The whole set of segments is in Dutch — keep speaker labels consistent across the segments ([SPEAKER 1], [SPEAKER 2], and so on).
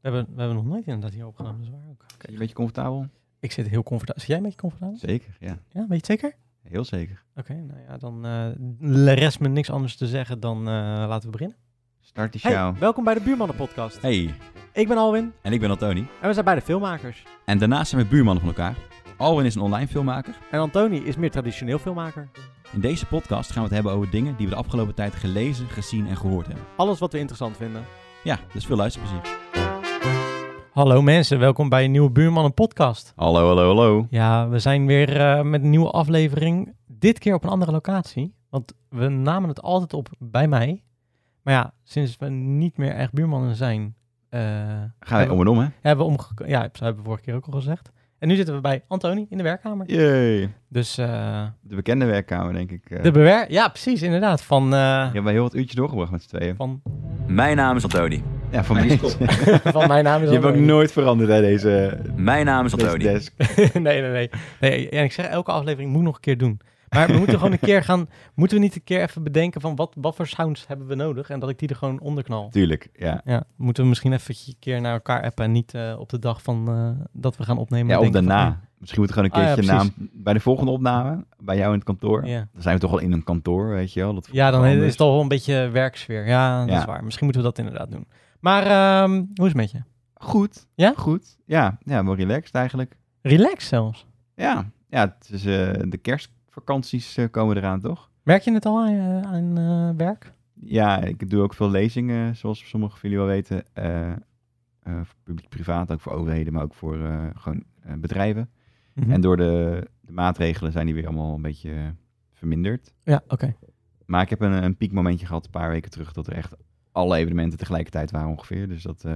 [SPEAKER 1] hebben, we hebben nog nooit inderdaad hier opgenomen. Dat is waar ook.
[SPEAKER 2] Ben je een beetje comfortabel?
[SPEAKER 1] Ik zit heel comfortabel. Zit jij een beetje comfortabel?
[SPEAKER 2] Zeker, ja.
[SPEAKER 1] Ja, weet je het zeker?
[SPEAKER 2] Heel zeker.
[SPEAKER 1] Oké, nou ja, dan eh rest me niks anders te zeggen dan eh, laten we beginnen.
[SPEAKER 2] Start die
[SPEAKER 3] Hey,
[SPEAKER 2] show.
[SPEAKER 3] welkom bij de Buurmannen Podcast.
[SPEAKER 2] Hey,
[SPEAKER 3] Ik ben Alwin
[SPEAKER 2] en ik ben Antoni.
[SPEAKER 3] en we zijn beide filmmakers.
[SPEAKER 2] En daarnaast zijn we buurmannen van elkaar. Alwin is een online filmmaker.
[SPEAKER 3] En Antoni is meer traditioneel filmmaker.
[SPEAKER 2] In deze podcast gaan we het hebben over dingen die we de afgelopen tijd gelezen, gezien en gehoord hebben.
[SPEAKER 3] Alles wat we interessant vinden.
[SPEAKER 2] Ja, dus veel luisterplezier.
[SPEAKER 1] Hallo mensen, welkom bij een nieuwe Buurmannen podcast.
[SPEAKER 2] Hallo, hallo, hallo.
[SPEAKER 1] Ja, we zijn weer eh, met een nieuwe aflevering. Dit keer op een andere locatie. Want we namen het altijd op bij mij. Maar ja, sinds we niet meer echt buurmannen zijn, eh,
[SPEAKER 2] Gaan wij om en om, hè?
[SPEAKER 1] hebben we omge... Ja, dat hebben we vorige keer ook al gezegd. En nu zitten we bij Antoni in de werkkamer.
[SPEAKER 2] Jee.
[SPEAKER 1] Dus eh,
[SPEAKER 2] De bekende werkkamer, denk ik. eh.
[SPEAKER 1] de bewer... Ja, precies, inderdaad. Van... eh,
[SPEAKER 2] Je hebt wel heel wat uurtjes doorgebracht met z'n tweeën.
[SPEAKER 1] van,
[SPEAKER 4] Mijn naam is Antoni.
[SPEAKER 2] Ja, voor mij is het.
[SPEAKER 1] van mijn naam is Antoni.
[SPEAKER 2] nooit veranderd, hè, deze,
[SPEAKER 4] Mijn naam is Antoni.
[SPEAKER 2] desk.
[SPEAKER 1] nee, nee, nee, nee. En ik zeg, elke aflevering moet nog een keer doen. Maar we moeten gewoon een keer gaan... Moeten we niet een keer even bedenken van wat, wat voor sounds hebben we nodig? En dat ik die er gewoon onder knal.
[SPEAKER 2] Tuurlijk, ja.
[SPEAKER 1] Ja, moeten we misschien even een keer naar elkaar appen en niet eh, op de dag van eh, dat we gaan opnemen.
[SPEAKER 2] Ja, of
[SPEAKER 1] denken van,
[SPEAKER 2] daarna. Misschien moeten we gewoon een
[SPEAKER 1] Ah, ja,
[SPEAKER 2] keertje
[SPEAKER 1] precies.
[SPEAKER 2] naam bij de volgende opname, bij jou in het kantoor.
[SPEAKER 1] hm, Ja,
[SPEAKER 2] Dan zijn we toch al in een kantoor, weet je wel. Dat
[SPEAKER 1] ja dan
[SPEAKER 2] anders.
[SPEAKER 1] is het al wel een beetje werksfeer. Ja, dat
[SPEAKER 2] Ja.
[SPEAKER 1] is waar. Misschien moeten we dat inderdaad doen. Maar ehm, hoe is het met je?
[SPEAKER 2] Goed.
[SPEAKER 1] Ja?
[SPEAKER 2] Goed. Ja, ja wel relaxed eigenlijk.
[SPEAKER 1] Relax zelfs.
[SPEAKER 2] Ja, ja het is, eh, de kerstvakanties eh, komen eraan, toch?
[SPEAKER 1] Merk je het al aan, eh, aan eh, werk?
[SPEAKER 2] Ja, ik doe ook veel lezingen, zoals sommigen van jullie wel weten. eh, eh, voor publiek, privaat, ook voor overheden, maar ook voor eh, gewoon eh, bedrijven.
[SPEAKER 1] Mhm.
[SPEAKER 2] En door de, de maatregelen zijn die weer allemaal een beetje eh, verminderd.
[SPEAKER 1] Ja, oké.
[SPEAKER 2] Maar ik heb een, een piekmomentje gehad een paar weken terug dat er echt alle evenementen tegelijkertijd waren ongeveer. Dus dat, eh,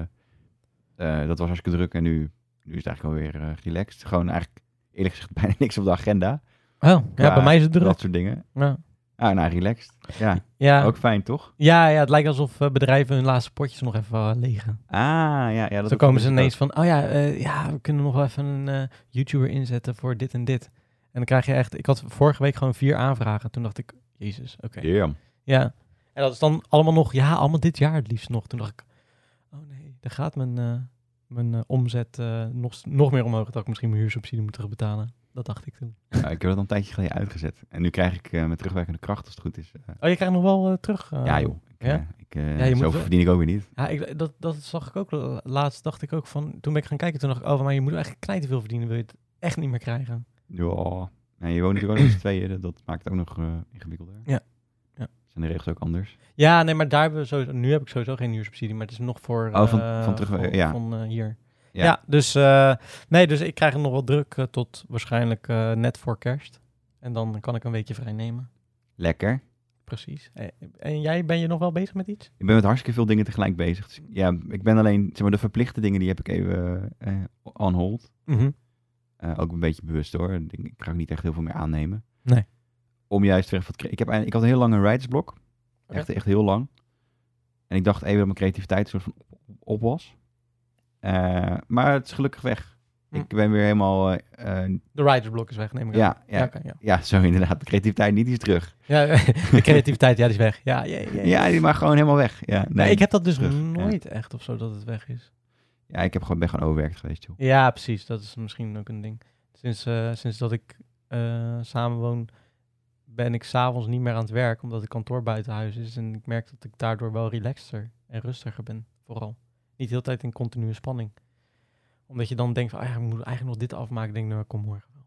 [SPEAKER 2] eh, dat was hartstikke druk en nu, nu is het eigenlijk alweer weer eh, relaxed. Gewoon eigenlijk eerlijk gezegd bijna niks op de agenda.
[SPEAKER 1] Oh, ja,
[SPEAKER 2] Qua
[SPEAKER 1] bij mij is het druk.
[SPEAKER 2] Dat soort dingen.
[SPEAKER 1] Ja. Ah.
[SPEAKER 2] Ah, nou, relaxed. Ja,
[SPEAKER 1] Ja.
[SPEAKER 2] ook fijn toch?
[SPEAKER 1] Ja, ja, het lijkt alsof eh, bedrijven hun laatste potjes nog even eh, legen.
[SPEAKER 2] Ah, ja. ja dat
[SPEAKER 1] Zo
[SPEAKER 2] ook-
[SPEAKER 1] komen ze
[SPEAKER 2] dat-
[SPEAKER 1] ineens van, oh ja, eh, ja, we kunnen nog wel even een eh, YouTuber inzetten voor dit en dit. En dan krijg je echt, ik had vorige week gewoon vier aanvragen. Toen dacht ik, jezus, oké.
[SPEAKER 2] Yeah.
[SPEAKER 1] Ja. En dat is dan allemaal nog, ja, allemaal dit jaar het liefst nog. Toen dacht ik, oh nee, daar gaat mijn, eh, mijn eh, omzet eh, nog, nog meer omhoog. Dat ik misschien mijn huursubsidie moet terugbetalen. Dat dacht ik toen.
[SPEAKER 2] Nou, ik heb dat al een tijdje geleden uitgezet. En nu krijg ik eh met terugwerkende kracht, als het goed is. eh,
[SPEAKER 1] Oh, je krijgt nog wel eh, terug. eh,
[SPEAKER 2] ja, joh. Ik,
[SPEAKER 1] ja?
[SPEAKER 2] eh, ik, eh,
[SPEAKER 1] Ja, je moet
[SPEAKER 2] zoveel
[SPEAKER 1] wel-
[SPEAKER 2] verdien ik ook weer niet.
[SPEAKER 1] Ja, ik, dat, dat zag ik ook la- laatst. Dacht ik ook van. Toen ben ik gaan kijken, toen dacht ik, oh, maar je moet eigenlijk knijten veel verdienen, wil je het echt niet meer krijgen.
[SPEAKER 2] Ja, nee, je woont natuurlijk ook nog met z'n tweeën. dat- Dat maakt het ook nog eh, ingewikkelder.
[SPEAKER 1] Ja. Ja.
[SPEAKER 2] Zijn de regels ook anders?
[SPEAKER 1] Ja, nee, maar daar hebben we sowieso. Nu heb ik sowieso geen huursubsidie, maar het is nog voor.
[SPEAKER 2] Oh, van-
[SPEAKER 1] eh,
[SPEAKER 2] van terug-
[SPEAKER 1] Van,
[SPEAKER 2] ja.
[SPEAKER 1] van, eh, hier. Ja,
[SPEAKER 2] Ja.
[SPEAKER 1] dus. eh, nee, dus ik krijg hem nog wel druk eh, tot waarschijnlijk eh, net voor Kerst. En dan kan ik een weekje vrij nemen.
[SPEAKER 2] Lekker.
[SPEAKER 1] Precies. Eh, En jij, ben je nog wel bezig met iets?
[SPEAKER 2] Ik ben met hartstikke veel dingen tegelijk bezig. Dus ja, ik ben alleen, zeg maar, de verplichte dingen die heb ik even eh on hold. Eh, ook een beetje bewust hoor. Ik, denk, ik ga ook niet echt heel veel meer aannemen.
[SPEAKER 1] Nee.
[SPEAKER 2] Om juist weer even wat... cre- Ik, heb, eigenlijk- ik had een heel lang een writersblok.
[SPEAKER 1] Oké.
[SPEAKER 2] Echt, echt heel lang. En ik dacht even dat mijn creativiteit een soort van op- op was. Eh, maar het is gelukkig weg.
[SPEAKER 1] Hm.
[SPEAKER 2] Ik ben weer helemaal... eh, eh,
[SPEAKER 1] De ridersblok is weg, neem ik aan.
[SPEAKER 2] ja, ja,
[SPEAKER 1] Ja, oké, ja.
[SPEAKER 2] Ja, zo inderdaad. De creativiteit niet is terug.
[SPEAKER 1] ja de creativiteit, ja, die is weg. Ja, jee, jee.
[SPEAKER 2] Ja, die maar gewoon helemaal weg. Ja,
[SPEAKER 1] Maar
[SPEAKER 2] nee.
[SPEAKER 1] ik heb dat dus
[SPEAKER 2] terug, ja.
[SPEAKER 1] nooit echt of zo dat het weg is.
[SPEAKER 2] ja, ik heb gewoon, ben gewoon overwerkt geweest, joh.
[SPEAKER 1] Ja, precies. Dat is misschien ook een ding. Sinds, eh, sinds dat ik eh samenwoon, ben ik s'avonds niet meer aan het werk, omdat het kantoor buiten huis is. En ik merk dat ik daardoor wel relaxter en rustiger ben, vooral. Niet de hele tijd in continue spanning. Omdat je dan denkt, van, ah, ja, ik moet eigenlijk nog dit afmaken. Ik denk, nou, ik kom morgen. wel.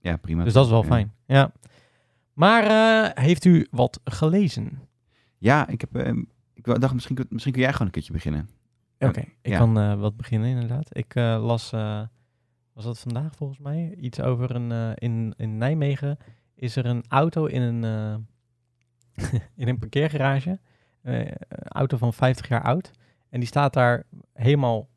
[SPEAKER 2] Ja, prima.
[SPEAKER 1] Dus dat is wel
[SPEAKER 2] Ja.
[SPEAKER 1] fijn, ja. Maar eh, heeft u wat gelezen?
[SPEAKER 2] Ja, ik, heb, eh, ik wou- dacht, misschien, kun- misschien kun jij gewoon een keertje beginnen.
[SPEAKER 1] Oké,
[SPEAKER 2] Ja.
[SPEAKER 1] ik
[SPEAKER 2] Ja.
[SPEAKER 1] kan eh, wat beginnen inderdaad. Ik eh, las, eh, was dat vandaag volgens mij, iets over een, eh, in, in Nijmegen is er een auto in een, eh, in een parkeergarage, Eh, een auto van 50 jaar oud. En die staat daar helemaal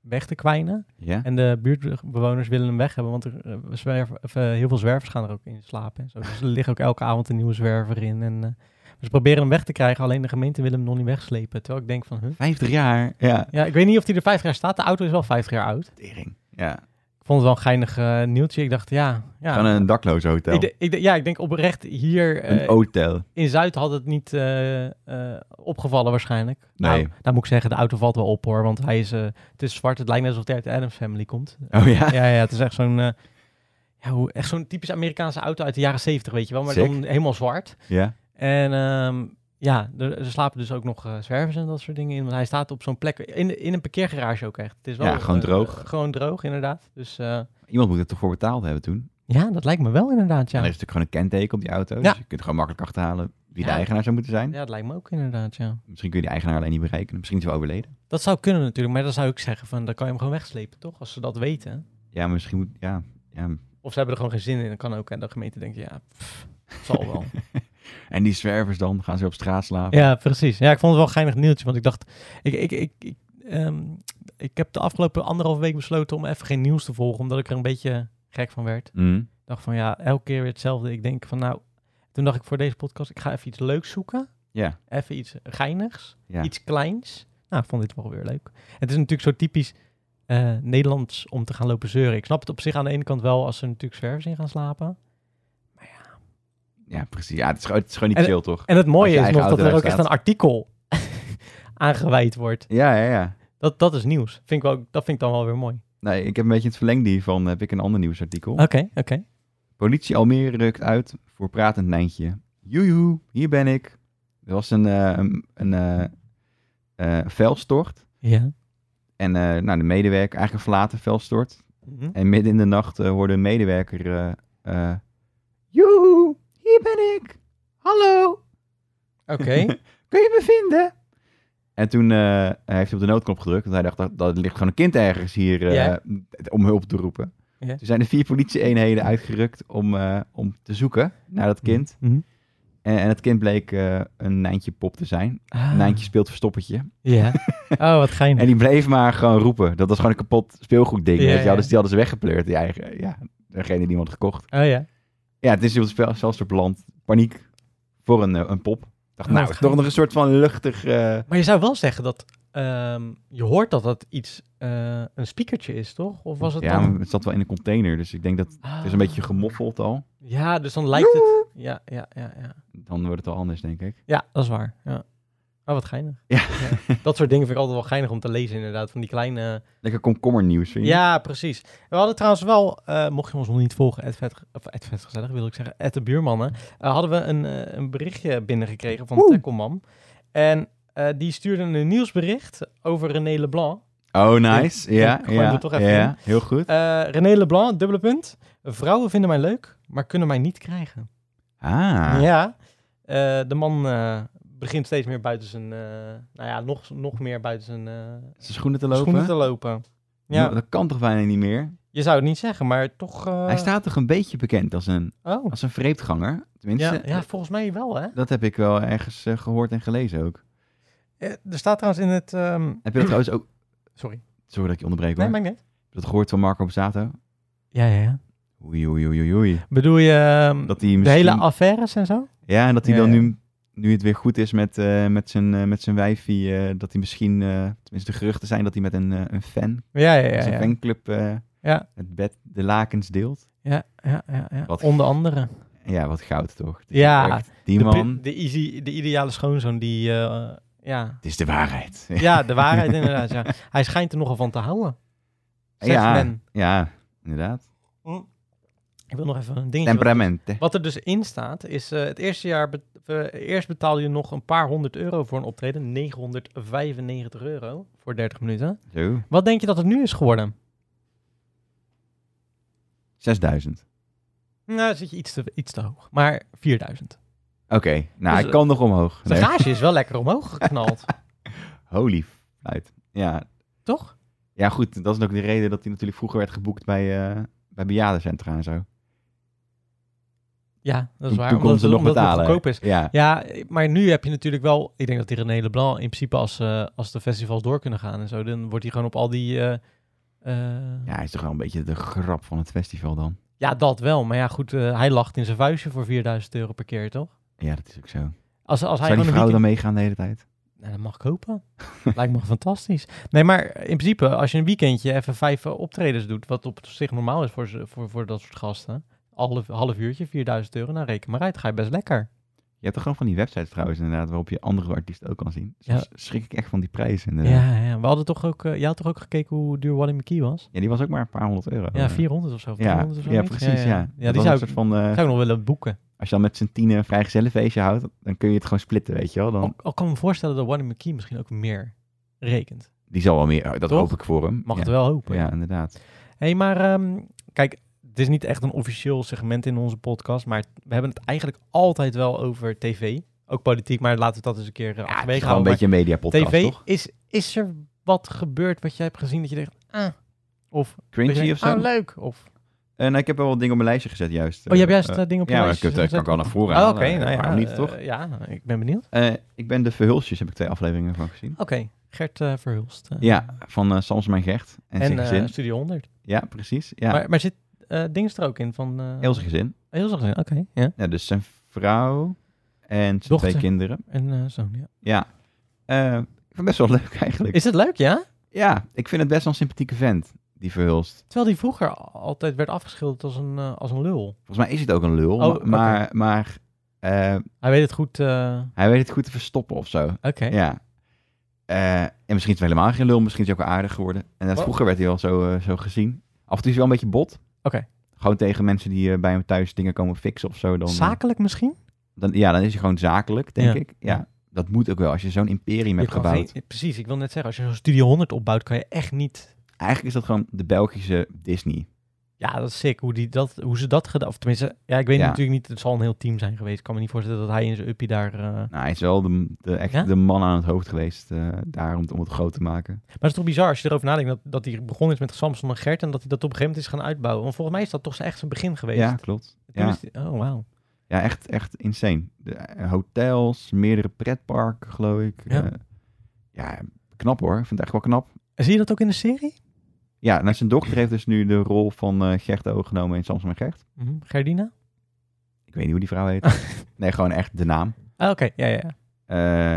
[SPEAKER 1] weg te kwijnen.
[SPEAKER 2] Ja?
[SPEAKER 1] En de buurtbewoners willen hem weg hebben, want er, eh, zwerven- of, eh, heel veel zwervers gaan er ook in slapen. En zo. Dus er liggen ook elke avond een nieuwe zwerver in. En, eh, ze proberen hem weg te krijgen, alleen de gemeente wil hem nog niet wegslepen. Terwijl ik denk van, huh?
[SPEAKER 2] 50 jaar. Ja.
[SPEAKER 1] Ja, ik weet niet of die er 50 jaar staat. De auto is wel 50 jaar oud.
[SPEAKER 2] Tering. Ja.
[SPEAKER 1] Ik vond het wel een geinig eh, nieuwtje. Ik dacht, ja. ja
[SPEAKER 2] Gewoon een dakloze hotel.
[SPEAKER 1] ik, de- ik de- ja, ik denk oprecht hier
[SPEAKER 2] een
[SPEAKER 1] eh,
[SPEAKER 2] hotel.
[SPEAKER 1] in Zuid had het niet eh, eh, opgevallen waarschijnlijk.
[SPEAKER 2] Nee.
[SPEAKER 1] Nou, nou moet ik zeggen, de auto valt wel op hoor, want hij is, eh, het is zwart. Het lijkt net alsof hij uit de Adams Family komt.
[SPEAKER 2] Oh ja?
[SPEAKER 1] ja, ja, het is echt zo'n eh, ja, hoe- echt zo'n typisch Amerikaanse auto uit de jaren zeventig, weet je wel. Maar
[SPEAKER 2] Sick.
[SPEAKER 1] dan helemaal zwart.
[SPEAKER 2] Ja.
[SPEAKER 1] En ehm, ja, er, er slapen dus ook nog eh, zwervers en dat soort dingen in. Want hij staat op zo'n plek, in, de- in een parkeergarage ook echt. Het is wel,
[SPEAKER 2] Ja, gewoon
[SPEAKER 1] eh,
[SPEAKER 2] droog.
[SPEAKER 1] eh, gewoon droog, inderdaad. Dus eh,
[SPEAKER 2] Iemand moet het toch voor betaald hebben toen?
[SPEAKER 1] ja, dat lijkt me wel inderdaad,
[SPEAKER 2] En
[SPEAKER 1] ja.
[SPEAKER 2] er is natuurlijk gewoon een kenteken op die auto.
[SPEAKER 1] Ja.
[SPEAKER 2] Dus je kunt gewoon makkelijk achterhalen wie
[SPEAKER 1] Ja.
[SPEAKER 2] de eigenaar zou moeten zijn.
[SPEAKER 1] Ja, dat lijkt me ook inderdaad, ja.
[SPEAKER 2] Misschien kun je die eigenaar alleen niet berekenen. Misschien is hij wel overleden.
[SPEAKER 1] Dat zou kunnen natuurlijk, maar dan zou ik zeggen van, dan kan je hem gewoon wegslepen, toch? Als ze dat weten.
[SPEAKER 2] Ja, maar misschien moet... Ja, ja.
[SPEAKER 1] Of ze hebben er gewoon geen zin in, dan kan ook. En de gemeente denkt, ja, pff, zal wel.
[SPEAKER 2] En die zwervers dan? Gaan ze op straat slapen?
[SPEAKER 1] ja, precies. Ja, ik vond het wel een geinig nieuwtje, want ik dacht, ik, ik, ik, ik, ehm, ik heb de afgelopen anderhalf week besloten om even geen nieuws te volgen, omdat ik er een beetje gek van werd.
[SPEAKER 2] Mhm.
[SPEAKER 1] Ik dacht van, ja, elke keer weer hetzelfde. Ik denk van, nou, toen dacht ik voor deze podcast, ik ga even iets leuks zoeken.
[SPEAKER 2] Ja.
[SPEAKER 1] Even iets geinigs.
[SPEAKER 2] ja.
[SPEAKER 1] iets kleins. Nou, ik vond dit wel weer leuk. Het is natuurlijk zo typisch eh, Nederlands om te gaan lopen zeuren. Ik snap het op zich aan de ene kant wel als ze natuurlijk zwervers in gaan slapen.
[SPEAKER 2] Ja, precies. Ja, het is, gewoon- het is gewoon niet
[SPEAKER 1] En-
[SPEAKER 2] chill, toch?
[SPEAKER 1] En het mooie
[SPEAKER 2] je
[SPEAKER 1] is
[SPEAKER 2] eigen
[SPEAKER 1] nog dat
[SPEAKER 2] auto
[SPEAKER 1] er ook
[SPEAKER 2] daar
[SPEAKER 1] echt een artikel aangeweid wordt.
[SPEAKER 2] Ja, ja, ja.
[SPEAKER 1] Dat, dat is nieuws. Vind ik wel, dat vind ik dan wel weer mooi.
[SPEAKER 2] Nee, ik heb een beetje het verlengde hiervan. Heb ik een ander nieuwsartikel.
[SPEAKER 1] Oké, oké.
[SPEAKER 2] Politie Almere rukt uit voor pratend nijntje. Joejoe, hier ben ik. Er was een, eh een, een eh, eh, vuilstort.
[SPEAKER 1] Ja.
[SPEAKER 2] En eh, nou, de medewerker, eigenlijk een verlaten vuilstort.
[SPEAKER 1] Mhm.
[SPEAKER 2] En midden in de nacht eh, hoorde een medewerker... eh eh, Joehoe, hier ben ik. Hallo,
[SPEAKER 1] Oké.
[SPEAKER 2] kun je me vinden? En toen eh, heeft hij op de noodknop gedrukt. Want hij dacht, dat, dat ligt gewoon een kind ergens hier eh,
[SPEAKER 1] Ja.
[SPEAKER 2] om hulp te roepen.
[SPEAKER 1] Ja.
[SPEAKER 2] Toen zijn er vier politie-eenheden uitgerukt om, eh, om te zoeken naar dat kind.
[SPEAKER 1] Mhm.
[SPEAKER 2] En, en het kind bleek eh, een Nijntje pop te zijn.
[SPEAKER 1] Ah,
[SPEAKER 2] Nijntje speelt verstoppertje.
[SPEAKER 1] Ja. Oh, wat geinig.
[SPEAKER 2] En die bleef maar gewoon roepen. Dat was gewoon een kapot speelgoed ding.
[SPEAKER 1] Ja,
[SPEAKER 2] weet je wel.
[SPEAKER 1] ja.
[SPEAKER 2] Dus die hadden ze weggepleurd. Die eigen, ja, degene die iemand gekocht.
[SPEAKER 1] Oh ja.
[SPEAKER 2] Ja, het is dus zelfs op het land. Paniek voor een, eh, een pop. Ik dacht,
[SPEAKER 1] Oh,
[SPEAKER 2] nou,
[SPEAKER 1] wat
[SPEAKER 2] toch nog een soort van luchtig... eh,
[SPEAKER 1] Maar je zou wel zeggen dat ehm, je hoort dat dat iets, eh, een speakertje is, toch? Of was het
[SPEAKER 2] ja,
[SPEAKER 1] dan... Ah.
[SPEAKER 2] maar het zat wel in een container. Dus ik denk dat het is een beetje gemoffeld al.
[SPEAKER 1] Ja, dus dan lijkt het. Ja, ja, ja, ja.
[SPEAKER 2] Dan wordt het wel anders, denk ik.
[SPEAKER 1] Ja, dat is waar. Ja. Oh, wat geinig.
[SPEAKER 2] Ja.
[SPEAKER 1] Dat soort dingen vind ik altijd wel geinig om te lezen, inderdaad. Van die kleine.
[SPEAKER 2] Lekker komkommernieuws, vind je?
[SPEAKER 1] Ja, precies. We hadden trouwens wel, eh, mocht je ons nog niet volgen, at vet, of at vet gezellig wil ik zeggen, at de buurmannen, eh, hadden we een, eh, een berichtje binnengekregen van
[SPEAKER 2] Oeh.
[SPEAKER 1] Tekkelman. En eh, die stuurde een nieuwsbericht over René Leblanc.
[SPEAKER 2] Oh, nice. Ja,
[SPEAKER 1] Ik
[SPEAKER 2] ja,
[SPEAKER 1] gooi hem er toch even
[SPEAKER 2] ja. heel goed.
[SPEAKER 1] Eh, René Leblanc, dubbele punt. Vrouwen vinden mij leuk, maar kunnen mij niet krijgen.
[SPEAKER 2] Ah,
[SPEAKER 1] Ja, eh, de man eh, begint steeds meer buiten zijn, eh, nou ja, nog, nog meer buiten zijn eh,
[SPEAKER 2] zijn schoenen te lopen. Nou,
[SPEAKER 1] schoenen te lopen. Ja,
[SPEAKER 2] Dat kan toch bijna niet meer?
[SPEAKER 1] je zou het niet zeggen, maar toch. eh,
[SPEAKER 2] Hij staat toch een beetje bekend als een,
[SPEAKER 1] Oh,
[SPEAKER 2] als een vreemdganger? Tenminste,
[SPEAKER 1] ja, ja, volgens mij wel, hè?
[SPEAKER 2] dat heb ik wel ergens eh, gehoord en gelezen ook.
[SPEAKER 1] Eh, Er staat trouwens in het. ehm,
[SPEAKER 2] Heb je dat trouwens ook...
[SPEAKER 1] Sorry.
[SPEAKER 2] Sorry dat ik je onderbreek hoor.
[SPEAKER 1] Nee, maakt niet.
[SPEAKER 2] Heb je dat gehoord van Marco Bezato?
[SPEAKER 1] Ja, ja, ja.
[SPEAKER 2] Oei, oei, oei, oei, oei.
[SPEAKER 1] Bedoel je ehm,
[SPEAKER 2] Dat hij
[SPEAKER 1] de
[SPEAKER 2] misschien...
[SPEAKER 1] hele affaires en zo?
[SPEAKER 2] Ja, en dat hij
[SPEAKER 1] Ja,
[SPEAKER 2] dan
[SPEAKER 1] ja.
[SPEAKER 2] nu, nu het weer goed is met, eh, met, zijn, eh, met zijn wijfie, eh, dat hij misschien... eh, tenminste, de geruchten zijn dat hij met een, eh, een fan,
[SPEAKER 1] Ja, ja, ja.
[SPEAKER 2] zijn
[SPEAKER 1] Ja,
[SPEAKER 2] fanclub, eh,
[SPEAKER 1] Ja.
[SPEAKER 2] het bed, de lakens deelt.
[SPEAKER 1] ja, ja, ja, ja.
[SPEAKER 2] Wat-
[SPEAKER 1] Onder andere.
[SPEAKER 2] Ja, wat goud toch? Het is
[SPEAKER 1] Ja,
[SPEAKER 2] echt- Die
[SPEAKER 1] de,
[SPEAKER 2] man,
[SPEAKER 1] pri- de, easy, de ideale schoonzoon die. eh, ja.
[SPEAKER 2] het is de waarheid.
[SPEAKER 1] ja, de waarheid inderdaad. Ja. Hij schijnt er nogal van te houden. Zegt
[SPEAKER 2] ja,
[SPEAKER 1] men.
[SPEAKER 2] ja, inderdaad.
[SPEAKER 1] Ik wil nog even een dingetje. Wat,
[SPEAKER 2] Temperament, hè?
[SPEAKER 1] wat er dus in staat, is eh, het eerste jaar... be- eh, eerst betaal je nog een paar honderd euro voor een optreden. 995 euro voor 30 minuten.
[SPEAKER 2] Zo,
[SPEAKER 1] Wat denk je dat het nu is geworden?
[SPEAKER 2] 6000.
[SPEAKER 1] Nou, dan zit je iets te, iets te hoog. Maar 4000.
[SPEAKER 2] Oké, nou,
[SPEAKER 1] Dus,
[SPEAKER 2] ik kan nog omhoog.
[SPEAKER 1] De
[SPEAKER 2] Nee.
[SPEAKER 1] gage is wel lekker omhoog geknald,
[SPEAKER 2] Holy fluit. Ja.
[SPEAKER 1] toch?
[SPEAKER 2] ja, goed, dat is ook de reden dat hij natuurlijk vroeger werd geboekt bij, eh bij bejaardencentra en zo.
[SPEAKER 1] Ja, dat is
[SPEAKER 2] Toen-
[SPEAKER 1] waar.
[SPEAKER 2] toen konden
[SPEAKER 1] omdat
[SPEAKER 2] ze
[SPEAKER 1] het,
[SPEAKER 2] nog
[SPEAKER 1] omdat het
[SPEAKER 2] betalen.
[SPEAKER 1] goedkoop is.
[SPEAKER 2] Ja,
[SPEAKER 1] Ja, maar nu heb je natuurlijk wel... Ik denk dat die René Leblanc in principe als, eh, als de festivals door kunnen gaan en zo... dan wordt hij gewoon op al die... eh, eh,
[SPEAKER 2] ja, hij is toch wel een beetje de grap van het festival dan.
[SPEAKER 1] Ja, dat wel. Maar ja, goed, eh, hij lacht in zijn vuistje voor 4000 euro per keer, toch?
[SPEAKER 2] Ja, dat is ook zo.
[SPEAKER 1] Als, als hij
[SPEAKER 2] Zou die
[SPEAKER 1] gewoon een weekend...
[SPEAKER 2] vrouwen dan meegaan de hele tijd?
[SPEAKER 1] Nou, dat mag ik hopen. Lijkt me fantastisch. Nee, maar in principe, als je een weekendje even vijf eh, optredens doet, wat op zich normaal is voor, ze- voor, voor dat soort gasten, half, half uurtje, 4000 euro, nou reken maar uit, ga je best lekker.
[SPEAKER 2] Je hebt er gewoon van die websites trouwens inderdaad, waarop je andere artiesten ook kan zien.
[SPEAKER 1] Ja.
[SPEAKER 2] Soms schrik ik echt van die prijzen
[SPEAKER 1] Ja,
[SPEAKER 2] inderdaad. Ja.
[SPEAKER 1] ja, we hadden toch ook, eh, je had toch ook gekeken hoe duur Wally McKee was?
[SPEAKER 2] die was ook maar een paar honderd euro.
[SPEAKER 1] Ja,
[SPEAKER 2] Eh,
[SPEAKER 1] 400 of zo. of
[SPEAKER 2] Ja,
[SPEAKER 1] 300 of zo,
[SPEAKER 2] ja,
[SPEAKER 1] zoiets.
[SPEAKER 2] precies, ja.
[SPEAKER 1] ja.
[SPEAKER 2] Dat
[SPEAKER 1] die
[SPEAKER 2] was een
[SPEAKER 1] zou ik,
[SPEAKER 2] soort van, eh,
[SPEAKER 1] zou ik nog willen boeken.
[SPEAKER 2] als je dan met z'n tienen een vrijgezellenfeestje houdt, dan kun je het gewoon splitten, weet je wel. Dan,
[SPEAKER 1] Al, al kan ik me voorstellen dat Wally McKee misschien ook meer rekent.
[SPEAKER 2] die zal wel meer, eh, dat
[SPEAKER 1] Toch?
[SPEAKER 2] hoop ik voor hem.
[SPEAKER 1] Mag
[SPEAKER 2] ja.
[SPEAKER 1] het wel hopen.
[SPEAKER 2] Ja, inderdaad.
[SPEAKER 1] Hé, hey, maar ehm, kijk, het is niet echt een officieel segment in onze podcast, maar we hebben het eigenlijk altijd wel over tv. Ook politiek, maar laten we dat eens een keer eh,
[SPEAKER 2] Ja, het is
[SPEAKER 1] achterwege
[SPEAKER 2] gewoon een
[SPEAKER 1] houden.
[SPEAKER 2] beetje een mediapodcast,
[SPEAKER 1] Maar TV,
[SPEAKER 2] toch?
[SPEAKER 1] is, is er wat gebeurd wat jij hebt gezien dat je denkt, ah, of... dat je
[SPEAKER 2] Cringy
[SPEAKER 1] denkt,
[SPEAKER 2] of zo?
[SPEAKER 1] Ah, leuk, of...
[SPEAKER 2] Eh, nou, ik heb wel wat dingen op mijn lijstje gezet juist.
[SPEAKER 1] Oh, je hebt juist
[SPEAKER 2] Eh,
[SPEAKER 1] dat ding op je
[SPEAKER 2] ja, maar ik
[SPEAKER 1] lijstje
[SPEAKER 2] heb- dat kan
[SPEAKER 1] gezet?
[SPEAKER 2] ik al naar voren
[SPEAKER 1] Oh,
[SPEAKER 2] halen.
[SPEAKER 1] oké, nou ja.
[SPEAKER 2] Waarom niet,
[SPEAKER 1] eh,
[SPEAKER 2] toch?
[SPEAKER 1] ja, ik ben benieuwd.
[SPEAKER 2] Eh, ik ben de Verhulstjes, heb ik twee afleveringen van gezien.
[SPEAKER 1] Oké, Gert eh, Verhulst. eh,
[SPEAKER 2] Ja, van eh Samsom en Gert en,
[SPEAKER 1] En
[SPEAKER 2] zijn
[SPEAKER 1] eh,
[SPEAKER 2] gezin.
[SPEAKER 1] Studio 100.
[SPEAKER 2] ja, precies. Ja,
[SPEAKER 1] Maar, maar zit eh Dings er ook in van... eh
[SPEAKER 2] heel zijn gezin.
[SPEAKER 1] Heel zijn gezin, oké. ja.
[SPEAKER 2] Ja, dus zijn vrouw en zijn
[SPEAKER 1] Dochter.
[SPEAKER 2] twee kinderen.
[SPEAKER 1] En eh zoon, ja.
[SPEAKER 2] Ja. Eh, ik vind het best wel leuk eigenlijk.
[SPEAKER 1] Is het leuk, ja?
[SPEAKER 2] Ja, ik vind het best wel een sympathieke vent, die Verhulst.
[SPEAKER 1] Terwijl die vroeger al- altijd werd afgeschilderd als een, eh, als een lul.
[SPEAKER 2] Volgens mij is het ook een lul,
[SPEAKER 1] Oh,
[SPEAKER 2] ma-
[SPEAKER 1] oké.
[SPEAKER 2] maar, maar eh,
[SPEAKER 1] Hij weet het goed. eh,
[SPEAKER 2] hij weet het goed te verstoppen of zo.
[SPEAKER 1] Oké.
[SPEAKER 2] Ja. Eh, en misschien is het helemaal geen lul, misschien is hij ook wel aardig geworden. En dat
[SPEAKER 1] Wat?
[SPEAKER 2] vroeger werd hij wel zo, eh, zo gezien. Af en toe is hij wel een beetje bot.
[SPEAKER 1] Oké.
[SPEAKER 2] Gewoon tegen mensen die eh, bij hem thuis dingen komen fixen of zo. Dan, eh,
[SPEAKER 1] Zakelijk misschien?
[SPEAKER 2] dan, ja, dan is hij gewoon zakelijk, denk
[SPEAKER 1] Ja.
[SPEAKER 2] ik. Ja, dat moet ook wel. Als je zo'n imperium
[SPEAKER 1] Je
[SPEAKER 2] hebt
[SPEAKER 1] kan
[SPEAKER 2] gebouwd.
[SPEAKER 1] geen- precies, ik wil net zeggen, als je zo'n Studio 100 opbouwt, kan je echt niet...
[SPEAKER 2] Eigenlijk is dat gewoon de Belgische Disney.
[SPEAKER 1] Ja, dat is sick, hoe, die dat, hoe ze dat gedaan... Of tenminste, ja, ik weet
[SPEAKER 2] Ja.
[SPEAKER 1] natuurlijk niet, het zal een heel team zijn geweest. Ik kan me niet voorstellen dat hij in zijn uppie daar... eh,
[SPEAKER 2] Nou, hij is wel de, de, echt
[SPEAKER 1] Ja?
[SPEAKER 2] de man aan het hoofd geweest eh, daar om, het- om het groot te maken.
[SPEAKER 1] Maar het is toch bizar als je erover nadenkt dat, dat hij begonnen is met Samson en Gert... en dat hij dat op een gegeven moment is gaan uitbouwen. Want volgens mij is dat toch echt zijn begin geweest.
[SPEAKER 2] Ja, klopt.
[SPEAKER 1] Toen
[SPEAKER 2] Ja,
[SPEAKER 1] is die- Oh, wauw.
[SPEAKER 2] ja echt, echt insane. De, eh, hotels, meerdere pretparken, geloof ik.
[SPEAKER 1] Ja.
[SPEAKER 2] Ja, ja knap hoor. Ik vind het echt wel knap.
[SPEAKER 1] En zie je dat ook in de serie?
[SPEAKER 2] Ja, nou, zijn dochter heeft dus nu de rol van eh, Gert overgenomen in Samson en Gert.
[SPEAKER 1] Mhm. Gerdina?
[SPEAKER 2] Ik weet niet hoe die vrouw heet. nee, gewoon echt de naam.
[SPEAKER 1] Ah, Oké, ja, ja, ja.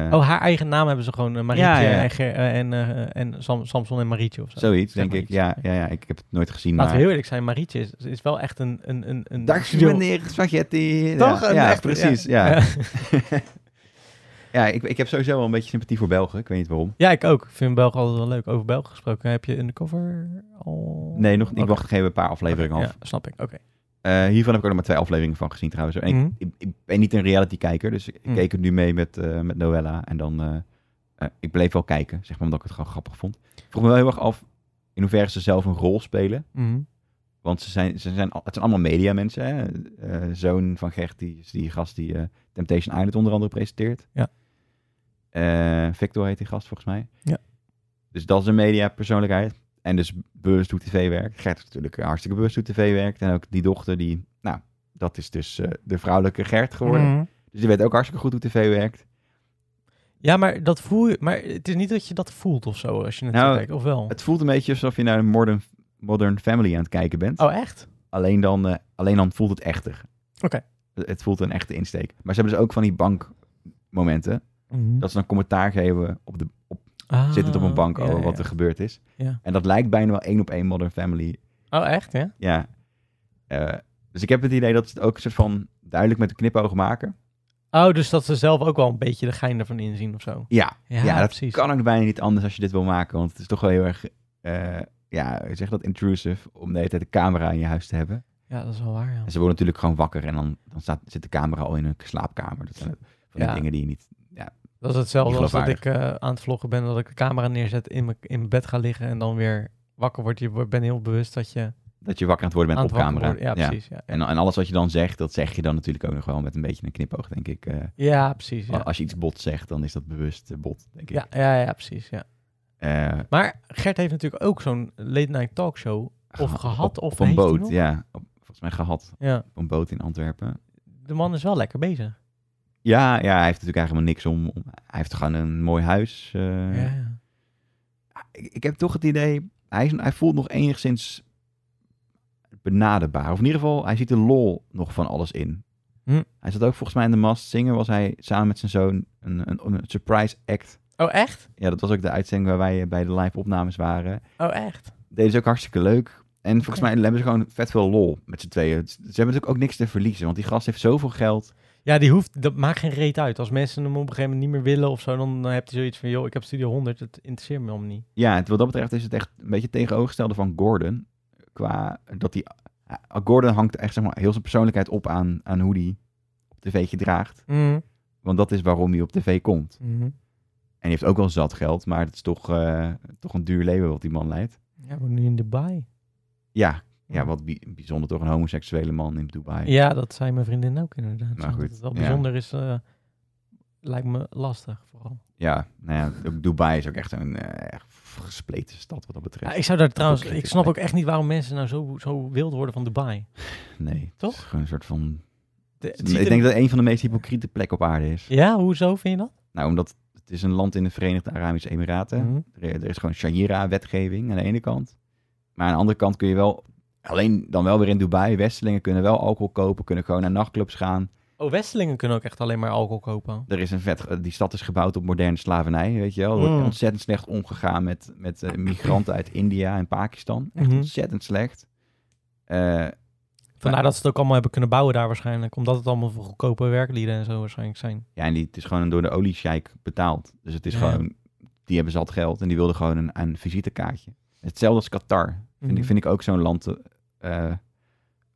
[SPEAKER 2] Eh,
[SPEAKER 1] Oh, haar eigen naam hebben ze gewoon eh, Marietje
[SPEAKER 2] Ja, ja, ja.
[SPEAKER 1] en, Ger- eh, en, eh, en Sam- Samson en Marietje of zo.
[SPEAKER 2] Zoiets,
[SPEAKER 1] Zeg
[SPEAKER 2] denk
[SPEAKER 1] maar
[SPEAKER 2] ik.
[SPEAKER 1] iets.
[SPEAKER 2] Ja, ja, ja, ik heb het nooit gezien.
[SPEAKER 1] Laten we
[SPEAKER 2] maar...
[SPEAKER 1] heel eerlijk zijn, Marietje is, is wel echt een... een, een, een
[SPEAKER 2] Dag
[SPEAKER 1] studio-
[SPEAKER 2] meneer Spaghetti.
[SPEAKER 1] Toch?
[SPEAKER 2] Ja,
[SPEAKER 1] Een
[SPEAKER 2] ja,
[SPEAKER 1] echte-
[SPEAKER 2] precies. Ja, ja.
[SPEAKER 1] Ja.
[SPEAKER 2] ik, ik heb sowieso wel een beetje sympathie voor Belgen. Ik weet niet waarom.
[SPEAKER 1] Ja, ik ook. Ik vind Belgen altijd wel leuk. Over Belgen gesproken, heb je in de cover al...
[SPEAKER 2] Nee, nog, ik
[SPEAKER 1] Oké.
[SPEAKER 2] wacht nog even een paar afleveringen
[SPEAKER 1] Oké,
[SPEAKER 2] af.
[SPEAKER 1] Ja, snap ik. Oké.
[SPEAKER 2] Eh, hiervan heb ik ook nog maar twee afleveringen van gezien trouwens. En ik,
[SPEAKER 1] Mhm.
[SPEAKER 2] ik, ik ben niet een reality-kijker, dus ik
[SPEAKER 1] Mm.
[SPEAKER 2] keek het nu mee met, eh, met Noella. En dan, eh, eh, ik bleef wel kijken, zeg maar, omdat ik het gewoon grappig vond. Ik vroeg me wel heel erg af in hoeverre ze zelf een rol spelen.
[SPEAKER 1] Mhm.
[SPEAKER 2] Want ze zijn, ze zijn, al- het zijn allemaal mediamensen. hè. Eh, zoon van Gert, die is die gast die eh, Temptation Island onder andere presenteert.
[SPEAKER 1] Ja.
[SPEAKER 2] Eh, Victor heet die gast volgens mij.
[SPEAKER 1] Ja.
[SPEAKER 2] Dus dat is een mediapersoonlijkheid. En dus bewust doet tv-werk. Gert is natuurlijk hartstikke bewust doet tv-werk. En ook die dochter die, nou, dat is dus eh, de vrouwelijke Gert geworden.
[SPEAKER 1] Mhm.
[SPEAKER 2] Dus die weet ook hartstikke goed hoe tv werkt.
[SPEAKER 1] Ja, maar dat voel je... Maar het is niet dat je dat voelt of zo, als je het
[SPEAKER 2] Nou,
[SPEAKER 1] kijkt. Of wel?
[SPEAKER 2] Het voelt een beetje alsof je naar een modern, modern family aan het kijken bent.
[SPEAKER 1] Oh, echt?
[SPEAKER 2] Alleen dan, eh, alleen dan voelt het echter.
[SPEAKER 1] Oké.
[SPEAKER 2] Het, het voelt een echte insteek. Maar ze hebben dus ook van die bankmomenten.
[SPEAKER 1] Mhm.
[SPEAKER 2] Dat ze dan commentaar geven op de op,
[SPEAKER 1] Ah,
[SPEAKER 2] zittend op een bank
[SPEAKER 1] ja,
[SPEAKER 2] over
[SPEAKER 1] ja,
[SPEAKER 2] wat er gebeurd is.
[SPEAKER 1] Ja.
[SPEAKER 2] En dat lijkt bijna wel één op één Modern Family.
[SPEAKER 1] ja. Oh, echt, ja?
[SPEAKER 2] Ja. Eh, dus ik heb het idee dat ze het ook een soort van duidelijk met de knipoog maken.
[SPEAKER 1] Oh, dus dat ze zelf ook wel een beetje de gein ervan inzien of zo.
[SPEAKER 2] Ja,
[SPEAKER 1] Ja,
[SPEAKER 2] dat
[SPEAKER 1] precies.
[SPEAKER 2] kan ook bijna niet anders als je dit wil maken. Want het is toch wel heel erg, eh, ja, hoe zeg je dat, intrusive om de hele tijd de camera in je huis te hebben.
[SPEAKER 1] Ja, dat is wel waar, ja.
[SPEAKER 2] En ze worden natuurlijk gewoon wakker en dan, dan staat, zit de camera al in hun slaapkamer. Dat zijn van die
[SPEAKER 1] Ja.
[SPEAKER 2] dingen die je niet
[SPEAKER 1] Dat is hetzelfde
[SPEAKER 2] Niet
[SPEAKER 1] als dat ik
[SPEAKER 2] geloofwaardig.
[SPEAKER 1] eh, aan het vloggen ben, dat ik de camera neerzet, in mijn in mijn bed ga liggen en dan weer wakker word. Je wordt- bent heel bewust dat je
[SPEAKER 2] Dat je wakker aan het worden
[SPEAKER 1] aan
[SPEAKER 2] bent
[SPEAKER 1] het
[SPEAKER 2] op
[SPEAKER 1] wakker
[SPEAKER 2] camera.
[SPEAKER 1] wordt. Ja, precies. Ja, ja.
[SPEAKER 2] En, en alles wat je dan zegt, dat zeg je dan natuurlijk ook nog wel met een beetje een knipoog, denk ik. Eh,
[SPEAKER 1] Ja, precies. Ja.
[SPEAKER 2] Als je iets bot zegt, dan is dat bewust eh, bot, denk ik.
[SPEAKER 1] Ja, ja, ja, precies. Ja.
[SPEAKER 2] Eh,
[SPEAKER 1] Maar Gert heeft natuurlijk ook zo'n late night talkshow of
[SPEAKER 2] geha-
[SPEAKER 1] gehad
[SPEAKER 2] op,
[SPEAKER 1] of
[SPEAKER 2] op een
[SPEAKER 1] heeft hij
[SPEAKER 2] boot,
[SPEAKER 1] nog?
[SPEAKER 2] ja. Op, volgens mij gehad
[SPEAKER 1] Ja.
[SPEAKER 2] op een boot in Antwerpen.
[SPEAKER 1] De man is wel lekker bezig.
[SPEAKER 2] Ja, ja, hij heeft natuurlijk eigenlijk helemaal niks om. om- hij heeft gewoon een mooi huis. eh.
[SPEAKER 1] Ja, ja.
[SPEAKER 2] ik, ik heb toch het idee, hij, is, hij voelt nog enigszins benaderbaar. Of in ieder geval, hij ziet de lol nog van alles in.
[SPEAKER 1] Hm.
[SPEAKER 2] Hij zat ook volgens mij in de mast zingen, was hij samen met zijn zoon een, een, een surprise act
[SPEAKER 1] Oh, echt?
[SPEAKER 2] Ja, dat was ook de uitzending waar wij eh, bij de live opnames waren.
[SPEAKER 1] Oh, echt?
[SPEAKER 2] Deden ze ook hartstikke leuk. En volgens
[SPEAKER 1] Ja.
[SPEAKER 2] mij hebben ze gewoon vet veel lol met z'n tweeën. Het- Ze hebben natuurlijk ook niks te verliezen, want die gast heeft zoveel geld.
[SPEAKER 1] Ja, die hoeft, dat maakt geen reet uit. Als mensen hem op een gegeven moment niet meer willen of zo, dan, dan heb je zoiets van, joh, ik heb Studio 100, het interesseert me om niet.
[SPEAKER 2] Ja, het, wat dat betreft is het echt een beetje het tegenovergestelde van Gordon. Qua dat die. ah, Gordon hangt echt zeg maar, heel zijn persoonlijkheid op aan, aan hoe die op tv gedraagt.
[SPEAKER 1] Mhm.
[SPEAKER 2] Want dat is waarom hij op tv komt. En die heeft ook wel zat geld, maar het is toch, eh, toch een duur leven wat die man leidt.
[SPEAKER 1] Ja, we wonen nu in Dubai.
[SPEAKER 2] Ja, ja wat bi- bijzonder toch een homoseksuele man in Dubai.
[SPEAKER 1] Ja, dat zei mijn vriendin ook inderdaad.
[SPEAKER 2] Maar
[SPEAKER 1] Maar goed,
[SPEAKER 2] Nou,
[SPEAKER 1] dat het
[SPEAKER 2] goed,
[SPEAKER 1] wel
[SPEAKER 2] ja.
[SPEAKER 1] bijzonder is, eh, lijkt me lastig vooral.
[SPEAKER 2] Ja, nou ja, ook Dubai is ook echt een eh, echt gespleten stad wat dat betreft.
[SPEAKER 1] Ja, ik zou daar trouwens,
[SPEAKER 2] Oké,
[SPEAKER 1] ik
[SPEAKER 2] ik
[SPEAKER 1] snap
[SPEAKER 2] weet.
[SPEAKER 1] ook echt niet waarom mensen nou zo, zo wild worden van Dubai.
[SPEAKER 2] Nee, het
[SPEAKER 1] Toch?
[SPEAKER 2] is gewoon een soort van...
[SPEAKER 1] De- het ziet
[SPEAKER 2] Ik
[SPEAKER 1] er-
[SPEAKER 2] denk dat het een van de meest hypocriete plekken op aarde is.
[SPEAKER 1] Ja, hoezo vind je dat?
[SPEAKER 2] Nou, omdat het is een land in de Verenigde Arabische Emiraten.
[SPEAKER 1] Mhm.
[SPEAKER 2] Er, er is gewoon Sharia-wetgeving aan de ene kant. Maar aan de andere kant kun je wel... Alleen dan wel weer in Dubai. Westelingen kunnen wel alcohol kopen, kunnen gewoon naar nachtclubs gaan.
[SPEAKER 1] Oh, Westelingen kunnen ook echt alleen maar alcohol kopen.
[SPEAKER 2] Er is een vet, eh, die stad is gebouwd op moderne slavernij, weet je wel. Er wordt
[SPEAKER 1] Mm.
[SPEAKER 2] ontzettend slecht omgegaan met, met eh, migranten uit India en Pakistan. Echt
[SPEAKER 1] Mhm.
[SPEAKER 2] ontzettend slecht. Eh,
[SPEAKER 1] Vandaar dat ze het ook allemaal hebben kunnen bouwen daar waarschijnlijk. Omdat het allemaal voor goedkope werklieden en zo waarschijnlijk zijn.
[SPEAKER 2] ja, en die, het is gewoon door de oliesjeik betaald. Dus het is
[SPEAKER 1] Ja.
[SPEAKER 2] gewoon, die hebben zat geld en die wilden gewoon een, een visitekaartje. Hetzelfde als Qatar. Vind, ik,
[SPEAKER 1] Mhm.
[SPEAKER 2] vind ik ook zo'n land eh,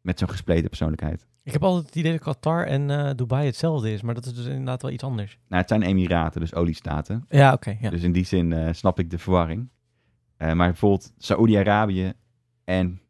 [SPEAKER 2] met zo'n gespleten persoonlijkheid.
[SPEAKER 1] Ik heb altijd het idee dat Qatar en eh, Dubai hetzelfde is. Maar dat is dus inderdaad wel iets anders.
[SPEAKER 2] Nou, het zijn emiraten, dus oliestaten.
[SPEAKER 1] Ja, oké. ja.
[SPEAKER 2] Dus in die zin eh, snap ik de verwarring. Eh, maar bijvoorbeeld Saoedi-Arabië en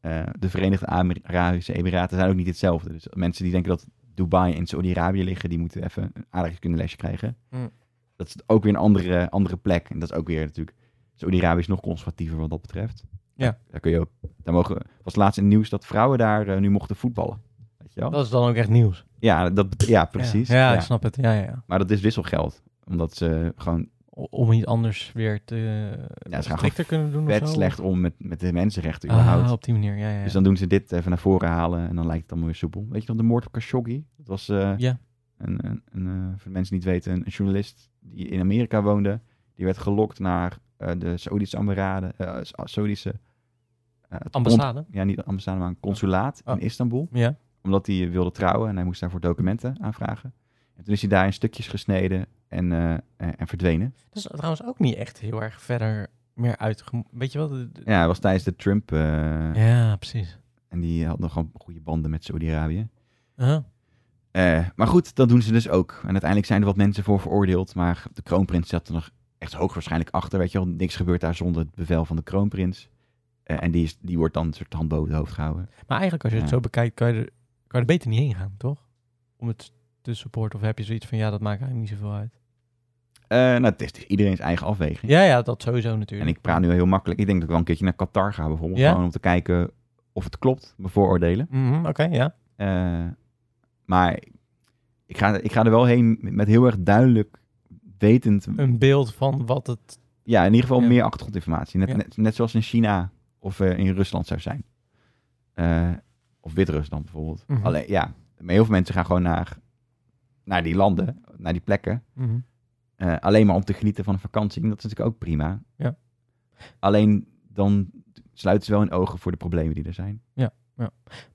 [SPEAKER 2] eh, de Verenigde Amer- Arabische Emiraten zijn ook niet hetzelfde. Dus mensen die denken dat Dubai en Saoedi-Arabië liggen, die moeten even een aardig kundelesje krijgen.
[SPEAKER 1] Mm.
[SPEAKER 2] Dat is ook weer een andere, andere plek. En dat is ook weer natuurlijk... Saoedi-Arabië is nog conservatiever wat dat betreft.
[SPEAKER 1] Ja.
[SPEAKER 2] Daar, daar kun je ook... Daar mogen, was laatst in het nieuws dat vrouwen daar eh, nu mochten voetballen. Weet je wel?
[SPEAKER 1] Dat is dan ook echt nieuws.
[SPEAKER 2] Ja, dat, bet- ja, precies.
[SPEAKER 1] Ja, ja,
[SPEAKER 2] Ja.
[SPEAKER 1] ik snap het. Ja, ja, ja.
[SPEAKER 2] Maar dat is wisselgeld. Omdat ze gewoon
[SPEAKER 1] O- Om iets anders weer te eh,
[SPEAKER 2] gaan
[SPEAKER 1] strikter kunnen doen
[SPEAKER 2] vet
[SPEAKER 1] of zo.
[SPEAKER 2] slecht om met, met de mensenrechten überhaupt.
[SPEAKER 1] Ah, op die manier. Ja, ja, ja.
[SPEAKER 2] Dus dan doen ze dit even naar voren halen en dan lijkt het allemaal weer soepel. Weet je nog de moord op Khashoggi? Dat was eh,
[SPEAKER 1] Ja.
[SPEAKER 2] een, een, een, eh, voor de mensen die het weten, een journalist die in Amerika woonde. Die werd gelokt naar eh, de Saoedische ambassade. eh, Sa- Saoedische eh, het
[SPEAKER 1] Ambassade.
[SPEAKER 2] cons- Ja, niet ambassade, maar een consulaat
[SPEAKER 1] Oh.
[SPEAKER 2] in Istanbul.
[SPEAKER 1] Ja.
[SPEAKER 2] Omdat hij wilde trouwen en hij moest daarvoor documenten aanvragen. En toen is hij daar in stukjes gesneden en, eh, en- en verdwenen.
[SPEAKER 1] Dat is trouwens ook niet echt heel erg verder meer uit. Weet je wel? de- de-
[SPEAKER 2] Ja, hij was tijdens de Trump. eh,
[SPEAKER 1] Ja, precies.
[SPEAKER 2] En die had nog gewoon goede banden met Saoedi-Arabië.
[SPEAKER 1] Huh?
[SPEAKER 2] Eh, maar goed, dat doen ze dus ook. En uiteindelijk zijn er wat mensen voor veroordeeld. Maar de kroonprins zat er nog echt hoogwaarschijnlijk achter. Weet je wel, niks gebeurt daar zonder het bevel van de kroonprins. Eh, en die, is, die wordt dan een soort hand boven het hoofd gehouden.
[SPEAKER 1] Maar eigenlijk als je het
[SPEAKER 2] Ja.
[SPEAKER 1] zo bekijkt, kan je, er, kan je er beter niet heen gaan, toch? Om het te supporten. Of heb je zoiets van, ja, dat maakt eigenlijk niet zoveel uit.
[SPEAKER 2] Eh, nou, het is dus iedereen zijn eigen afweging.
[SPEAKER 1] Ja, ja, dat sowieso
[SPEAKER 2] En
[SPEAKER 1] natuurlijk.
[SPEAKER 2] ik praat nu heel makkelijk. Ik denk dat ik wel een keertje naar Qatar ga bijvoorbeeld.
[SPEAKER 1] Ja?
[SPEAKER 2] Gewoon om te kijken of het klopt, mijn vooroordelen.
[SPEAKER 1] Mhm, Oké, ja.
[SPEAKER 2] Eh, maar ik ga, ik ga er wel heen met heel erg duidelijk wetend
[SPEAKER 1] Een beeld van wat het...
[SPEAKER 2] Ja, in ieder geval
[SPEAKER 1] Ja.
[SPEAKER 2] meer achtergrondinformatie. Net,
[SPEAKER 1] Ja.
[SPEAKER 2] net, net zoals in China of eh, in Rusland zou zijn. Eh, of Wit-Rusland bijvoorbeeld.
[SPEAKER 1] Mhm.
[SPEAKER 2] Alleen, ja, maar heel veel mensen gaan gewoon naar, naar die landen, naar die plekken.
[SPEAKER 1] Mhm.
[SPEAKER 2] eh, alleen maar om te genieten van een vakantie. En dat is natuurlijk ook prima.
[SPEAKER 1] Ja.
[SPEAKER 2] Alleen dan sluiten ze wel hun ogen voor de problemen die er zijn.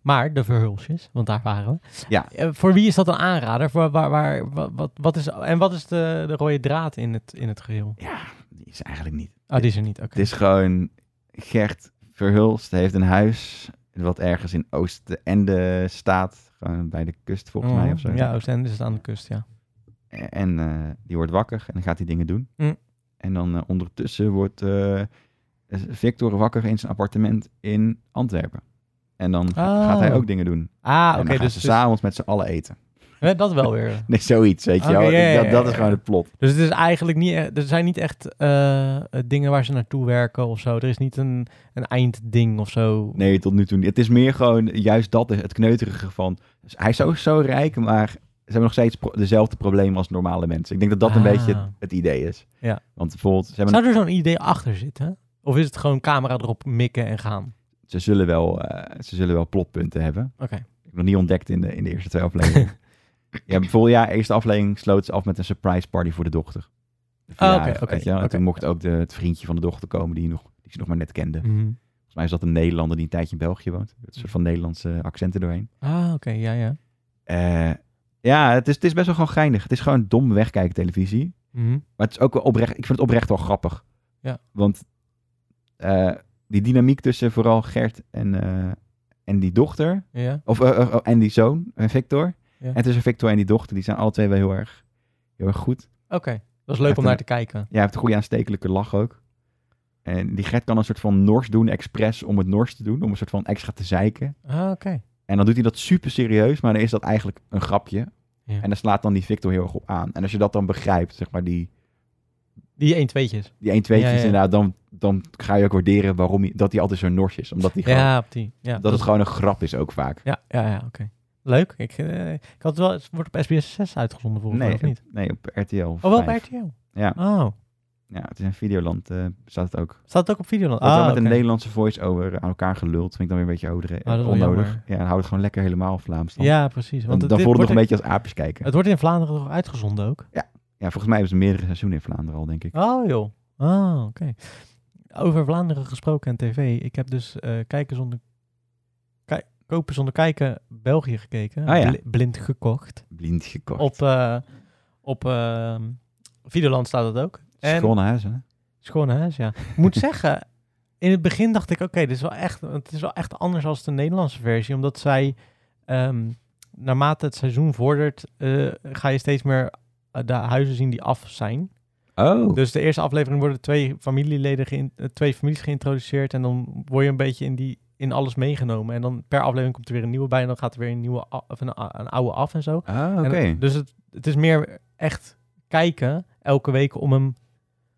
[SPEAKER 1] Maar de verhulsjes, want daar waren we.
[SPEAKER 2] Ja.
[SPEAKER 1] Eh, voor wie is dat een aanrader? Voor waar, waar, wa- wat, wat is, en wat is de, de rode draad in het, in het geheel?
[SPEAKER 2] Ja, die is eigenlijk niet.
[SPEAKER 1] Oh, die is er niet. Oké.
[SPEAKER 2] Het is gewoon Gert Verhulst heeft een huis wat ergens in Oost-Ende staat. Gewoon bij de kust volgens mij of zo.
[SPEAKER 1] Mhm. Ja, Oostende is het aan de kust, ja.
[SPEAKER 2] En eh, die wordt wakker en dan gaat hij dingen doen.
[SPEAKER 1] Mm.
[SPEAKER 2] En dan eh, ondertussen wordt eh, Victor wakker in zijn appartement in Antwerpen. En dan ga-
[SPEAKER 1] Oh.
[SPEAKER 2] gaat hij ook dingen doen.
[SPEAKER 1] Ah,
[SPEAKER 2] en
[SPEAKER 1] oké.
[SPEAKER 2] dan gaan
[SPEAKER 1] dus
[SPEAKER 2] ze
[SPEAKER 1] dus-
[SPEAKER 2] s'avonds met z'n allen eten.
[SPEAKER 1] eh, dat wel weer.
[SPEAKER 2] Nee, zoiets, weet je
[SPEAKER 1] Oké,
[SPEAKER 2] wel.
[SPEAKER 1] ja, ja,
[SPEAKER 2] dat, dat
[SPEAKER 1] ja,
[SPEAKER 2] is
[SPEAKER 1] ja.
[SPEAKER 2] gewoon het plot.
[SPEAKER 1] Dus het is eigenlijk niet, e- er zijn niet echt eh, eh, dingen waar ze naartoe werken of zo. Er is niet een, een eindding of zo.
[SPEAKER 2] Nee, tot nu toe niet. Het is meer gewoon juist dat, het kneuterige van... dus hij is zo, zo rijk, maar ze hebben nog steeds pro- dezelfde problemen als normale mensen. Ik denk dat dat een
[SPEAKER 1] Ah.
[SPEAKER 2] beetje het, het idee is.
[SPEAKER 1] Ja.
[SPEAKER 2] Want bijvoorbeeld, ze, hebben,
[SPEAKER 1] Zou er zo'n idee achter zitten? Of is het gewoon camera erop mikken en gaan?
[SPEAKER 2] ze, zullen, wel, eh, ze zullen wel plotpunten hebben.
[SPEAKER 1] Oké.
[SPEAKER 2] Ik heb nog niet ontdekt in de, in de eerste twee afleveringen. ja, bijvoorbeeld, ja, eerste aflevering sloot ze af met een surprise party voor de dochter. de
[SPEAKER 1] Ah, oké,
[SPEAKER 2] verjaardag,
[SPEAKER 1] oké,
[SPEAKER 2] weet je wel. En
[SPEAKER 1] oké.
[SPEAKER 2] toen mocht ook de, het vriendje van de dochter komen die, je nog, die ze nog maar net kende.
[SPEAKER 1] Mhm.
[SPEAKER 2] Volgens mij is dat een Nederlander die een tijdje in België woont. Er zit Een soort van Nederlandse accenten doorheen.
[SPEAKER 1] Ah, oké, ja, ja.
[SPEAKER 2] Eh, ja, het is, het is best wel gewoon geinig. Het is gewoon dom wegkijken televisie.
[SPEAKER 1] Mhm.
[SPEAKER 2] Maar het is ook wel oprecht. Ik vind het oprecht wel grappig.
[SPEAKER 1] Ja.
[SPEAKER 2] Want eh, die dynamiek tussen vooral Gert en, eh, en die dochter.
[SPEAKER 1] Ja,
[SPEAKER 2] Of eh, eh, oh, en die zoon, eh, Victor.
[SPEAKER 1] Ja.
[SPEAKER 2] En tussen Victor en die dochter, die zijn alle twee wel heel erg, heel erg goed.
[SPEAKER 1] oké. Dat is leuk
[SPEAKER 2] Echt
[SPEAKER 1] om
[SPEAKER 2] een-
[SPEAKER 1] naar te kijken.
[SPEAKER 2] Ja, hij heeft een goede aanstekelijke lach ook. En die Gert kan een soort van nors doen, expres om het nors te doen. Om een soort van extra te zeiken.
[SPEAKER 1] Ah, oké.
[SPEAKER 2] En dan doet hij dat super serieus, maar dan is dat eigenlijk een grapje.
[SPEAKER 1] Ja.
[SPEAKER 2] En daar slaat dan die Victor heel erg op aan. En als je dat dan begrijpt, zeg maar, die,
[SPEAKER 1] Die 1 tweetjes.
[SPEAKER 2] die 1 2
[SPEAKER 1] Ja, ja, ja.
[SPEAKER 2] inderdaad, dan, dan ga je ook waarderen waarom hij, dat hij altijd zo'n nors is. Omdat hij gewoon,
[SPEAKER 1] Ja, op die. Ja,
[SPEAKER 2] dat het gewoon een grap is ook vaak.
[SPEAKER 1] Ja, ja, ja, oké. Leuk. Ik, eh, ik had het wel, het wordt op SBS 6 uitgezonden volgens mij,
[SPEAKER 2] nee,
[SPEAKER 1] of niet?
[SPEAKER 2] nee, op RTL.
[SPEAKER 1] Oh, wel op
[SPEAKER 2] vijf.
[SPEAKER 1] RTL.
[SPEAKER 2] Ja.
[SPEAKER 1] Oh,
[SPEAKER 2] Ja, het is een Videoland, eh staat het ook.
[SPEAKER 1] staat het ook op Videoland?
[SPEAKER 2] Wordt wel
[SPEAKER 1] Ah,
[SPEAKER 2] met een
[SPEAKER 1] oké. Oh,
[SPEAKER 2] Nederlandse voice-over aan elkaar geluld. Vind ik dan weer een beetje odere,
[SPEAKER 1] dat is wel
[SPEAKER 2] onnodig.
[SPEAKER 1] jammer.
[SPEAKER 2] Ja, dan houdt het gewoon lekker helemaal Vlaams. Dan,
[SPEAKER 1] Ja, precies.
[SPEAKER 2] dan,
[SPEAKER 1] Want dit
[SPEAKER 2] dan voelt het nog
[SPEAKER 1] wordt
[SPEAKER 2] een
[SPEAKER 1] in-
[SPEAKER 2] beetje als aapjes kijken.
[SPEAKER 1] Het wordt in Vlaanderen toch uitgezonden ook?
[SPEAKER 2] Ja, volgens mij hebben ze meerdere seizoenen in Vlaanderen al, denk ik.
[SPEAKER 1] Oh joh. Ah, oké. Over Vlaanderen gesproken en tv. Ik heb dus eh, kijken zonder... Kijk, kopen zonder kijken België gekeken.
[SPEAKER 2] Ah, ja.
[SPEAKER 1] Bli- blind gekocht.
[SPEAKER 2] Blind gekocht.
[SPEAKER 1] Op, eh, op eh, Videoland staat dat ook. En-
[SPEAKER 2] Schoon huis, hè?
[SPEAKER 1] Schoon huis, ja. Ik moet zeggen, in het begin dacht ik, oké, dit is wel echt, het is wel echt anders dan de Nederlandse versie, omdat zij, ehm, naarmate het seizoen vordert, eh, ga je steeds meer eh, de huizen zien die af zijn.
[SPEAKER 2] Oh,
[SPEAKER 1] Dus de eerste aflevering worden twee familieleden, geïn- eh, twee families geïntroduceerd en dan word je een beetje in die in alles meegenomen. En dan per aflevering komt er weer een nieuwe bij en dan gaat er weer een nieuwe a- of een, a- een oude af en zo.
[SPEAKER 2] ah, oké.
[SPEAKER 1] En het- dus het, het is meer echt kijken elke week om hem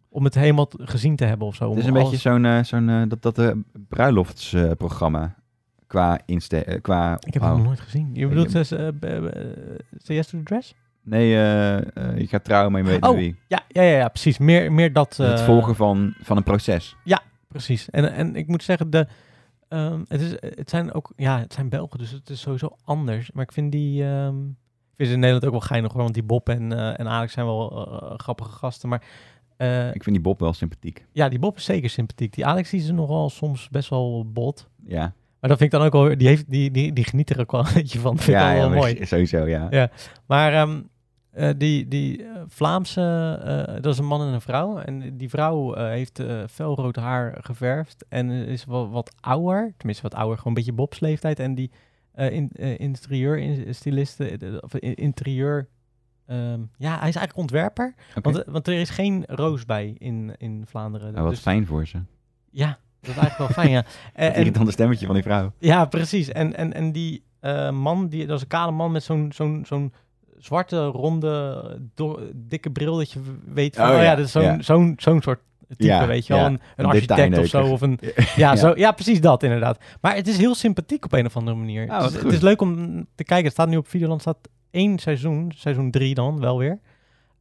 [SPEAKER 1] om het helemaal t- gezien te hebben of zo.
[SPEAKER 2] Het
[SPEAKER 1] Om
[SPEAKER 2] is een
[SPEAKER 1] alles-
[SPEAKER 2] beetje zo'n, eh, zo'n eh, dat, dat eh, bruiloftsprogramma eh, qua inste... eh, qua
[SPEAKER 1] Ik heb
[SPEAKER 2] oh.
[SPEAKER 1] het nog nooit gezien. Je
[SPEAKER 2] Ik-
[SPEAKER 1] bedoelt CS eh, b- eh, Say Yes to the Dress?
[SPEAKER 2] Nee, eh, eh, je gaat trouwen, maar je weet niet
[SPEAKER 1] Oh,
[SPEAKER 2] wie.
[SPEAKER 1] Ja, ja, ja, ja precies. Meer, meer dat...
[SPEAKER 2] het
[SPEAKER 1] eh,
[SPEAKER 2] volgen van, van een proces.
[SPEAKER 1] Precies. En, en ik moet zeggen, de, ehm, het, is, het zijn ook... Ja, het zijn Belgen, dus het is sowieso anders. Maar ik vind die... ehm, ik vind ze in Nederland ook wel geinig hoor, want die Bob en, eh, en Alex zijn wel eh, grappige gasten. Maar eh,
[SPEAKER 2] Ik vind die Bob wel sympathiek.
[SPEAKER 1] ja, die Bob is zeker sympathiek. Die Alex die is nogal soms best wel bot.
[SPEAKER 2] Ja,
[SPEAKER 1] Maar dat vind ik dan ook wel... Die, heeft, die, die, die geniet er ook wel een beetje van. Dat vind ik
[SPEAKER 2] ja,
[SPEAKER 1] wel,
[SPEAKER 2] ja
[SPEAKER 1] wel
[SPEAKER 2] maar
[SPEAKER 1] mooi.
[SPEAKER 2] sowieso, ja.
[SPEAKER 1] Ja. Maar ehm, eh, die, die eh, Vlaamse... eh, dat is een man en een vrouw. En die vrouw eh, heeft eh, felrood haar geverfd. En is wat, wat ouder. Tenminste, wat ouder. Gewoon een beetje bobsleeftijd. En die eh in, eh, interieur... In, styliste... eh, de- of in- interieur... ehm, ja, hij is eigenlijk ontwerper.
[SPEAKER 2] Oké.
[SPEAKER 1] Want, eh, want er is geen roos bij in, in Vlaanderen.
[SPEAKER 2] Nou, wat
[SPEAKER 1] Dus-
[SPEAKER 2] fijn voor ze.
[SPEAKER 1] ja, dat is eigenlijk wel fijn, ja. Eh, En-
[SPEAKER 2] Het
[SPEAKER 1] en-
[SPEAKER 2] irritante stemmetje van die vrouw.
[SPEAKER 1] ja, precies. En, en, en die eh, man, die, dat is een kale man met zo'n zo'n zo'n zwarte, ronde, do- dikke bril dat je weet van,
[SPEAKER 2] Oh
[SPEAKER 1] oh, ja,
[SPEAKER 2] ja,
[SPEAKER 1] dat is zo'n
[SPEAKER 2] ja.
[SPEAKER 1] zo'n zo'n soort type,
[SPEAKER 2] Ja,
[SPEAKER 1] weet je wel.
[SPEAKER 2] ja.
[SPEAKER 1] Een, een
[SPEAKER 2] Een
[SPEAKER 1] architect of zo.
[SPEAKER 2] detailneuker.
[SPEAKER 1] Of een, ja,
[SPEAKER 2] Ja.
[SPEAKER 1] Zo, ja, precies dat inderdaad. Maar het is heel sympathiek op een of andere manier.
[SPEAKER 2] Ah,
[SPEAKER 1] het,
[SPEAKER 2] wat
[SPEAKER 1] is,
[SPEAKER 2] goed.
[SPEAKER 1] het is leuk om te kijken. Het staat nu op Videoland, staat één seizoen, seizoen drie dan, wel weer.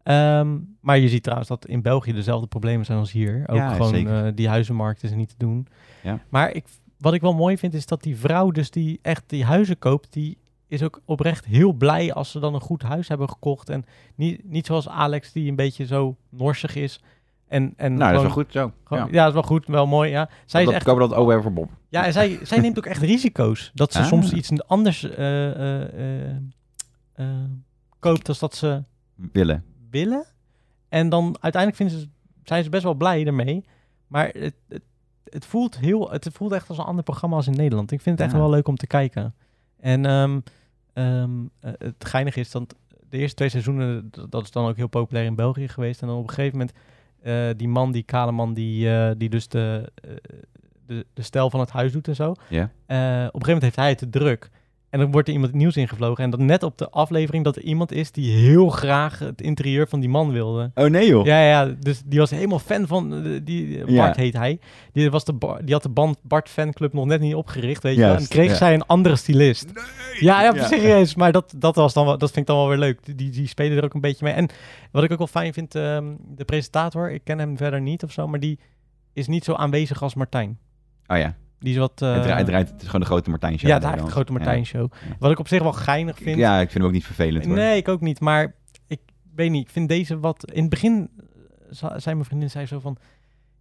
[SPEAKER 1] Ehm, maar je ziet trouwens dat in België dezelfde problemen zijn als hier. Ook
[SPEAKER 2] Ja,
[SPEAKER 1] gewoon
[SPEAKER 2] zeker.
[SPEAKER 1] eh, die huizenmarkt is niet te doen.
[SPEAKER 2] Ja.
[SPEAKER 1] Maar ik, wat ik wel mooi vind is dat die vrouw dus die echt die huizen koopt, die is ook oprecht heel blij als ze dan een goed huis hebben gekocht. En niet, niet zoals Alex die een beetje zo norsig is. En, en
[SPEAKER 2] Nou, dat
[SPEAKER 1] gewoon-
[SPEAKER 2] is wel goed zo.
[SPEAKER 1] gewoon-
[SPEAKER 2] ja.
[SPEAKER 1] ja. dat is wel goed, wel mooi. Ja. Zij is
[SPEAKER 2] dat,
[SPEAKER 1] echt
[SPEAKER 2] Kopen dat over voor Bob.
[SPEAKER 1] ja, en zij, zij neemt ook echt risico's. Dat ze
[SPEAKER 2] Ah.
[SPEAKER 1] soms iets anders eh, eh, eh, eh, koopt dan dat ze
[SPEAKER 2] Willen.
[SPEAKER 1] willen. En dan uiteindelijk vinden ze, zijn ze best wel blij ermee. Maar het, het, het voelt heel, het voelt echt als een ander programma als in Nederland. Ik vind het echt
[SPEAKER 2] Ja.
[SPEAKER 1] wel leuk om te kijken. En ehm, ehm, eh, het geinige is dat de eerste twee seizoenen, d- dat is dan ook heel populair in België geweest. En dan op een gegeven moment, eh, die man, die kale man, die, eh, die dus de, eh, de, de stijl van het huis doet en zo.
[SPEAKER 2] Ja.
[SPEAKER 1] Eh, op een gegeven moment heeft hij het te druk. En dan wordt er iemand nieuws ingevlogen. En dat net op de aflevering dat er iemand is die heel graag het interieur van die man wilde.
[SPEAKER 2] Oh nee joh.
[SPEAKER 1] Ja, ja, dus die was helemaal fan van, eh, die, Bart
[SPEAKER 2] Ja.
[SPEAKER 1] heet hij. Die, was de Bar- die had de band Bart fanclub nog net niet opgericht, weet je wel. En
[SPEAKER 2] Juist,
[SPEAKER 1] dan kreeg
[SPEAKER 2] ja.
[SPEAKER 1] zij een andere stylist. Ja, ja,
[SPEAKER 2] Ja.
[SPEAKER 1] serieus. Maar dat, dat, was dan wel, dat vind ik dan wel weer leuk. Die, die spelen er ook een beetje mee. En wat ik ook wel fijn vind, ehm, de presentator, ik ken hem verder niet of zo, maar die is niet zo aanwezig als Martijn.
[SPEAKER 2] Oh ja.
[SPEAKER 1] Die is wat...
[SPEAKER 2] het,
[SPEAKER 1] eh,
[SPEAKER 2] draait, het, draait, het is gewoon de grote Martijn show.
[SPEAKER 1] ja, het is eigenlijk de grote
[SPEAKER 2] Ja.
[SPEAKER 1] Martijn-show.
[SPEAKER 2] Ja.
[SPEAKER 1] Wat ik op zich wel geinig vind.
[SPEAKER 2] Ja, ik vind hem ook niet vervelend hoor.
[SPEAKER 1] nee, ik ook niet. Maar ik weet niet. Ik vind deze wat... In het begin eh, za- zei mijn vriendin zei zo van...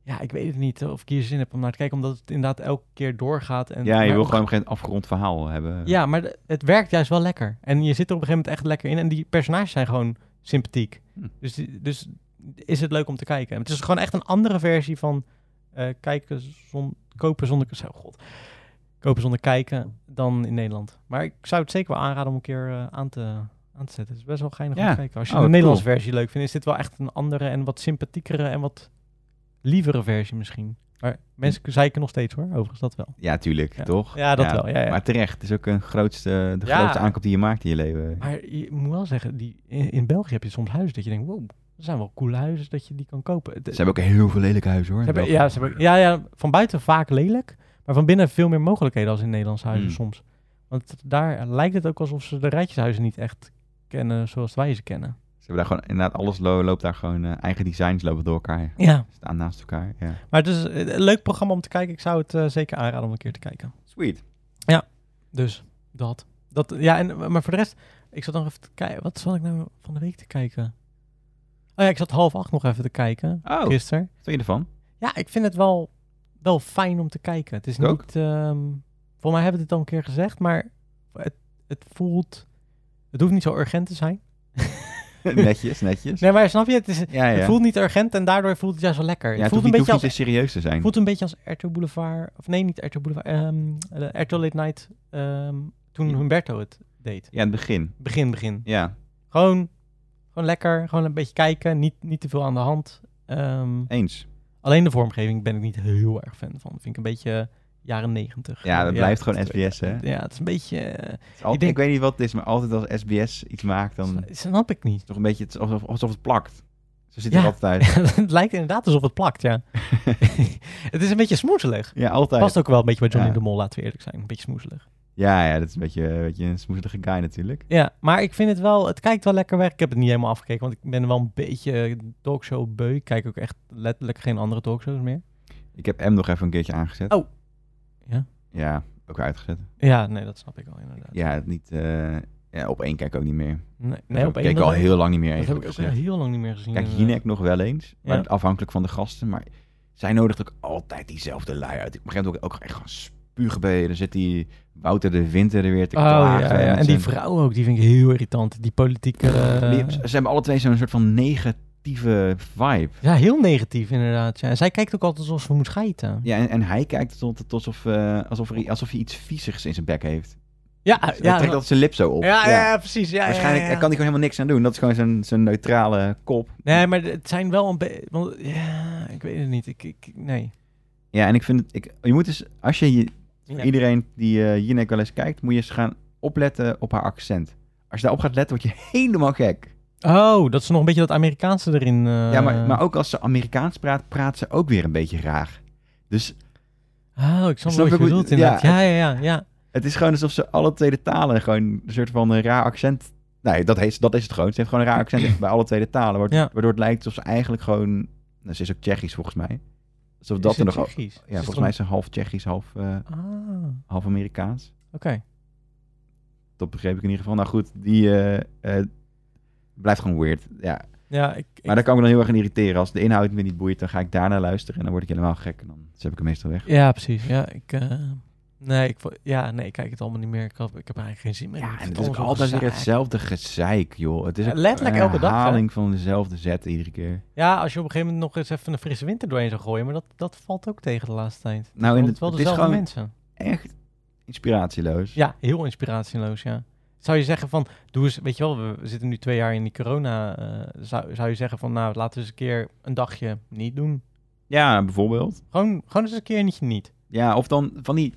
[SPEAKER 1] Ja, ik weet het niet of ik hier zin heb om naar te kijken. Omdat het inderdaad elke keer doorgaat. En,
[SPEAKER 2] Ja, je
[SPEAKER 1] maar
[SPEAKER 2] wil
[SPEAKER 1] op-
[SPEAKER 2] gewoon geen afgerond verhaal hebben.
[SPEAKER 1] Ja, maar de- het werkt juist wel lekker. En je zit er op een gegeven moment echt lekker in. En die personages zijn gewoon sympathiek.
[SPEAKER 2] Hm.
[SPEAKER 1] Dus, die- dus is het leuk om te kijken. Het is gewoon echt een andere versie van eh, kijken zon, kopen zonder... Zo, god. Kopen zonder kijken dan in Nederland. Maar ik zou het zeker wel aanraden om een keer eh, aan, te, aan te zetten. Het is best wel geinig om
[SPEAKER 2] Ja.
[SPEAKER 1] te kijken. Als je
[SPEAKER 2] Oh,
[SPEAKER 1] de
[SPEAKER 2] cool.
[SPEAKER 1] Nederlandse versie leuk vindt, is dit wel echt een andere en wat sympathiekere en wat lievere versie misschien. Maar mensen zeiken nog steeds hoor, overigens dat wel.
[SPEAKER 2] Ja, tuurlijk,
[SPEAKER 1] Ja.
[SPEAKER 2] toch?
[SPEAKER 1] Ja, dat wel, ja, ja.
[SPEAKER 2] Maar terecht, het is ook een grootste, de
[SPEAKER 1] Ja.
[SPEAKER 2] grootste aankoop die je maakt in je leven.
[SPEAKER 1] Maar je moet wel zeggen, die, in, in België heb je soms huizen dat je denkt, wow, dat zijn wel coole huizen dat je die kan kopen. De-
[SPEAKER 2] Ze hebben ook heel veel lelijke huizen hoor.
[SPEAKER 1] ze
[SPEAKER 2] in
[SPEAKER 1] hebben-
[SPEAKER 2] België.
[SPEAKER 1] ja, ze hebben, ja, ja, van buiten vaak lelijk, maar van binnen veel meer mogelijkheden als in Nederlandse huizen
[SPEAKER 2] Hmm.
[SPEAKER 1] soms. Want daar lijkt het ook alsof ze de rijtjeshuizen niet echt kennen zoals wij ze kennen.
[SPEAKER 2] Ze hebben daar gewoon, inderdaad, alles lo- loopt daar gewoon, eh, eigen designs lopen door elkaar.
[SPEAKER 1] Ja,
[SPEAKER 2] Staan naast elkaar, ja.
[SPEAKER 1] maar het is eh, een leuk programma om te kijken. Ik zou het eh, zeker aanraden om een keer te kijken.
[SPEAKER 2] Sweet.
[SPEAKER 1] Dus dat. dat ja, en, eh, maar voor de rest, ik zat nog even te kijken. Wat zat ik nou van de week te kijken? Oh ja, ik zat half acht nog even te kijken.
[SPEAKER 2] Oh, wat
[SPEAKER 1] Gisteren.
[SPEAKER 2] vind je ervan?
[SPEAKER 1] Ja, ik vind het wel, wel fijn om te kijken. Het is
[SPEAKER 2] Ik ook.
[SPEAKER 1] niet. ehm volgens mij hebben we het al een keer gezegd, maar het, het voelt. Het hoeft niet zo urgent te zijn.
[SPEAKER 2] netjes, netjes.
[SPEAKER 1] Nee, maar snap je? Het, is,
[SPEAKER 2] Ja, ja.
[SPEAKER 1] het voelt niet urgent en daardoor voelt het juist wel lekker.
[SPEAKER 2] ja,
[SPEAKER 1] het
[SPEAKER 2] het
[SPEAKER 1] voelt
[SPEAKER 2] hoeft
[SPEAKER 1] een
[SPEAKER 2] niet,
[SPEAKER 1] beetje
[SPEAKER 2] hoeft
[SPEAKER 1] als.
[SPEAKER 2] niet te serieus te zijn.
[SPEAKER 1] voelt een beetje als RTL Boulevard. Of nee, niet RTL Boulevard. ehm de RTL Late Night. ehm, toen
[SPEAKER 2] Ja.
[SPEAKER 1] Humberto het deed.
[SPEAKER 2] Ja, het begin.
[SPEAKER 1] Begin, begin.
[SPEAKER 2] Ja,
[SPEAKER 1] Gewoon, gewoon lekker. Gewoon een beetje kijken. Niet, niet te veel aan de hand. Ehm,
[SPEAKER 2] eens.
[SPEAKER 1] Alleen de vormgeving ben ik niet heel erg fan van. Vind ik een beetje eh, jaren negentig.
[SPEAKER 2] Ja, dat blijft gewoon SBS, hè?
[SPEAKER 1] Ja, het is een beetje... eh,
[SPEAKER 2] Het is al-
[SPEAKER 1] Ik
[SPEAKER 2] ik,
[SPEAKER 1] denk-
[SPEAKER 2] weet niet wat het is, maar altijd als SBS iets maakt, dan is
[SPEAKER 1] s- Snap ik niet.
[SPEAKER 2] het toch een beetje het is alsof, alsof het plakt. Zo zit
[SPEAKER 1] Ja.
[SPEAKER 2] het altijd uit.
[SPEAKER 1] het lijkt inderdaad alsof het plakt, ja. het is een beetje smoezelig.
[SPEAKER 2] Ja, altijd.
[SPEAKER 1] Past ook wel een beetje bij Johnny
[SPEAKER 2] Ja.
[SPEAKER 1] de Mol, laten we eerlijk zijn. Een beetje smoezelig.
[SPEAKER 2] Ja, ja, dat is een beetje, een beetje een smoeselige guy natuurlijk.
[SPEAKER 1] Ja, maar ik vind het wel... Het kijkt wel lekker weg. Ik heb het niet helemaal afgekeken, want ik ben wel een beetje talkshow beu. Ik kijk ook echt letterlijk geen andere talkshows meer.
[SPEAKER 2] Ik heb M nog even een keertje aangezet.
[SPEAKER 1] Oh. Ja?
[SPEAKER 2] Ja, ook weer uitgezet.
[SPEAKER 1] Ja, nee, dat snap ik wel inderdaad.
[SPEAKER 2] Ja, het niet, eh, ja, op één kijk ik ook niet meer.
[SPEAKER 1] Nee,
[SPEAKER 2] ik
[SPEAKER 1] nee, op één
[SPEAKER 2] keek
[SPEAKER 1] dat-
[SPEAKER 2] al heel lang niet meer.
[SPEAKER 1] Dat heb
[SPEAKER 2] eigenlijk
[SPEAKER 1] ik ook
[SPEAKER 2] gezegd.
[SPEAKER 1] heel lang niet meer gezien. eh.
[SPEAKER 2] Kijk,
[SPEAKER 1] inderdaad.
[SPEAKER 2] Jinek nog wel eens, maar
[SPEAKER 1] Ja.
[SPEAKER 2] het afhankelijk van de gasten. Maar zij nodigt ook altijd diezelfde lui uit. Ik begrijp ook, ook echt gewoon spugen bij. Dan zit die Wouter de Winter er weer te
[SPEAKER 1] Oh, ja,
[SPEAKER 2] klagen.
[SPEAKER 1] ja.
[SPEAKER 2] met
[SPEAKER 1] En die
[SPEAKER 2] zijn-
[SPEAKER 1] vrouw ook, die vind ik heel irritant. Die politieke... eh,
[SPEAKER 2] die- ze hebben alle twee zo'n soort van negatieve vibe.
[SPEAKER 1] ja, heel negatief inderdaad. Ja. En zij kijkt ook altijd alsof ze moet scheiden.
[SPEAKER 2] Ja, en, en hij kijkt tot, tot alsof, eh, alsof, er, alsof hij iets viezigs in zijn bek heeft.
[SPEAKER 1] Ja,
[SPEAKER 2] Hij trekt altijd zijn lip zo op.
[SPEAKER 1] ja, ja, ja, precies. Ja,
[SPEAKER 2] Waarschijnlijk
[SPEAKER 1] ja,
[SPEAKER 2] daar
[SPEAKER 1] ja.
[SPEAKER 2] kan hij gewoon helemaal niks aan doen. Dat is gewoon zijn, zijn neutrale kop.
[SPEAKER 1] Nee, maar het zijn wel een beetje... want- Ja, ik weet het niet. Ik, ik, nee.
[SPEAKER 2] Ja, en ik vind het... Ik, je moet eens, als je je
[SPEAKER 1] Ja.
[SPEAKER 2] Iedereen die eh Jinek wel eens kijkt, moet je eens gaan opletten op haar accent. Als je daarop gaat letten, word je helemaal gek.
[SPEAKER 1] Oh, dat is nog een beetje dat Amerikaanse erin... eh,
[SPEAKER 2] ja, maar, maar ook als ze Amerikaans praat, praat ze ook weer een beetje raar. Dus
[SPEAKER 1] Oh, ik snap
[SPEAKER 2] Snap
[SPEAKER 1] wel wat
[SPEAKER 2] ik
[SPEAKER 1] je
[SPEAKER 2] hoe-
[SPEAKER 1] bedoelt
[SPEAKER 2] ja,
[SPEAKER 1] inderdaad. Ja, ja, ja. ja.
[SPEAKER 2] het is gewoon alsof ze alle twee de talen gewoon een soort van een raar accent... Nee, dat, heet, dat is het gewoon. Ze heeft gewoon een raar accent bij alle twee de talen. Waardoor,
[SPEAKER 1] Ja.
[SPEAKER 2] waardoor het lijkt alsof ze eigenlijk gewoon... Nou, ze is ook Tsjechisch volgens mij. Alsof dat
[SPEAKER 1] Is
[SPEAKER 2] er
[SPEAKER 1] het
[SPEAKER 2] nog... al-
[SPEAKER 1] Tsjechisch?
[SPEAKER 2] Ja,
[SPEAKER 1] Is het
[SPEAKER 2] volgens mij is ze half Tsjechisch, half, eh,
[SPEAKER 1] dan- Ah, oké.
[SPEAKER 2] half Amerikaans. Dat begreep ik in ieder geval. Nou goed, die eh, eh, blijft gewoon weird. Ja,
[SPEAKER 1] Ja, ik... ik-
[SPEAKER 2] Maar daar kan ik me dan heel erg aan irriteren. Als de inhoud me niet boeit, dan ga ik daarna luisteren en dan word ik helemaal gek. En dan dus heb ik hem meestal weg.
[SPEAKER 1] Ja, precies. Ja, ik... eh, Nee, ik, vo- ja, nee, ik kijk het allemaal niet meer. Ik, heb- ik heb er eigenlijk geen zin meer. in. Ik
[SPEAKER 2] en
[SPEAKER 1] vind
[SPEAKER 2] het is ook
[SPEAKER 1] allemaal zo
[SPEAKER 2] altijd weer
[SPEAKER 1] gezeik.
[SPEAKER 2] hetzelfde gezeik, joh. Het is
[SPEAKER 1] Ja,
[SPEAKER 2] ook
[SPEAKER 1] letterlijk elke dag, hè?
[SPEAKER 2] Een herhaling van dezelfde zet iedere keer.
[SPEAKER 1] Ja, als je op een gegeven moment nog eens even een frisse winter doorheen zou gooien. Maar dat, dat valt ook tegen de laatste tijd.
[SPEAKER 2] Nou, en
[SPEAKER 1] Want het
[SPEAKER 2] het,
[SPEAKER 1] is wel
[SPEAKER 2] het is
[SPEAKER 1] dezelfde
[SPEAKER 2] gewoon
[SPEAKER 1] mensen.
[SPEAKER 2] echt inspiratieloos.
[SPEAKER 1] Ja, heel inspiratieloos, ja. Zou je zeggen van, doe eens, weet je wel, we we zitten nu twee jaar in die corona. eh, zou, zou je zeggen van, nou, laten we eens een keer een dagje niet doen.
[SPEAKER 2] Ja, bijvoorbeeld.
[SPEAKER 1] Gewoon, gewoon eens een keer niet niet.
[SPEAKER 2] Ja, of dan van die...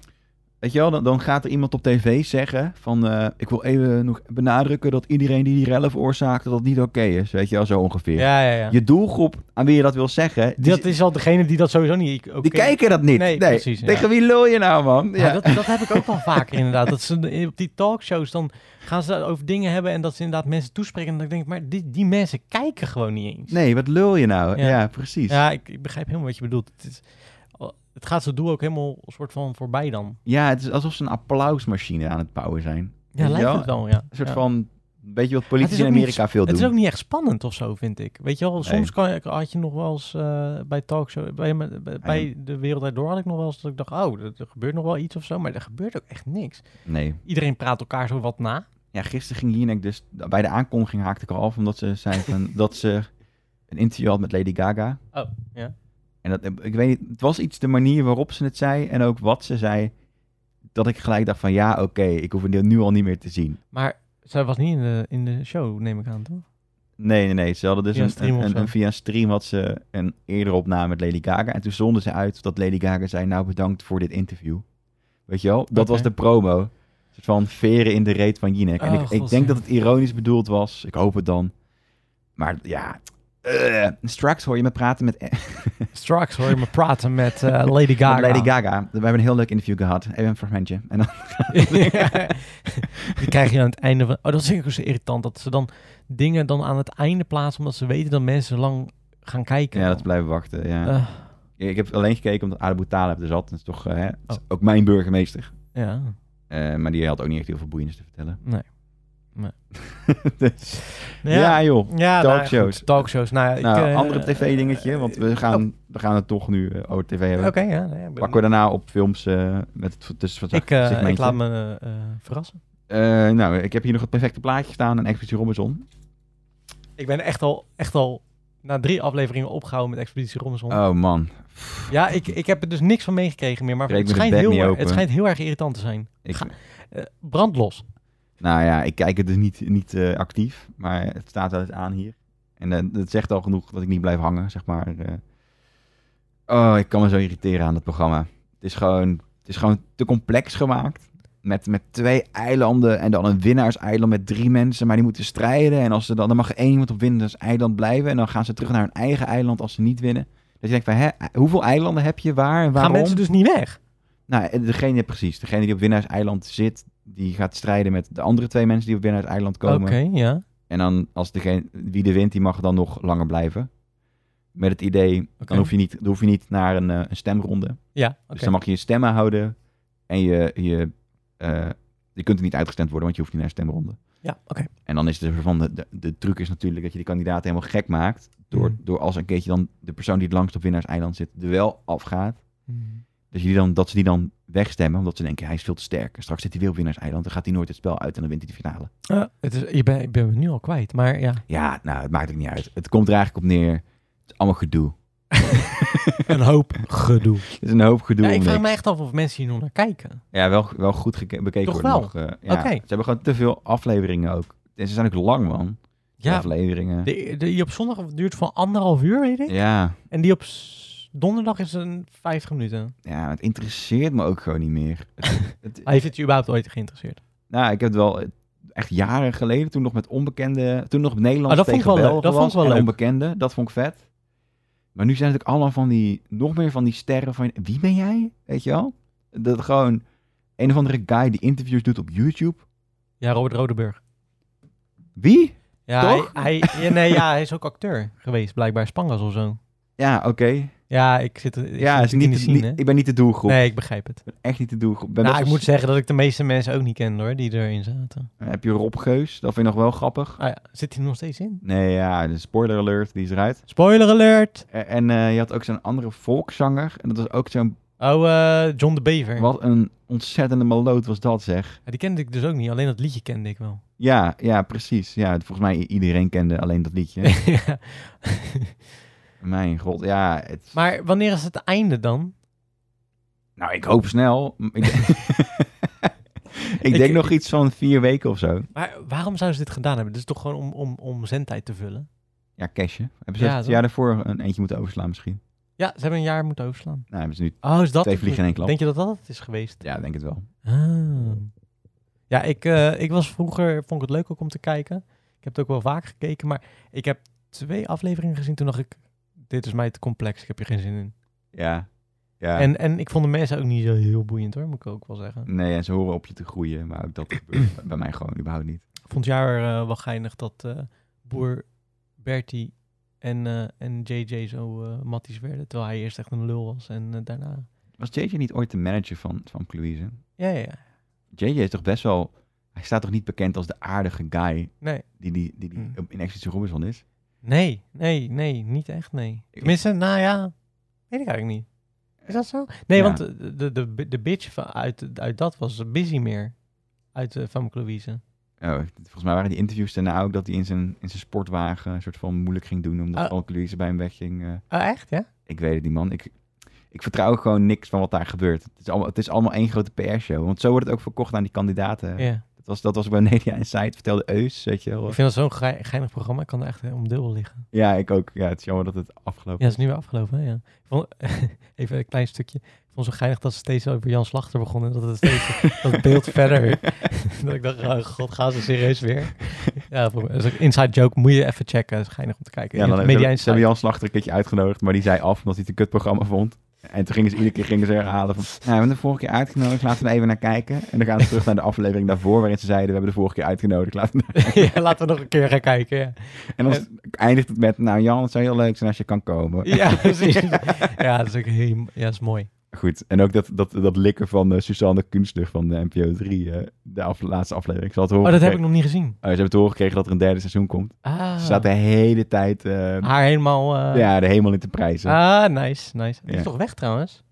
[SPEAKER 2] Weet je wel, dan, dan gaat er iemand op tv zeggen van... eh, ik wil even nog benadrukken dat iedereen die die rellen veroorzaakt... dat dat niet oké is, weet je wel, zo ongeveer.
[SPEAKER 1] Ja, ja, ja.
[SPEAKER 2] Je doelgroep aan wie je dat wil zeggen... Die,
[SPEAKER 1] Dat is al degene die dat sowieso niet... oké-
[SPEAKER 2] die kijken dat niet.
[SPEAKER 1] Nee,
[SPEAKER 2] Nee,
[SPEAKER 1] precies, ja.
[SPEAKER 2] Tegen wie lul je nou, man?
[SPEAKER 1] Ja, dat, dat heb ik ook al vaker inderdaad. Dat ze op die talkshows dan gaan ze over dingen hebben en dat ze inderdaad mensen toespreken. En dan denk ik, maar die, die mensen kijken gewoon niet eens.
[SPEAKER 2] Nee, wat lul je nou?
[SPEAKER 1] Ja.
[SPEAKER 2] Ja, precies. Ja.
[SPEAKER 1] Ja, ik, ik begrijp helemaal wat je bedoelt. Het, is, oh, het gaat zo doel ook helemaal een soort van voorbij dan.
[SPEAKER 2] het is alsof ze een applausmachine aan het bouwen zijn.
[SPEAKER 1] Ja,
[SPEAKER 2] Weet je
[SPEAKER 1] lijkt
[SPEAKER 2] wel?
[SPEAKER 1] het wel, ja.
[SPEAKER 2] Een soort
[SPEAKER 1] Ja.
[SPEAKER 2] van Weet je wat politici
[SPEAKER 1] Het is
[SPEAKER 2] in
[SPEAKER 1] ook niet
[SPEAKER 2] Amerika veel doen?
[SPEAKER 1] Het is ook niet echt spannend of zo, vind ik. Weet je wel, soms
[SPEAKER 2] Nee.
[SPEAKER 1] kan, had je nog wel eens eh, bij talkshow, bij, me- bij, bij de wereld Draait door had ik nog wel eens dat ik dacht, oh, er, er gebeurt nog wel iets of zo, maar er gebeurt ook echt niks.
[SPEAKER 2] Nee.
[SPEAKER 1] Iedereen praat elkaar zo wat na.
[SPEAKER 2] Ja, gisteren ging Jinek dus... Bij de aankondiging haakte ik al af, omdat ze zei van, dat ze een interview had met Lady Gaga.
[SPEAKER 1] Oh, ja.
[SPEAKER 2] En dat, ik weet niet, het was iets de manier waarop ze het zei en ook wat ze zei, dat ik gelijk dacht van, ja, oké, ik hoef het nu al niet meer te zien.
[SPEAKER 1] Maar zij was niet in de, in de show, neem ik aan, toch?
[SPEAKER 2] Nee, nee, nee. Ze hadden dus
[SPEAKER 1] Via
[SPEAKER 2] een,
[SPEAKER 1] stream of
[SPEAKER 2] een- een-
[SPEAKER 1] zo.
[SPEAKER 2] een- via een stream had ze een eerdere opname met Lady Gaga. En toen zonden ze uit dat Lady Gaga zei, nou bedankt voor dit interview. Weet je wel? Dat
[SPEAKER 1] Oké.
[SPEAKER 2] was de promo. Een soort van veren in de reet van Jinek. en
[SPEAKER 1] Oh,
[SPEAKER 2] ik, ik
[SPEAKER 1] God,
[SPEAKER 2] denk
[SPEAKER 1] ja.
[SPEAKER 2] dat het ironisch bedoeld was. Ik hoop het dan. Maar ja... eh, straks hoor je me praten met, met
[SPEAKER 1] Straks hoor je me praten met eh, Lady Gaga.
[SPEAKER 2] Lady Gaga. We hebben een heel leuk interview gehad. Even een fragmentje. En dan,
[SPEAKER 1] Die krijg je aan het einde van... Oh, dat vind ik ook zo irritant, dat ze dan dingen dan aan het einde plaatsen, omdat ze weten dat mensen lang gaan kijken.
[SPEAKER 2] ja, dat is blijven wachten. Ja.
[SPEAKER 1] Eh,
[SPEAKER 2] Ik heb alleen gekeken omdat Abu Talib er zat. Dat is toch eh, hè, het is
[SPEAKER 1] Oh.
[SPEAKER 2] ook mijn burgemeester.
[SPEAKER 1] ja.
[SPEAKER 2] Eh, maar die had ook niet echt heel veel boeiends te vertellen.
[SPEAKER 1] Nee. Nee.
[SPEAKER 2] Dus- ja. joh.
[SPEAKER 1] Ja, Nou, ja,
[SPEAKER 2] Talkshows.
[SPEAKER 1] goed, talkshows. Nou, ja,
[SPEAKER 2] Nou,
[SPEAKER 1] ik, eh, oh.
[SPEAKER 2] andere tv-dingetje, want we gaan, we gaan het toch nu eh, over tv hebben.
[SPEAKER 1] Oké, ja. nee, ik ben-
[SPEAKER 2] Pakken we daarna op films eh, met het tussen
[SPEAKER 1] ik, eh,
[SPEAKER 2] segmentje.
[SPEAKER 1] ik laat me eh, eh, verrassen.
[SPEAKER 2] Eh, nou, ik heb hier nog het perfecte plaatje staan en Expeditie Robinson.
[SPEAKER 1] Ik ben echt al, echt al na drie afleveringen opgehouden met Expeditie Robinson.
[SPEAKER 2] Oh man,
[SPEAKER 1] Ja, ik, ik heb er dus niks van meegekregen meer, maar
[SPEAKER 2] Breek
[SPEAKER 1] het
[SPEAKER 2] me de
[SPEAKER 1] schijnt,
[SPEAKER 2] bek
[SPEAKER 1] heel,
[SPEAKER 2] niet
[SPEAKER 1] erg-
[SPEAKER 2] open.
[SPEAKER 1] het schijnt heel erg irritant te zijn.
[SPEAKER 2] ik,
[SPEAKER 1] Ga- Eh, brandlos.
[SPEAKER 2] nou ja, ik kijk het dus niet, niet eh, actief, maar het staat wel eens aan hier. En eh, dat zegt al genoeg dat ik niet blijf hangen, zeg maar. eh. Oh, ik kan me zo irriteren aan dat programma. Het is gewoon, het is gewoon te complex gemaakt. Met, met twee eilanden en dan een winnaarseiland met drie mensen, maar die moeten strijden. En als ze dan, dan mag één iemand op winnaarseiland blijven. En dan gaan ze terug naar hun eigen eiland als ze niet winnen. Dat je denkt van, hè, hoeveel eilanden heb je waar en waarom?
[SPEAKER 1] Gaan mensen dus niet weg?
[SPEAKER 2] Nou, degene precies. Degene die op winnaarseiland zit, die gaat strijden met de andere twee mensen die op winnaarseiland komen.
[SPEAKER 1] Oké, ja.
[SPEAKER 2] En dan als degene wie de wint, die mag dan nog langer blijven. Met het idee,
[SPEAKER 1] Oké.
[SPEAKER 2] dan, hoef je niet, dan hoef je niet naar een, eh, een stemronde.
[SPEAKER 1] Ja, oké.
[SPEAKER 2] Dus dan mag je je stemmen houden. En je, je, eh, je kunt er niet uitgestemd worden, want je hoeft niet naar een stemronde.
[SPEAKER 1] Ja, oké.
[SPEAKER 2] En dan is het er van de, de, de truc is natuurlijk dat je die kandidaat helemaal gek maakt. Door,
[SPEAKER 1] Mhm.
[SPEAKER 2] door als een keertje dan de persoon die het langst op winnaarseiland zit, er wel afgaat. Dus die dan, dat ze die dan wegstemmen, omdat ze denken hij is veel te sterk. En straks zit hij weer op winnaarseiland, dan gaat hij nooit het spel uit en dan wint hij de finale.
[SPEAKER 1] Eh, het is, je ben, ik ben me nu al kwijt, maar ja.
[SPEAKER 2] Ja, nou, het maakt ook niet uit. Het komt er eigenlijk op neer. Het is allemaal gedoe.
[SPEAKER 1] Een hoop gedoe.
[SPEAKER 2] Het is een hoop gedoe.
[SPEAKER 1] Ja, ik
[SPEAKER 2] om
[SPEAKER 1] vraag
[SPEAKER 2] niks.
[SPEAKER 1] me echt af of mensen hier nog naar kijken.
[SPEAKER 2] ja wel, wel goed geke- bekeken
[SPEAKER 1] Toch
[SPEAKER 2] worden
[SPEAKER 1] wel?
[SPEAKER 2] nog, eh, ja.
[SPEAKER 1] Oké.
[SPEAKER 2] Ze hebben gewoon te veel afleveringen ook. En ze zijn ook lang, man. De
[SPEAKER 1] Ja,
[SPEAKER 2] afleveringen.
[SPEAKER 1] de, de, die op zondag duurt van anderhalf uur, weet ik.
[SPEAKER 2] Ja,
[SPEAKER 1] En die op s- donderdag is een 50 minuten.
[SPEAKER 2] ja, het interesseert me ook gewoon niet meer. Het- het-
[SPEAKER 1] Hij heeft het je überhaupt ooit geïnteresseerd.
[SPEAKER 2] nou, ik heb het wel eh, echt jaren geleden, toen nog met onbekenden, toen nog Nederland
[SPEAKER 1] Ah, dat vond
[SPEAKER 2] tegen
[SPEAKER 1] ik wel leuk.
[SPEAKER 2] Belgen
[SPEAKER 1] Dat vond
[SPEAKER 2] was
[SPEAKER 1] ik wel
[SPEAKER 2] en
[SPEAKER 1] leuk.
[SPEAKER 2] onbekenden. Dat vond ik vet. Maar nu zijn het ook allemaal van die, nog meer van die sterren van, wie ben jij? Weet je wel? Dat gewoon een of andere guy die interviews doet op YouTube.
[SPEAKER 1] Ja, Robert Rodeburg.
[SPEAKER 2] Wie?
[SPEAKER 1] Ja,
[SPEAKER 2] Toch?
[SPEAKER 1] Hij, hij, ja, nee, ja, hij is ook acteur geweest, blijkbaar Spangas of zo.
[SPEAKER 2] Ja, oké.
[SPEAKER 1] Ja, ik zit, ik
[SPEAKER 2] Ja,
[SPEAKER 1] zit
[SPEAKER 2] is niet,
[SPEAKER 1] in de scene,
[SPEAKER 2] niet-
[SPEAKER 1] hè?
[SPEAKER 2] ik ben niet de doelgroep.
[SPEAKER 1] Nee, ik begrijp het.
[SPEAKER 2] Ik ben echt niet de doelgroep. Ik Ben
[SPEAKER 1] Nou, ik
[SPEAKER 2] best
[SPEAKER 1] moet
[SPEAKER 2] wel-
[SPEAKER 1] zeggen dat ik de meeste mensen ook niet kende hoor, die erin zaten.
[SPEAKER 2] Heb je Rob Geus? Dat vind ik nog wel grappig.
[SPEAKER 1] Ah ja, zit hij er nog steeds in?
[SPEAKER 2] Nee, ja, de spoiler alert, die is eruit.
[SPEAKER 1] Spoiler alert!
[SPEAKER 2] E- En eh, je had ook zo'n andere volkszanger. En dat was ook zo'n...
[SPEAKER 1] Oh, eh, John de Bever.
[SPEAKER 2] Wat een ontzettende maloot was dat, zeg.
[SPEAKER 1] Ja, die kende ik dus ook niet, alleen dat liedje kende ik wel.
[SPEAKER 2] Ja, ja, precies. Ja, volgens mij i- iedereen kende alleen dat liedje.
[SPEAKER 1] Ja.
[SPEAKER 2] Mijn god, ja. Het...
[SPEAKER 1] maar wanneer is het einde dan?
[SPEAKER 2] Nou, ik hoop snel. Ik, ik denk
[SPEAKER 1] Ik-
[SPEAKER 2] nog iets van vier weken of zo.
[SPEAKER 1] Maar waarom zouden ze dit gedaan hebben? Dit is toch gewoon om, om, om zendtijd te vullen?
[SPEAKER 2] Ja, cashje. Hebben ze
[SPEAKER 1] Ja,
[SPEAKER 2] het
[SPEAKER 1] toch?
[SPEAKER 2] jaar daarvoor een eentje moeten overslaan misschien?
[SPEAKER 1] Ja, ze hebben een jaar moeten overslaan.
[SPEAKER 2] Nou, hebben ze nu...
[SPEAKER 1] Oh, is dat
[SPEAKER 2] Twee vliegen in één klap.
[SPEAKER 1] Denk je dat dat het is geweest?
[SPEAKER 2] Ja, ik denk het wel.
[SPEAKER 1] Ah. Ja, ik, eh, ik was vroeger, vond ik het leuk ook om te kijken. Ik heb het ook wel vaak gekeken, maar ik heb twee afleveringen gezien. Toen dacht ik, dit is mij te complex, ik heb hier geen zin in.
[SPEAKER 2] Ja. ja.
[SPEAKER 1] En, en ik vond de mensen ook niet zo heel boeiend hoor, moet ik ook wel zeggen.
[SPEAKER 2] Nee, en ze horen op je te groeien, maar ook dat gebeurt bij mij gewoon überhaupt niet.
[SPEAKER 1] Ik vond het jaar eh, wel geinig dat eh, boer Bertie en, eh, en JJ zo eh matties werden. Terwijl hij eerst echt een lul was en eh, daarna...
[SPEAKER 2] Was JJ niet ooit de manager van, van Cluise?
[SPEAKER 1] Ja, ja, ja.
[SPEAKER 2] JJ is toch best wel... Hij staat toch niet bekend als de aardige guy
[SPEAKER 1] Nee.
[SPEAKER 2] die, die, die, die
[SPEAKER 1] Hmm.
[SPEAKER 2] op- in Expeditie Robinson is?
[SPEAKER 1] Nee, nee, nee, niet echt, nee. Tenminste, nou ja, weet ik eigenlijk niet. Is dat zo? Nee,
[SPEAKER 2] Ja.
[SPEAKER 1] want de, de, de, de bitch van, uit, uit dat was Busy meer. Uit eh, van Louise.
[SPEAKER 2] Oh, volgens mij waren die interviews daarna ook dat hij in zijn, in zijn sportwagen een soort van moeilijk ging doen. Omdat
[SPEAKER 1] Oh.
[SPEAKER 2] Paul Louise bij hem wegging. eh.
[SPEAKER 1] Oh, echt, ja?
[SPEAKER 2] ik weet het niet, man. Ik, ik vertrouw gewoon niks van wat daar gebeurt. Het is allemaal, het is allemaal één grote PR-show. Want zo wordt het ook verkocht aan die kandidaten.
[SPEAKER 1] Ja.
[SPEAKER 2] Dat, was, dat was bij Media Insight, vertelde Eus, weet je wel.
[SPEAKER 1] Ik vind dat zo'n gein- geinig programma. Ik kan er echt eh, om dubbel liggen.
[SPEAKER 2] Ja, ik ook. Ja, het is jammer dat het
[SPEAKER 1] Ja,
[SPEAKER 2] afgelopen
[SPEAKER 1] dat is nu weer afgelopen, hè? ja. Ik vond- even een klein stukje. Ik vond het zo geinig dat ze steeds over Jan Slachter begonnen. Dat het steeds dat beeld verder... dat ik dacht, oh god, gaan ze serieus weer? ja, voor, dat is een inside joke. Moet je even checken. Dat is geinig om te kijken.
[SPEAKER 2] Ja, dan
[SPEAKER 1] Ja,
[SPEAKER 2] hebben ze
[SPEAKER 1] Media
[SPEAKER 2] hebben- ze
[SPEAKER 1] Insight.
[SPEAKER 2] hebben Jan Slachter een keertje uitgenodigd, maar die zei af omdat hij het een kutprogramma vond. En toen gingen ze iedere keer gingen ze herhalen van, nou, we hebben de vorige keer uitgenodigd, laten we er even naar kijken. En dan gaan ze terug naar de aflevering daarvoor, waarin ze zeiden, we hebben de vorige keer uitgenodigd. Laten we...
[SPEAKER 1] ja, laten we nog een keer gaan kijken, ja.
[SPEAKER 2] En dan eindigt het met, nou Jan, het zou heel leuk zijn als je kan komen.
[SPEAKER 1] Ja, precies. ja, dat is ook heel, ja, dat is mooi.
[SPEAKER 2] Goed, en ook dat, dat, dat likken van eh, Suzanne Kunstler van de NPO 3, eh, de af- laatste aflevering. Ik zal het horen
[SPEAKER 1] Oh, dat heb ik
[SPEAKER 2] gekregen-
[SPEAKER 1] nog niet gezien.
[SPEAKER 2] Eh, ze hebben het horen gekregen dat er een derde seizoen komt.
[SPEAKER 1] Ah,
[SPEAKER 2] Ze staat de hele tijd eh,
[SPEAKER 1] haar helemaal... eh,
[SPEAKER 2] ja, de hemel in te prijzen.
[SPEAKER 1] Ah, nice, nice. Die
[SPEAKER 2] Ja.
[SPEAKER 1] is toch weg trouwens?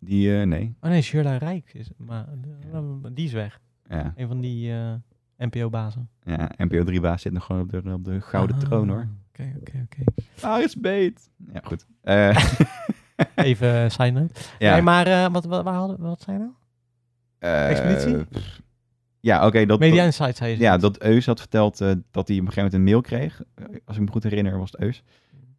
[SPEAKER 2] Die, eh, nee.
[SPEAKER 1] Oh nee, Shirley Rijk is... Maar eh, die is weg.
[SPEAKER 2] Ja,
[SPEAKER 1] Een van die eh, NPO-bazen.
[SPEAKER 2] ja NPO 3-baas zit nog gewoon op de, op de gouden
[SPEAKER 1] Ah,
[SPEAKER 2] troon, hoor.
[SPEAKER 1] Oké, oké, oké.
[SPEAKER 2] Aris Beet. Ja, goed. Eh,
[SPEAKER 1] Even uh, side note.
[SPEAKER 2] ja.
[SPEAKER 1] Nee, maar eh, wat, wat, waar hadden, wat zijn nou?
[SPEAKER 2] Eh,
[SPEAKER 1] Expeditie?
[SPEAKER 2] pff. ja, oké. dat,
[SPEAKER 1] Media
[SPEAKER 2] dat-
[SPEAKER 1] Insights zei ze.
[SPEAKER 2] ja, dat Eus had verteld eh, dat hij op een gegeven moment een mail kreeg. Eh, Als ik me goed herinner, was het Eus.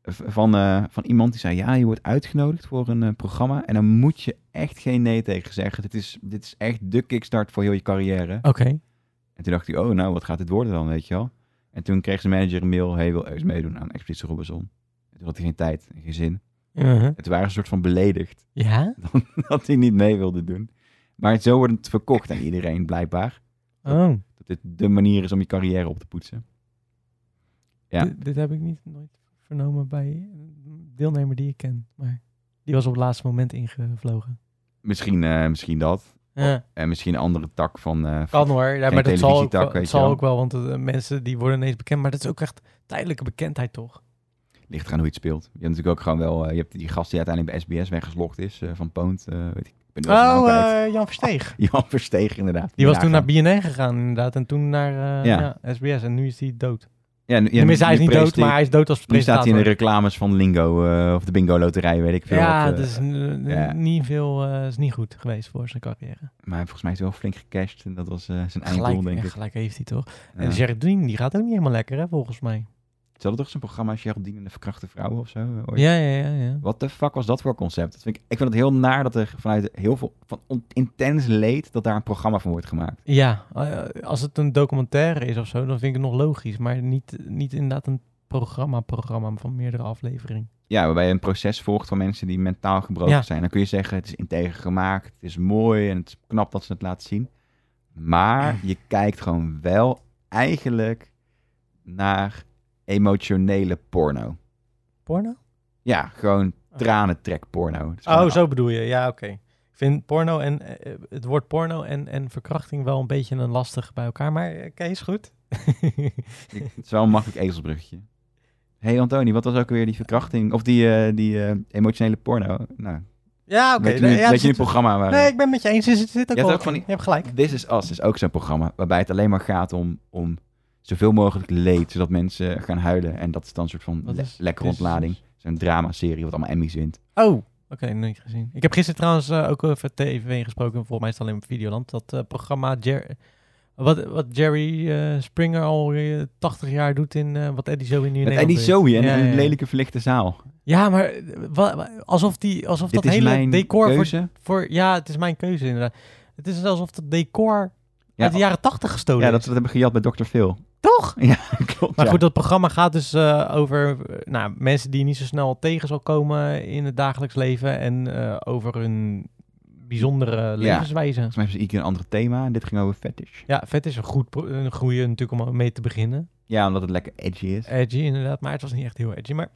[SPEAKER 2] V- Van, eh, van iemand die zei, ja, je wordt uitgenodigd voor een eh, programma. En dan moet je echt geen nee tegen zeggen. Dit is, dit is echt de kickstart voor heel je carrière.
[SPEAKER 1] Oké.
[SPEAKER 2] En toen dacht ik, oh, nou, wat gaat dit worden dan, weet je wel? En toen kreeg zijn manager een mail, hey, wil Eus meedoen aan Expeditie Robinson? En toen had hij geen tijd en geen zin.
[SPEAKER 1] Mhm.
[SPEAKER 2] En toen waren ze een soort van beledigd.
[SPEAKER 1] Ja?
[SPEAKER 2] dat hij niet mee wilde doen. Maar zo wordt het verkocht aan iedereen blijkbaar.
[SPEAKER 1] Oh,
[SPEAKER 2] Dat dit de manier is om je carrière op te poetsen. Ja.
[SPEAKER 1] dit, dit heb ik niet, nooit vernomen bij een deelnemer die ik ken. Maar die was op het laatste moment ingevlogen.
[SPEAKER 2] Misschien, eh, misschien dat.
[SPEAKER 1] Ja.
[SPEAKER 2] En misschien een andere tak van... eh, van-
[SPEAKER 1] Kan hoor, ja,
[SPEAKER 2] Geen
[SPEAKER 1] maar dat zal, ook
[SPEAKER 2] televisietak,
[SPEAKER 1] wel,
[SPEAKER 2] weet
[SPEAKER 1] dat
[SPEAKER 2] je
[SPEAKER 1] zal
[SPEAKER 2] wel.
[SPEAKER 1] ook wel, want eh, mensen die worden ineens bekend, maar dat is ook echt tijdelijke bekendheid toch?
[SPEAKER 2] Ligt eraan hoe je het speelt. Je hebt natuurlijk ook gewoon wel... eh, je hebt die gast die uiteindelijk bij SBS weggeslokt is. eh, van Poont. eh, weet ik. ik ben nu wel zijn naam
[SPEAKER 1] Oh,
[SPEAKER 2] kwijt.
[SPEAKER 1] eh, Jan Versteeg.
[SPEAKER 2] Jan Versteeg inderdaad.
[SPEAKER 1] Die was toen naar
[SPEAKER 2] Nagaan.
[SPEAKER 1] BNN gegaan inderdaad en toen naar eh,
[SPEAKER 2] Ja.
[SPEAKER 1] ja. SBS en nu is hij dood.
[SPEAKER 2] Ja, nu- ja,
[SPEAKER 1] Tenminste, hij is
[SPEAKER 2] nu
[SPEAKER 1] niet dood,
[SPEAKER 2] presenteert-
[SPEAKER 1] maar hij is dood als
[SPEAKER 2] Nu staat hij in de
[SPEAKER 1] presentator.
[SPEAKER 2] reclames van Lingo. eh, of de Bingo Loterij, weet ik veel.
[SPEAKER 1] ja, dus-
[SPEAKER 2] wat, eh,
[SPEAKER 1] dat is n- n-
[SPEAKER 2] ja.
[SPEAKER 1] niet veel, eh, is niet goed geweest voor zijn carrière.
[SPEAKER 2] Maar volgens mij is hij wel flink gecashed. En dat was eh, zijn einddoel,
[SPEAKER 1] Gelijk,
[SPEAKER 2] denk
[SPEAKER 1] en
[SPEAKER 2] ik.
[SPEAKER 1] gelijk heeft hij toch.
[SPEAKER 2] Ja.
[SPEAKER 1] En Geraldine, die gaat ook niet helemaal lekker hè, volgens mij.
[SPEAKER 2] Ze hadden toch zo'n programma Geraldine en de verkrachte vrouwen of zo? eh, ooit?
[SPEAKER 1] Ja, ja, ja. ja.
[SPEAKER 2] Wat de fuck was dat voor concept? Dat vind ik, ik vind het heel naar dat er vanuit heel veel van on- intens leed dat daar een programma van wordt gemaakt.
[SPEAKER 1] Ja, eh, als het een documentaire is of zo, dan vind ik het nog logisch. Maar niet, niet inderdaad een programma-programma van meerdere afleveringen.
[SPEAKER 2] Ja, waarbij je een proces volgt van mensen die mentaal gebroken
[SPEAKER 1] Ja.
[SPEAKER 2] zijn. Dan kun je zeggen, het is integer gemaakt, het is mooi en het is knap dat ze het laten zien. Maar je kijkt gewoon wel eigenlijk naar emotionele porno.
[SPEAKER 1] Porno?
[SPEAKER 2] Ja, gewoon tranentrek porno. Het is
[SPEAKER 1] Oh,
[SPEAKER 2] gewoon-
[SPEAKER 1] zo bedoel je. Ja, oké. Ik vind porno en eh, eh, het woord porno en, en verkrachting wel een beetje een lastig bij elkaar. Maar eh, Kees, goed.
[SPEAKER 2] Ik- het is wel een makkelijk ezelsbruggetje. hey Antoni, wat was ook weer die verkrachting? Of die, eh, die eh, emotionele porno? Nou,
[SPEAKER 1] ja, oké.
[SPEAKER 2] weet je
[SPEAKER 1] Nee,
[SPEAKER 2] nu,
[SPEAKER 1] ja, er
[SPEAKER 2] weet je nu
[SPEAKER 1] zit-
[SPEAKER 2] het programma waar...
[SPEAKER 1] nee, ik ben met je eens. Er zit, er zit ook
[SPEAKER 2] Je hebt
[SPEAKER 1] wel
[SPEAKER 2] ook van die-
[SPEAKER 1] Je hebt gelijk.
[SPEAKER 2] This is Us is ook zo'n programma waarbij het alleen maar gaat om, om zoveel mogelijk leed, zodat mensen gaan huilen. En dat is dan een soort van
[SPEAKER 1] Wat
[SPEAKER 2] le-
[SPEAKER 1] is
[SPEAKER 2] lekkere
[SPEAKER 1] This Is
[SPEAKER 2] ontlading. Zo'n drama-serie wat allemaal Emmys wint.
[SPEAKER 1] Oh, oké, nooit gezien. Ik heb gisteren trouwens eh, ook over TV gesproken. Volgens mij is het alleen op Videoland. Dat eh, programma Jer wat, wat Jerry eh, Springer al eh, 80 jaar doet in eh, wat Eddie Zoe nu in
[SPEAKER 2] Met
[SPEAKER 1] Nederland
[SPEAKER 2] Eddie
[SPEAKER 1] doet.
[SPEAKER 2] Zoe en
[SPEAKER 1] Ja,
[SPEAKER 2] een
[SPEAKER 1] ja.
[SPEAKER 2] lelijke verlichte zaal.
[SPEAKER 1] Ja, maar eh, wa- wa- alsof, die, alsof
[SPEAKER 2] Dit
[SPEAKER 1] dat
[SPEAKER 2] is
[SPEAKER 1] hele
[SPEAKER 2] mijn
[SPEAKER 1] decor voor,
[SPEAKER 2] keuze.
[SPEAKER 1] voor... Ja, het is mijn keuze inderdaad. Het is alsof dat decor
[SPEAKER 2] Ja,
[SPEAKER 1] uit de jaren 80 gestolen
[SPEAKER 2] Ja, dat
[SPEAKER 1] is.
[SPEAKER 2] we het hebben gejat bij Dr. Phil.
[SPEAKER 1] Toch?
[SPEAKER 2] Klopt,
[SPEAKER 1] Maar
[SPEAKER 2] ja.
[SPEAKER 1] goed, dat programma gaat dus eh, over eh, nou, mensen die je niet zo snel tegen zal komen in het dagelijks leven. En eh, over hun bijzondere levenswijze.
[SPEAKER 2] Volgens mij hebben ze iedere keer een ander thema. En dit ging over fetish.
[SPEAKER 1] Ja, vet is een goed pro- een goede natuurlijk om mee te beginnen.
[SPEAKER 2] Ja, omdat het lekker edgy is.
[SPEAKER 1] Edgy inderdaad, maar het was niet echt heel edgy. Maar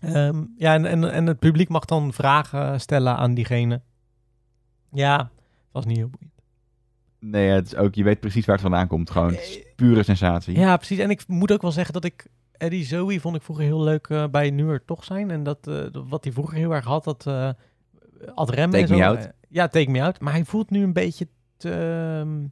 [SPEAKER 1] ehm, ja, en, en, en het publiek mag dan vragen stellen aan diegene. Ja, het was niet heel boeiend.
[SPEAKER 2] Nee, het is ook, je weet precies waar het vandaan komt. Gewoon, het is pure sensatie.
[SPEAKER 1] Ja, precies. En ik moet ook wel zeggen dat ik... Eddie Zoe vond ik vroeger heel leuk eh, bij Nu Er Toch Zijn. En dat, eh, dat- wat hij vroeger heel erg had, dat eh Ad Rem
[SPEAKER 2] Take
[SPEAKER 1] en zo.
[SPEAKER 2] Me Out.
[SPEAKER 1] Eh, Ja, Take Me Out. Maar hij voelt nu een beetje te, ehm,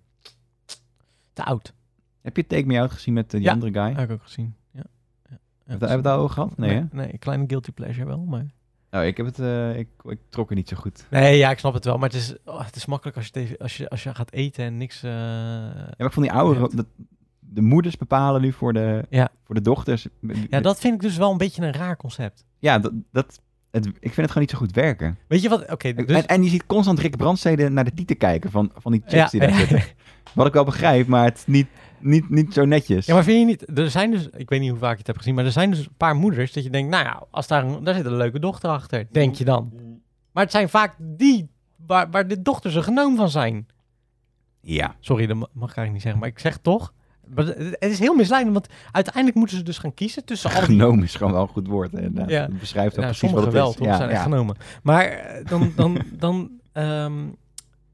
[SPEAKER 1] te oud.
[SPEAKER 2] Heb je Take Me Out gezien met eh, die
[SPEAKER 1] Ja.
[SPEAKER 2] andere guy?
[SPEAKER 1] Heb ik ook gezien. Ja. Ja. Ja,
[SPEAKER 2] Hebben we het daar al gehad? Nee, hè?
[SPEAKER 1] nee, een kleine guilty pleasure wel, maar...
[SPEAKER 2] Nou, ik, heb het, eh, ik, ik trok er niet zo goed.
[SPEAKER 1] Nee, ja, ik snap het wel. Maar het is, oh, het is makkelijk als je, tegen- als, je, als je gaat eten en niks... eh,
[SPEAKER 2] Ja, maar ik vond die ouderen... dat- de moeders bepalen nu voor de,
[SPEAKER 1] Ja.
[SPEAKER 2] voor de dochters.
[SPEAKER 1] Ja, dat vind ik dus wel een beetje een raar concept.
[SPEAKER 2] Ja, dat, dat- het, ik vind het gewoon niet zo goed werken.
[SPEAKER 1] Weet je wat? Oké, dus...
[SPEAKER 2] En, en je ziet constant Rick Brandstede naar de tieten kijken van, van die chicks
[SPEAKER 1] ja,
[SPEAKER 2] die daar zitten. Wat ik wel begrijp, maar het is niet, niet, niet zo netjes.
[SPEAKER 1] ja, maar vind je niet... Er zijn dus... Ik weet niet hoe vaak je het hebt gezien, maar er zijn dus een paar moeders dat je denkt, nou ja, als daar, een, daar zit een leuke dochter achter, denk je dan. Maar het zijn vaak die waar, waar de dochters een genoom van zijn.
[SPEAKER 2] Ja.
[SPEAKER 1] Sorry, dat ma- mag ik eigenlijk niet zeggen, maar ik zeg het toch. Maar het het is heel misleidend, want uiteindelijk moeten ze dus gaan kiezen tussen al die
[SPEAKER 2] Genoom is gewoon wel een goed woord. Inderdaad.
[SPEAKER 1] Ja.
[SPEAKER 2] Het beschrijft ook
[SPEAKER 1] nou,
[SPEAKER 2] precies wat
[SPEAKER 1] sommige
[SPEAKER 2] het
[SPEAKER 1] wel,
[SPEAKER 2] is.
[SPEAKER 1] toch?
[SPEAKER 2] Ja,
[SPEAKER 1] zijn echt
[SPEAKER 2] ja.
[SPEAKER 1] genomen. Maar eh, dan, dan, dan, ehm,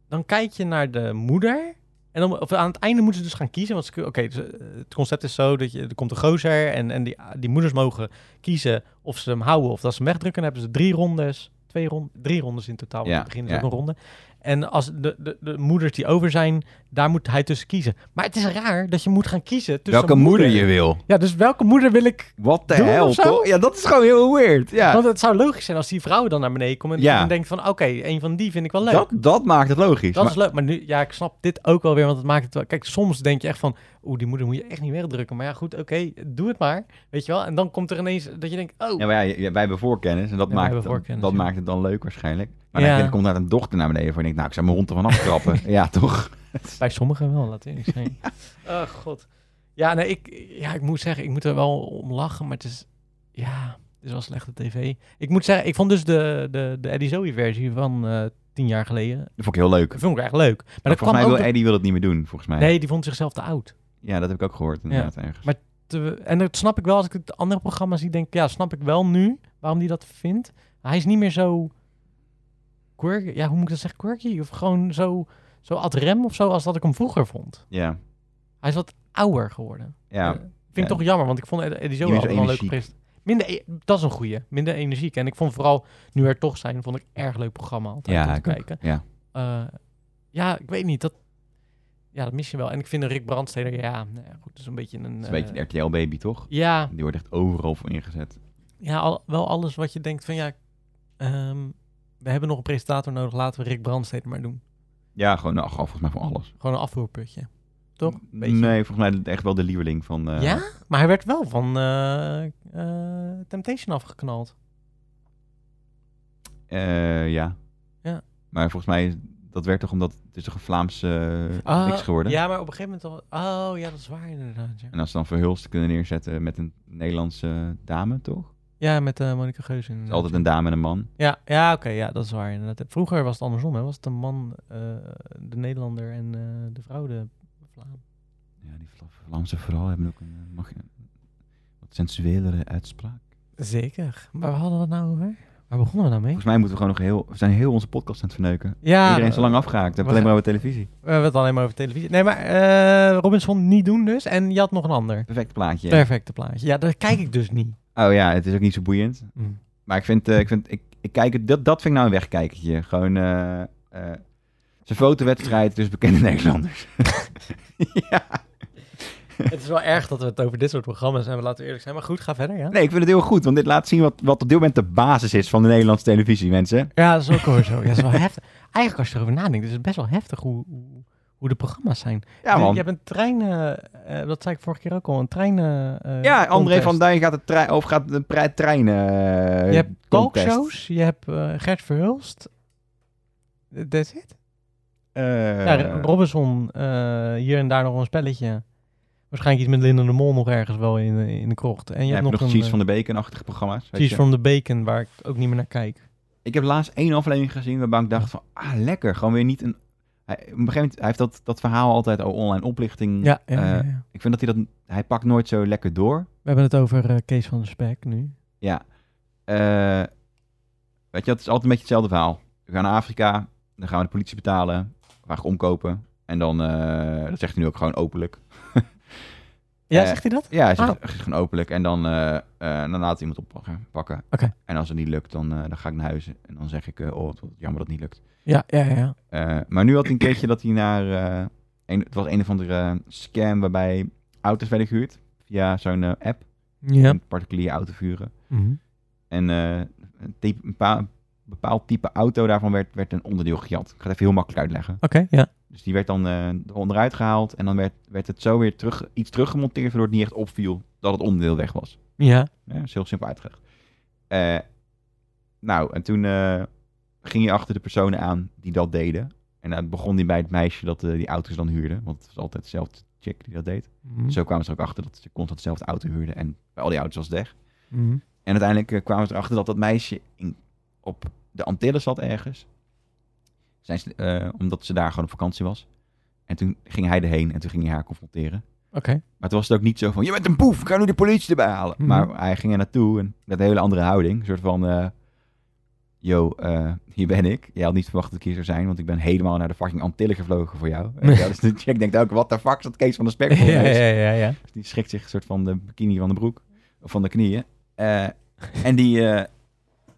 [SPEAKER 1] dan kijk je naar de moeder. En dan, of aan het einde moeten ze dus gaan kiezen. Want ze kun- oké, dus, eh, het concept is zo dat je, er komt een gozer en, en die, die moeders mogen kiezen of ze hem houden of dat ze hem wegdrukken. Dan hebben ze drie rondes, twee rond, drie rondes in totaal. Want
[SPEAKER 2] Ja,
[SPEAKER 1] het begin is
[SPEAKER 2] ja.
[SPEAKER 1] ook een ronde. En als de, de, de moeders die over zijn, daar moet hij tussen kiezen. Maar het is raar dat je moet gaan kiezen tussen
[SPEAKER 2] Welke
[SPEAKER 1] een
[SPEAKER 2] moeder je wil.
[SPEAKER 1] Ja, dus welke moeder wil ik
[SPEAKER 2] Wat de
[SPEAKER 1] Doen of
[SPEAKER 2] hel,
[SPEAKER 1] zo?
[SPEAKER 2] toch? Ja, dat is gewoon heel weird. Ja.
[SPEAKER 1] want het zou logisch zijn als die vrouwen dan naar beneden komen en
[SPEAKER 2] Ja.
[SPEAKER 1] dan denkt van oké, een van die vind ik wel leuk.
[SPEAKER 2] Dat,
[SPEAKER 1] Dat,
[SPEAKER 2] dat maakt het logisch. Maar-
[SPEAKER 1] is leuk. Maar nu, ja, ik snap dit ook wel weer, want het maakt het wel. Kijk, soms denk je echt van, oeh, die moeder moet je echt niet wegdrukken. Maar ja, goed, oké, doe het maar. Weet je wel? En dan komt er ineens dat je denkt, oh,
[SPEAKER 2] Ja, maar ja, je- wij hebben voorkennis en dat,
[SPEAKER 1] Ja, wij
[SPEAKER 2] maakt,
[SPEAKER 1] hebben
[SPEAKER 2] het dan-
[SPEAKER 1] voorkennis,
[SPEAKER 2] dat
[SPEAKER 1] ja.
[SPEAKER 2] maakt het dan leuk waarschijnlijk. Maar
[SPEAKER 1] Ja.
[SPEAKER 2] dan komt daar een dochter naar beneden voor en ik nou, ik zou mijn hond ervan afkrappen. ja, toch?
[SPEAKER 1] bij sommigen wel, laat ik zijn. Oh god. Ja, nee, ik, ja, ik moet zeggen, ik moet er wel om lachen, maar het is, ja, het is wel slechte tv. Ik moet zeggen, ik vond dus de, de, de Eddie Zoe versie van eh, tien jaar geleden,
[SPEAKER 2] Dat vond ik heel leuk.
[SPEAKER 1] dat vond ik echt leuk. Maar, dat kwam
[SPEAKER 2] Maar volgens mij
[SPEAKER 1] ook...
[SPEAKER 2] wil
[SPEAKER 1] door-
[SPEAKER 2] Eddie wil het niet meer doen, volgens mij.
[SPEAKER 1] Nee, die vond zichzelf te oud.
[SPEAKER 2] Ja, dat heb ik ook gehoord inderdaad ergens.
[SPEAKER 1] te- en dat snap ik wel als ik het andere programma zie, denk ik, ja, snap ik wel nu waarom die dat vindt. Hij is niet meer zo quirky, ja, hoe moet ik dat zeggen, quirky? Of gewoon zo, zo ad rem of zo als dat ik hem vroeger vond.
[SPEAKER 2] Ja,
[SPEAKER 1] Hij is wat ouder geworden.
[SPEAKER 2] ja.
[SPEAKER 1] Eh, vind ik
[SPEAKER 2] Ja.
[SPEAKER 1] toch jammer, want ik vond Ed- Eddie Zoe
[SPEAKER 2] Niet meer
[SPEAKER 1] altijd
[SPEAKER 2] zo
[SPEAKER 1] wel een leuke
[SPEAKER 2] energiek.
[SPEAKER 1] present. Minder, e- dat is een goeie. Minder energiek. En ik vond vooral, nu er toch zijn, vond ik erg leuk programma altijd om
[SPEAKER 2] ja,
[SPEAKER 1] te
[SPEAKER 2] ik ook.
[SPEAKER 1] kijken.
[SPEAKER 2] ja.
[SPEAKER 1] Eh, ja, ik weet niet, dat, ja, dat mis je wel. En ik vind een Rick Brandsteder, ja, nou ja, goed, dat is een beetje een...
[SPEAKER 2] Het is een beetje
[SPEAKER 1] eh,
[SPEAKER 2] een RTL-baby, toch?
[SPEAKER 1] ja,
[SPEAKER 2] Die wordt echt overal voor ingezet.
[SPEAKER 1] Ja, al- wel alles wat je denkt van ja, ehm, we hebben nog een presentator nodig, laten we Rick Brandstede maar doen.
[SPEAKER 2] Ja, gewoon, nou, gewoon volgens mij voor alles.
[SPEAKER 1] Gewoon een afvoerputje. Toch? Een beetje.
[SPEAKER 2] Nee, volgens mij echt wel de lieveling van... eh,
[SPEAKER 1] Ja? Maar hij werd wel van eh, eh, Temptation afgeknald.
[SPEAKER 2] eh, ja.
[SPEAKER 1] Ja.
[SPEAKER 2] Maar volgens mij, is- dat werd toch omdat het is toch een Vlaamse eh,
[SPEAKER 1] Ah,
[SPEAKER 2] niks geworden?
[SPEAKER 1] Ja, maar op een gegeven moment al... Oh ja, dat is waar inderdaad. Ja,
[SPEAKER 2] En als ze dan Verhulst kunnen neerzetten met een Nederlandse dame, toch?
[SPEAKER 1] ja met eh Monika Geuze
[SPEAKER 2] Het
[SPEAKER 1] inderdaad.
[SPEAKER 2] is altijd een dame en een man.
[SPEAKER 1] Ja, ja oké, ja, dat is waar inderdaad. Vroeger was het andersom, hè. Was het een man, eh, de Nederlander en eh, de vrouw de Vlaam.
[SPEAKER 2] Ja, die Vla- Vlaamse vrouwen hebben ook een eh, mag, wat sensuelere uitspraak.
[SPEAKER 1] Zeker. Maar waar hadden we het nou over? Waar begonnen we nou mee?
[SPEAKER 2] Volgens mij moeten we gewoon nog heel... We zijn heel onze podcast aan het verneuken.
[SPEAKER 1] Ja,
[SPEAKER 2] Iedereen is al lang
[SPEAKER 1] eh,
[SPEAKER 2] afgehaakt. We
[SPEAKER 1] we
[SPEAKER 2] hebben alleen maar
[SPEAKER 1] gaan-
[SPEAKER 2] over televisie.
[SPEAKER 1] We hebben het alleen maar over televisie. Nee, maar eh Robinson niet doen dus. En je had nog een ander.
[SPEAKER 2] Perfect plaatje.
[SPEAKER 1] Perfecte plaatje. Ja, daar kijk ik dus niet.
[SPEAKER 2] Oh ja, het is ook niet zo boeiend.
[SPEAKER 1] Mm.
[SPEAKER 2] Maar ik vind... eh, ik vind ik, ik kijk het, dat, dat vind ik nou een wegkijkertje. Gewoon... eh eh zijn fotowedstrijd tussen bekende Nederlanders. ja.
[SPEAKER 1] het is wel erg dat we het over dit soort programma's hebben. Laten we eerlijk zijn. Maar goed, ga verder, ja?
[SPEAKER 2] Nee, ik vind het heel goed. Want dit laat zien wat, wat op dit moment de basis is van de Nederlandse televisie, mensen.
[SPEAKER 1] Ja, dat is ook hoor zo. Ja, dat is wel heftig. Eigenlijk als je erover nadenkt, is het best wel heftig hoe, hoe, hoe de programma's zijn.
[SPEAKER 2] Ja, man.
[SPEAKER 1] Je hebt een trein, eh, eh, dat zei ik vorige keer ook al, een trein eh, eh,
[SPEAKER 2] Ja, André
[SPEAKER 1] contest.
[SPEAKER 2] van Duin gaat de trein, of gaat de pre- trein. eh,
[SPEAKER 1] Je hebt
[SPEAKER 2] contest.
[SPEAKER 1] talkshows, je hebt eh, Gert Verhulst. That's it.
[SPEAKER 2] Eh,
[SPEAKER 1] Ja, Nou, Robinson, eh, hier en daar nog een spelletje. Waarschijnlijk iets met Linda de Mol nog ergens wel in, eh, in de krocht. En je
[SPEAKER 2] ja,
[SPEAKER 1] hebt nog, een
[SPEAKER 2] Cheese
[SPEAKER 1] eh,
[SPEAKER 2] van de Bacon-achtige programma's. weet
[SPEAKER 1] Cheese
[SPEAKER 2] je.
[SPEAKER 1] from the Bacon, waar ik ook niet meer naar kijk.
[SPEAKER 2] Ik heb laatst één aflevering gezien waarbij ik dacht van, ah, lekker. Gewoon weer niet een... Hij, op een gegeven moment, hij heeft dat, dat verhaal altijd, oh, online oplichting.
[SPEAKER 1] Ja, ja,
[SPEAKER 2] Eh,
[SPEAKER 1] ja, ja.
[SPEAKER 2] Ik vind dat hij dat... Hij pakt nooit zo lekker door.
[SPEAKER 1] we hebben het over eh, Kees van de Spek nu.
[SPEAKER 2] Ja. Eh, weet je, dat is altijd een beetje hetzelfde verhaal. We gaan naar Afrika, dan gaan we de politie betalen. We gaan omkopen. En dan, eh, dat zegt hij nu ook gewoon openlijk.
[SPEAKER 1] Ja,
[SPEAKER 2] Eh,
[SPEAKER 1] zegt hij dat?
[SPEAKER 2] Ja, hij zegt, hij zegt gewoon openlijk. En dan, eh, eh, dan laat hij iemand oppakken. Pakken.
[SPEAKER 1] Oké.
[SPEAKER 2] En als het niet lukt, dan, eh, dan ga ik naar huis. En dan zeg ik, eh, oh, het wordt jammer dat het niet lukt.
[SPEAKER 1] Ja, ja, ja, ja.
[SPEAKER 2] Eh, maar nu had hij een keertje dat hij naar... eh, een, het was een of andere scam waarbij auto's werden gehuurd. Via zo'n eh, app.
[SPEAKER 1] Ja.
[SPEAKER 2] Een particulier auto vuren.
[SPEAKER 1] Mhm.
[SPEAKER 2] En eh, een, type- een pa- bepaald type auto daarvan werd, werd een onderdeel gejat. Ik ga het even heel makkelijk uitleggen.
[SPEAKER 1] Oké, ja.
[SPEAKER 2] Dus die werd dan eh onderuit gehaald. En dan werd, werd het zo weer terug, iets teruggemonteerd. Waardoor het niet echt opviel dat het onderdeel weg was.
[SPEAKER 1] Ja.
[SPEAKER 2] Ja, dat is heel simpel uitgelegd. Eh, nou, en toen eh, ging je achter de personen aan die dat deden. En dan begon die bij het meisje dat eh, die auto's dan huurde. Want het was altijd hetzelfde chick die dat deed.
[SPEAKER 1] Mhm.
[SPEAKER 2] Zo kwamen ze er ook achter dat ze constant dezelfde auto huurden. En bij al die auto's was het weg.
[SPEAKER 1] Mhm.
[SPEAKER 2] En uiteindelijk eh, kwamen ze erachter dat dat meisje in, op de Antillen zat ergens. Zijn ze, eh, omdat ze daar gewoon op vakantie was. En toen ging hij erheen en toen ging hij haar confronteren.
[SPEAKER 1] Oké.
[SPEAKER 2] Maar toen was het ook niet zo van, je bent een boef, ik ga nu de politie erbij halen.
[SPEAKER 1] Mhm.
[SPEAKER 2] Maar hij ging er naartoe en met een hele andere houding. Een soort van, eh, yo, eh, hier ben ik. Jij had niet verwacht dat ik hier zou zijn, want ik ben helemaal naar de fucking Antillen gevlogen voor jou. Eh, ja, dus de check denkt ook, wat de fuck is dat Kees van de Spek? voor
[SPEAKER 1] Ja,
[SPEAKER 2] mij?"
[SPEAKER 1] ja, ja, ja.
[SPEAKER 2] Dus die schrikt zich een soort van de bikini van de broek, of van de knieën. Eh, en die, eh,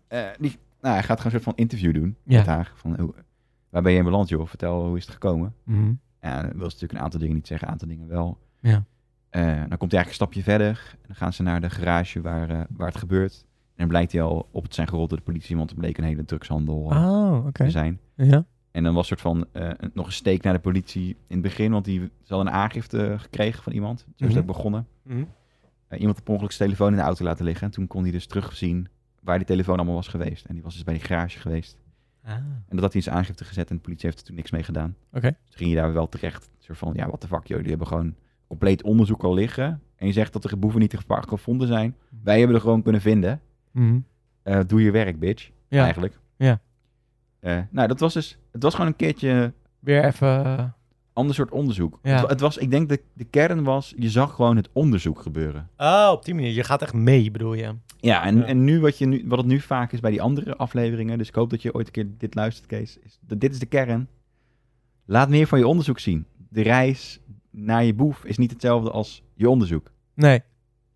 [SPEAKER 2] eh, die nou, hij gaat gewoon een soort van interview doen
[SPEAKER 1] Ja.
[SPEAKER 2] met haar. Van, hoe- waar ben je in beland, joh? Vertel, hoe is het gekomen?
[SPEAKER 1] Mhm.
[SPEAKER 2] Ja, dan wil ze natuurlijk een aantal dingen niet zeggen, een aantal dingen wel.
[SPEAKER 1] Ja.
[SPEAKER 2] Eh, dan komt hij eigenlijk een stapje verder. En dan gaan ze naar de garage waar, eh, waar het gebeurt. En dan blijkt hij al op het zijn gerold door de politie, want het bleek een hele drugshandel eh,
[SPEAKER 1] Oh, oké.
[SPEAKER 2] te zijn.
[SPEAKER 1] Ja.
[SPEAKER 2] En dan was soort van eh, een- nog een steek naar de politie in het begin, want die ze hadden een aangifte gekregen van iemand. Zo is het
[SPEAKER 1] Mhm.
[SPEAKER 2] ook begonnen. Eh, iemand had per ongeluk zijn telefoon in de auto laten liggen. En toen kon hij dus terugzien waar die telefoon allemaal was geweest. En die was dus bij die garage geweest.
[SPEAKER 1] Ah.
[SPEAKER 2] En dat had hij in zijn aangifte gezet en de politie heeft er toen niks mee gedaan.
[SPEAKER 1] Oké.
[SPEAKER 2] Dus ging je daar wel terecht. Een soort van, ja, wat de fuck, joh. Jullie hebben gewoon compleet onderzoek al liggen. En je zegt dat de boeven niet te gevaar gevonden zijn. Wij hebben er gewoon kunnen vinden.
[SPEAKER 1] Mhm.
[SPEAKER 2] Eh, doe je werk, bitch.
[SPEAKER 1] Ja.
[SPEAKER 2] Eigenlijk.
[SPEAKER 1] Ja.
[SPEAKER 2] Eh, nou, dat was dus... Het was gewoon een keertje
[SPEAKER 1] Weer even... eh,
[SPEAKER 2] ander soort onderzoek.
[SPEAKER 1] Ja.
[SPEAKER 2] Het, wa- het was, ik denk dat de kern was... Je zag gewoon het onderzoek gebeuren.
[SPEAKER 1] Oh, op die manier. Je gaat echt mee, bedoel je.
[SPEAKER 2] Ja, en,
[SPEAKER 1] Ja.
[SPEAKER 2] en nu, wat je nu wat het nu vaak is bij die andere afleveringen... Dus ik hoop dat je ooit een keer dit luistert, Kees. Is, dat dit is de kern. Laat meer van je onderzoek zien. De reis naar je boef is niet hetzelfde als je onderzoek.
[SPEAKER 1] Nee.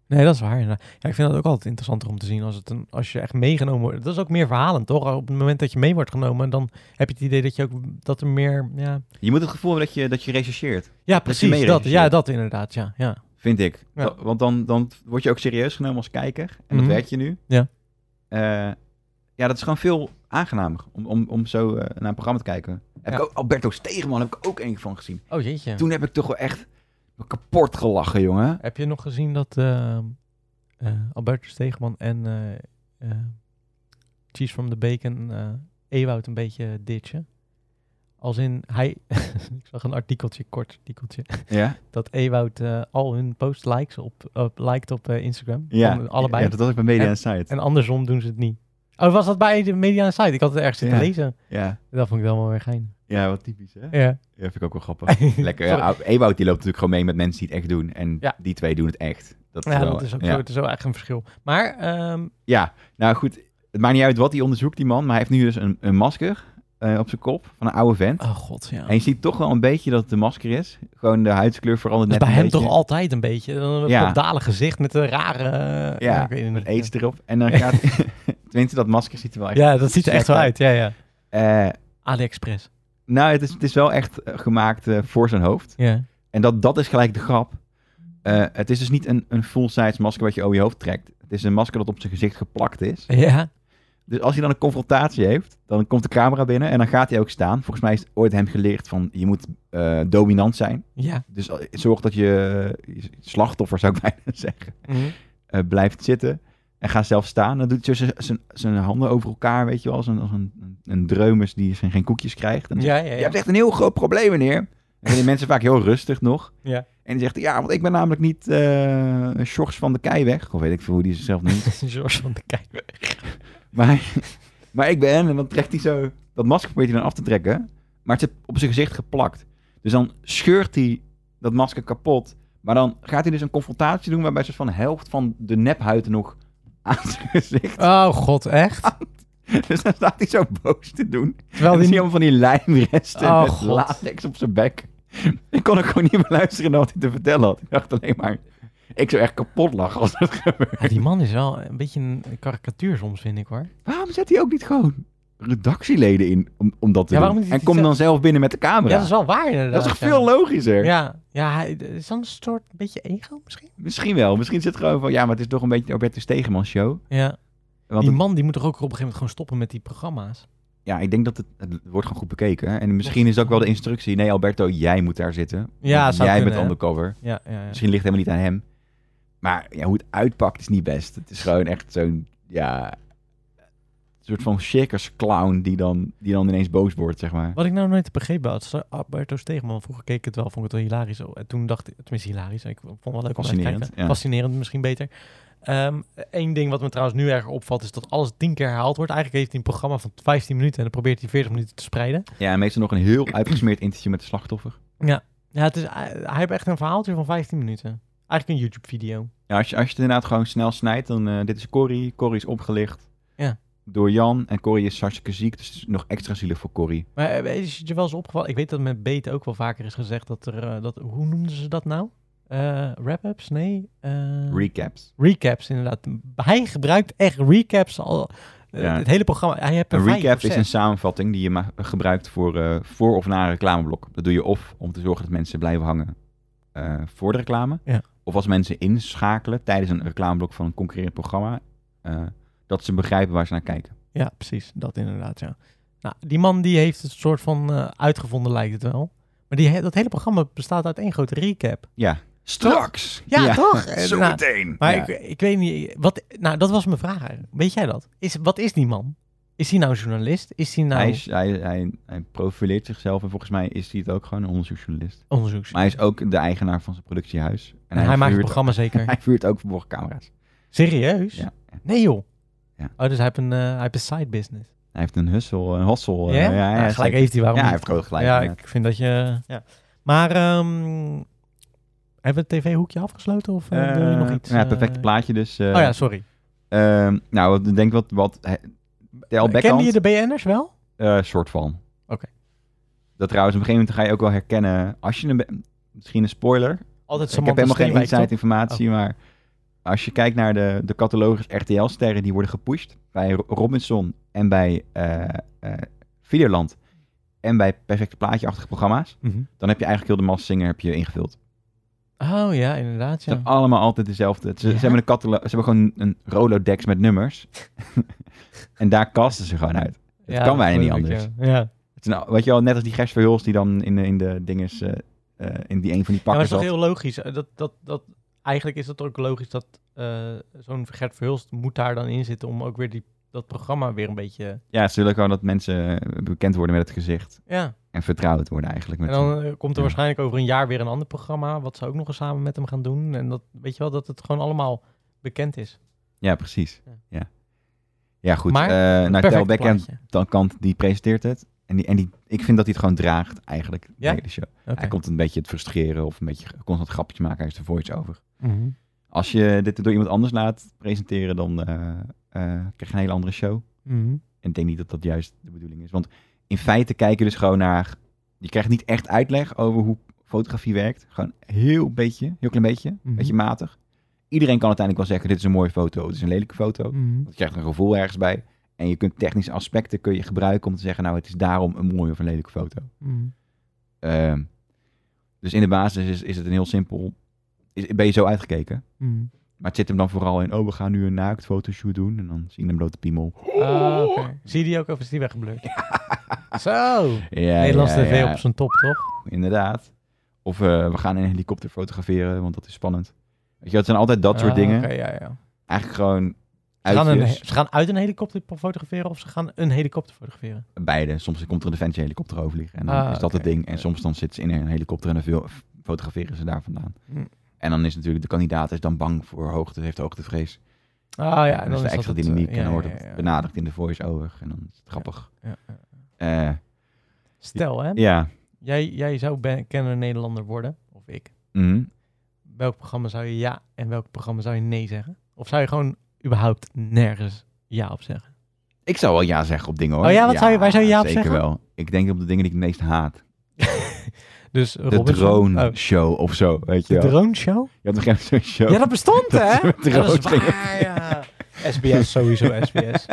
[SPEAKER 1] Nee, dat is waar. inderdaad. Ja, ik vind dat ook altijd interessanter om te zien als, het een, als je echt meegenomen wordt. Dat is ook meer verhalend, toch? Op het moment dat je mee wordt genomen, dan heb je het idee dat je ook dat er meer. Ja,
[SPEAKER 2] Je moet het gevoel hebben dat je, dat je rechercheert,
[SPEAKER 1] ja
[SPEAKER 2] je
[SPEAKER 1] precies.
[SPEAKER 2] mee
[SPEAKER 1] Dat, ja,
[SPEAKER 2] regisseert.
[SPEAKER 1] dat inderdaad. Ja, ja.
[SPEAKER 2] vind ik.
[SPEAKER 1] Ja.
[SPEAKER 2] Wa- Want dan, dan word je ook serieus genomen als kijker. En
[SPEAKER 1] Mhm.
[SPEAKER 2] dat werd je nu.
[SPEAKER 1] Ja.
[SPEAKER 2] Eh, ja, dat is gewoon veel aangenamer om, om, om zo eh, naar een programma te kijken. Heb
[SPEAKER 1] Ja.
[SPEAKER 2] ik ook, Alberto Stegeman heb ik ook één van gezien.
[SPEAKER 1] Oh jeetje.
[SPEAKER 2] Toen heb ik toch wel echt me kapot gelachen, jongen.
[SPEAKER 1] Heb je nog gezien dat eh, eh, Albertus Stegeman en eh, eh, Cheese from the Bacon eh Ewout een beetje ditchen? Als in hij. ik zag een artikeltje, kort artikeltje.
[SPEAKER 2] Ja.
[SPEAKER 1] dat Ewout eh, al hun post likes op, op liked op eh, Instagram.
[SPEAKER 2] Ja,
[SPEAKER 1] Van allebei.
[SPEAKER 2] Ja, dat was ik bij Media
[SPEAKER 1] En-
[SPEAKER 2] en Site.
[SPEAKER 1] En andersom doen ze het niet. Oh, was dat bij de media en site? Ik had het ergens zitten
[SPEAKER 2] Ja.
[SPEAKER 1] lezen.
[SPEAKER 2] Ja.
[SPEAKER 1] Dat vond ik wel mooi weer gein.
[SPEAKER 2] ja, wat typisch, hè? Ja,
[SPEAKER 1] Ja.
[SPEAKER 2] vind ik ook wel grappig. Lekker.
[SPEAKER 1] Sorry.
[SPEAKER 2] Ja, Ewout die loopt natuurlijk gewoon mee met mensen die het echt doen. En
[SPEAKER 1] Ja.
[SPEAKER 2] die twee doen het echt. Dat
[SPEAKER 1] Ja,
[SPEAKER 2] wel-
[SPEAKER 1] dat is ook
[SPEAKER 2] ja.
[SPEAKER 1] zo. Het is wel echt een verschil. Maar, ehm,
[SPEAKER 2] Ja, nou goed. Het maakt niet uit wat hij onderzoekt, die man. Maar hij heeft nu dus een, een masker eh, op zijn kop van een oude vent.
[SPEAKER 1] oh god, ja.
[SPEAKER 2] En je ziet toch wel een beetje dat het een masker is. Gewoon de huidskleur verandert
[SPEAKER 1] Dat is
[SPEAKER 2] net
[SPEAKER 1] bij
[SPEAKER 2] een
[SPEAKER 1] hem
[SPEAKER 2] beetje.
[SPEAKER 1] toch altijd een beetje. Dan Een
[SPEAKER 2] Ja.
[SPEAKER 1] dalig gezicht met een rare... eh,
[SPEAKER 2] Ja,
[SPEAKER 1] ik weet het
[SPEAKER 2] Met
[SPEAKER 1] niet.
[SPEAKER 2] aids erop. En dan gaat... Tenminste, dat masker ziet er wel echt...
[SPEAKER 1] Ja, dat ziet er echt zo uit. Ja, ja.
[SPEAKER 2] Eh,
[SPEAKER 1] AliExpress.
[SPEAKER 2] nou, het is, het is wel echt eh, gemaakt eh, voor zijn hoofd.
[SPEAKER 1] Ja.
[SPEAKER 2] En dat, dat is gelijk de grap. Eh, het is dus niet een, een full-size masker wat je over je hoofd trekt. Het is een masker dat op zijn gezicht geplakt is.
[SPEAKER 1] Ja.
[SPEAKER 2] Dus als hij dan een confrontatie heeft, dan komt de camera binnen en dan gaat hij ook staan. Volgens mij is ooit hem geleerd van je moet eh, dominant zijn.
[SPEAKER 1] Ja.
[SPEAKER 2] Dus eh, zorg dat je, je slachtoffer, zou ik bijna zeggen,
[SPEAKER 1] Mhm.
[SPEAKER 2] eh, blijft zitten. En ga zelf staan. Dan doet hij zo zijn- zijn- zijn handen over elkaar, weet je wel. Als een, als een, een dreumes die zijn geen koekjes krijgt. En dan
[SPEAKER 1] Ja, ja,
[SPEAKER 2] je hebt
[SPEAKER 1] ja.
[SPEAKER 2] echt een heel groot probleem, meneer. En dan zijn mensen vaak heel rustig nog.
[SPEAKER 1] Ja.
[SPEAKER 2] En die zegt, ja, want ik ben namelijk niet eh Sjors van de Keiweg. Of weet ik veel hoe die zichzelf noemt.
[SPEAKER 1] George van de Kijker.
[SPEAKER 2] maar, maar ik ben, en dan trekt hij zo... Dat masker probeert hij dan af te trekken. Maar het zit op zijn gezicht geplakt. Dus dan scheurt hij dat masker kapot. Maar dan gaat hij dus een confrontatie doen... waarbij ze van de helft van de nephuid nog aan zijn gezicht...
[SPEAKER 1] Oh god, echt?
[SPEAKER 2] Dus dan staat hij zo boos te doen.
[SPEAKER 1] Terwijl
[SPEAKER 2] En dan
[SPEAKER 1] die
[SPEAKER 2] zie je allemaal van die lijmresten
[SPEAKER 1] Oh,
[SPEAKER 2] met
[SPEAKER 1] God.
[SPEAKER 2] latex op zijn bek. ik kon ook gewoon niet meer luisteren naar wat hij te vertellen had. Ik dacht alleen maar, ik zou echt kapot lachen als dat gebeurt.
[SPEAKER 1] Ja, Oh, die man is wel een beetje een karikatuur soms, vind ik hoor.
[SPEAKER 2] Waarom zet hij ook niet gewoon redactieleden in om, om dat te
[SPEAKER 1] Ja,
[SPEAKER 2] doen?
[SPEAKER 1] waarom niet
[SPEAKER 2] En
[SPEAKER 1] iets
[SPEAKER 2] kom dan
[SPEAKER 1] zelf-
[SPEAKER 2] zelf binnen met de camera.
[SPEAKER 1] Ja, dat is wel waar inderdaad.
[SPEAKER 2] Dat is toch
[SPEAKER 1] ja.
[SPEAKER 2] veel logischer?
[SPEAKER 1] Ja, ja hij, is dan een soort beetje ego misschien?
[SPEAKER 2] Misschien wel. Misschien zit er gewoon van, ja, maar het is toch een beetje de Albertus Stegeman show.
[SPEAKER 1] Ja.
[SPEAKER 2] Want
[SPEAKER 1] die
[SPEAKER 2] het-
[SPEAKER 1] man die moet toch ook op een gegeven moment gewoon stoppen met die programma's?
[SPEAKER 2] ja, ik denk dat het, het wordt gewoon goed bekeken. hè. En misschien is het ook wel de instructie, nee Alberto, jij moet daar zitten.
[SPEAKER 1] Ja,
[SPEAKER 2] Want
[SPEAKER 1] zou
[SPEAKER 2] jij
[SPEAKER 1] kunnen,
[SPEAKER 2] bent
[SPEAKER 1] hè.
[SPEAKER 2] undercover.
[SPEAKER 1] Ja, ja, ja.
[SPEAKER 2] Misschien ligt het helemaal niet aan hem. Maar ja, hoe het uitpakt is niet best. Het is gewoon echt zo'n, ja, soort van circus clown die dan, die dan ineens boos wordt, zeg maar.
[SPEAKER 1] Wat ik nou nooit heb begrepen had, is Alberto Stegeman. Vroeger keek ik het wel, vond ik het wel hilarisch. Oh, En toen dacht ik, tenminste hilarisch, ik vond het wel leuk om naar te
[SPEAKER 2] Fascinerend,
[SPEAKER 1] kijken.
[SPEAKER 2] ja.
[SPEAKER 1] Fascinerend misschien beter. Eén ding wat me trouwens nu erg opvalt, is dat alles tien keer herhaald wordt. Eigenlijk heeft hij een programma van 15 minuten en dan probeert hij 40 minuten te spreiden.
[SPEAKER 2] Ja, en meestal nog een heel uitgesmeerd interview met de slachtoffer.
[SPEAKER 1] Ja, het is, eh, hij heeft echt een verhaaltje van 15 minuten. Eigenlijk een YouTube-video.
[SPEAKER 2] Ja, als je, als je het inderdaad gewoon snel snijdt, dan eh, dit is Corrie. Corrie is opgelicht
[SPEAKER 1] Ja.
[SPEAKER 2] door Jan. En Corrie is hartstikke ziek, dus het is nog extra zielig voor Corrie.
[SPEAKER 1] Maar eh, is het je wel eens opgevallen? Ik weet dat met Beet ook wel vaker is gezegd dat er... eh, dat, hoe noemden ze dat nou? Eh, Wrap-ups? Nee? eh,
[SPEAKER 2] Recaps.
[SPEAKER 1] recaps, inderdaad. Hij gebruikt echt recaps al... eh,
[SPEAKER 2] Ja.
[SPEAKER 1] Het hele programma. Hij heeft
[SPEAKER 2] Een
[SPEAKER 1] er vijf
[SPEAKER 2] recap
[SPEAKER 1] of
[SPEAKER 2] is een
[SPEAKER 1] zes.
[SPEAKER 2] samenvatting die je ma- gebruikt voor, eh, voor of na een reclameblok. Dat doe je of om te zorgen dat mensen blijven hangen eh, voor de reclame.
[SPEAKER 1] Ja.
[SPEAKER 2] Of als mensen inschakelen tijdens een reclameblok van een concurrerend programma. eh, dat ze begrijpen waar ze naar kijken.
[SPEAKER 1] Ja, precies. Dat inderdaad, ja. Nou, die man die heeft het soort van eh, uitgevonden, lijkt het wel. Maar die, he- dat hele programma bestaat uit één grote recap.
[SPEAKER 2] Straks!
[SPEAKER 1] Ja, toch? Eh,
[SPEAKER 4] Zo
[SPEAKER 1] nou,
[SPEAKER 4] meteen.
[SPEAKER 1] Maar
[SPEAKER 2] Ja.
[SPEAKER 1] ik, ik weet niet, wat, nou dat was mijn vraag eigenlijk. Weet jij dat? Is, wat is die man? Is hij nou journalist? Is hij nou
[SPEAKER 2] Hij, is, hij, hij, hij profileert zichzelf en volgens mij is hij het ook gewoon een onderzoeksjournalist.
[SPEAKER 1] onderzoeks?
[SPEAKER 2] Maar hij is ook de eigenaar van zijn productiehuis. En
[SPEAKER 1] hij maakt het
[SPEAKER 2] vuurt-
[SPEAKER 1] programma zeker.
[SPEAKER 2] Hij vuurt ook verborgen camera's.
[SPEAKER 1] Serieus?
[SPEAKER 2] Ja.
[SPEAKER 1] Nee joh.
[SPEAKER 2] Ja.
[SPEAKER 1] Oh, dus hij heeft een, eh, hij heeft een side business.
[SPEAKER 2] Hij heeft een hustle, een hustle.
[SPEAKER 1] Ja?
[SPEAKER 2] eh, ja,
[SPEAKER 1] Nou,
[SPEAKER 2] ja,
[SPEAKER 1] gelijk
[SPEAKER 2] zeker.
[SPEAKER 1] heeft hij waarom
[SPEAKER 2] Ja, hij
[SPEAKER 1] niet?
[SPEAKER 2] heeft ook gelijk,
[SPEAKER 1] Ja,
[SPEAKER 2] inderdaad.
[SPEAKER 1] ik vind dat je... Ja. Maar ehm, hebben we het tv-hoekje afgesloten of eh, wil je nog
[SPEAKER 2] Eh,
[SPEAKER 1] iets?
[SPEAKER 2] nou Ja, het perfecte
[SPEAKER 1] eh,
[SPEAKER 2] plaatje dus. eh,
[SPEAKER 1] Oh ja, sorry.
[SPEAKER 2] ehm, nou, wat- ik denk wat... wat hij- Tel
[SPEAKER 1] Kende
[SPEAKER 2] Beckhand,
[SPEAKER 1] je de BN'ers wel?
[SPEAKER 2] eh, soort van.
[SPEAKER 1] Oké.
[SPEAKER 2] Dat trouwens, op een gegeven moment ga je ook wel herkennen... Als je een... be- Misschien een spoiler.
[SPEAKER 1] Altijd
[SPEAKER 2] ik heb
[SPEAKER 1] Samantha
[SPEAKER 2] helemaal geen
[SPEAKER 1] Steenwijk,
[SPEAKER 2] inside
[SPEAKER 1] toch? Oh.
[SPEAKER 2] informatie, maar... Als je kijkt naar de, de catalogus RTL-sterren die worden gepusht... Bij Ro- Robinson en bij eh eh, Videoland... En bij perfecte plaatje-achtige programma's...
[SPEAKER 1] Mhm.
[SPEAKER 2] dan heb je eigenlijk heel de massinger heb je ingevuld. Mhm.
[SPEAKER 1] Oh ja, inderdaad.
[SPEAKER 2] Het
[SPEAKER 1] Ja.
[SPEAKER 2] zijn allemaal altijd dezelfde. Ze,
[SPEAKER 1] Ja?
[SPEAKER 2] ze hebben een catalo- ze hebben gewoon een Rolodex met nummers. en daar kasten ze gewoon uit. Het
[SPEAKER 1] Ja,
[SPEAKER 2] kan bijna
[SPEAKER 1] dat
[SPEAKER 2] niet
[SPEAKER 1] geloof ik,
[SPEAKER 2] anders.
[SPEAKER 1] Ja. Ja.
[SPEAKER 2] Het is nou, weet je wel, net als die Gers Verhulst die dan in de, in de dinges, eh, eh, in die een van die
[SPEAKER 1] Ja, maar
[SPEAKER 2] pakken
[SPEAKER 1] het is
[SPEAKER 2] zat.
[SPEAKER 1] toch heel logisch. eh, Dat, dat, dat, eigenlijk is het ook logisch dat eh, zo'n Gert Verhulst moet daar dan in zitten om ook weer die, dat programma weer een beetje...
[SPEAKER 2] Ja, ze willen gewoon dat mensen eh, bekend worden met het gezicht.
[SPEAKER 1] Ja,
[SPEAKER 2] En vertrouwd worden eigenlijk.
[SPEAKER 1] en
[SPEAKER 2] Met
[SPEAKER 1] dan eh, komt er
[SPEAKER 2] ja.
[SPEAKER 1] waarschijnlijk over een jaar weer een ander programma, wat ze ook nog eens samen met hem gaan doen. En dat, weet je wel, dat het gewoon allemaal bekend is.
[SPEAKER 2] Ja, precies.
[SPEAKER 1] Ja.
[SPEAKER 2] Ja, ja goed.
[SPEAKER 1] Maar,
[SPEAKER 2] eh, nou,
[SPEAKER 1] Perfect
[SPEAKER 2] Tel Beckham,
[SPEAKER 1] plaatje.
[SPEAKER 2] dan kant, die presenteert het. En, die, en die, ik vind dat hij het gewoon draagt eigenlijk. de
[SPEAKER 1] Ja?
[SPEAKER 2] hele show.
[SPEAKER 1] Oké.
[SPEAKER 2] Hij komt een beetje het frustreren of een beetje constant grapjes maken. Hij is de voice-over.
[SPEAKER 1] Mhm.
[SPEAKER 2] Als je dit door iemand anders laat presenteren, dan eh, eh, krijg je een hele andere show.
[SPEAKER 1] Mhm.
[SPEAKER 2] En ik denk niet dat dat juist de bedoeling is. Want in feite kijk je dus gewoon naar... Je krijgt niet echt uitleg over hoe fotografie werkt. Gewoon heel beetje, heel klein beetje,
[SPEAKER 1] Mhm.
[SPEAKER 2] beetje matig. Iedereen kan uiteindelijk wel zeggen, dit is een mooie foto, dit is een lelijke foto.
[SPEAKER 1] Mhm.
[SPEAKER 2] Want je krijgt een gevoel ergens bij. En je kunt technische aspecten kun je gebruiken om te zeggen, nou het is daarom een mooie of een lelijke foto.
[SPEAKER 1] Mhm.
[SPEAKER 2] Ehm, dus in de basis is, is het een heel simpel... Is, ben je zo uitgekeken?
[SPEAKER 1] Mhm.
[SPEAKER 2] Maar het zit hem dan vooral in, oh, we gaan nu een naakt fotoshoot doen. En dan zien we een blote piemel.
[SPEAKER 1] Ah, oké. Zie je die ook of is die weggeblurred? Zo!
[SPEAKER 2] Ja,
[SPEAKER 1] Nederlands
[SPEAKER 2] ja,
[SPEAKER 1] tv
[SPEAKER 2] ja,
[SPEAKER 1] op zijn top, toch?
[SPEAKER 2] Inderdaad. Of eh, we gaan in een helikopter fotograferen, want dat is spannend. Weet je, wel, het zijn altijd dat soort
[SPEAKER 1] Ah,
[SPEAKER 2] dingen.
[SPEAKER 1] oké, ja, ja.
[SPEAKER 2] Eigenlijk gewoon
[SPEAKER 1] Ze gaan, een,
[SPEAKER 2] uitjes.
[SPEAKER 1] ze gaan uit een helikopter fotograferen of ze gaan een helikopter fotograferen.
[SPEAKER 2] Beide. Soms komt er een defensie helikopter over vliegen. En dan
[SPEAKER 1] Ah,
[SPEAKER 2] is dat het
[SPEAKER 1] oké.
[SPEAKER 2] ding. En soms dan zitten ze in een helikopter en dan veel- f- fotograferen ze daar vandaan.
[SPEAKER 1] Hm.
[SPEAKER 2] En dan is natuurlijk de kandidaat is dan bang voor hoogte, heeft hoogtevrees.
[SPEAKER 1] Ah ja,
[SPEAKER 2] en dan is de
[SPEAKER 1] dat
[SPEAKER 2] extra
[SPEAKER 1] het, eh,
[SPEAKER 2] dynamiek.
[SPEAKER 1] ja,
[SPEAKER 2] en dan wordt
[SPEAKER 1] ja,
[SPEAKER 2] het
[SPEAKER 1] ja.
[SPEAKER 2] benadrukt in de voice-over. En dan is het grappig.
[SPEAKER 1] Ja, ja.
[SPEAKER 2] Eh,
[SPEAKER 1] Stel hè,
[SPEAKER 2] ja.
[SPEAKER 1] jij, jij zou ben, kenner Nederlander worden, of ik.
[SPEAKER 2] Mhm.
[SPEAKER 1] Welk programma zou je ja en welk programma zou je nee zeggen? Of zou je gewoon überhaupt nergens ja op zeggen?
[SPEAKER 2] Ik zou wel ja zeggen op dingen hoor.
[SPEAKER 1] Oh ja, wat zou je- waar zou je ja op
[SPEAKER 2] zeker
[SPEAKER 1] zeggen?
[SPEAKER 2] wel. Ik denk op de dingen die ik het meest haat.
[SPEAKER 1] dus
[SPEAKER 2] De
[SPEAKER 1] Robinson.
[SPEAKER 2] drone
[SPEAKER 1] Oh,
[SPEAKER 2] show of zo, weet je
[SPEAKER 1] de
[SPEAKER 2] wel.
[SPEAKER 1] drone show?
[SPEAKER 2] Je had nog even zo'n show.
[SPEAKER 3] Ja, dat bestond, hè?
[SPEAKER 2] ze met
[SPEAKER 1] Ja, dat is
[SPEAKER 2] drones gingen.
[SPEAKER 1] waar, ja. SBS, sowieso SBS.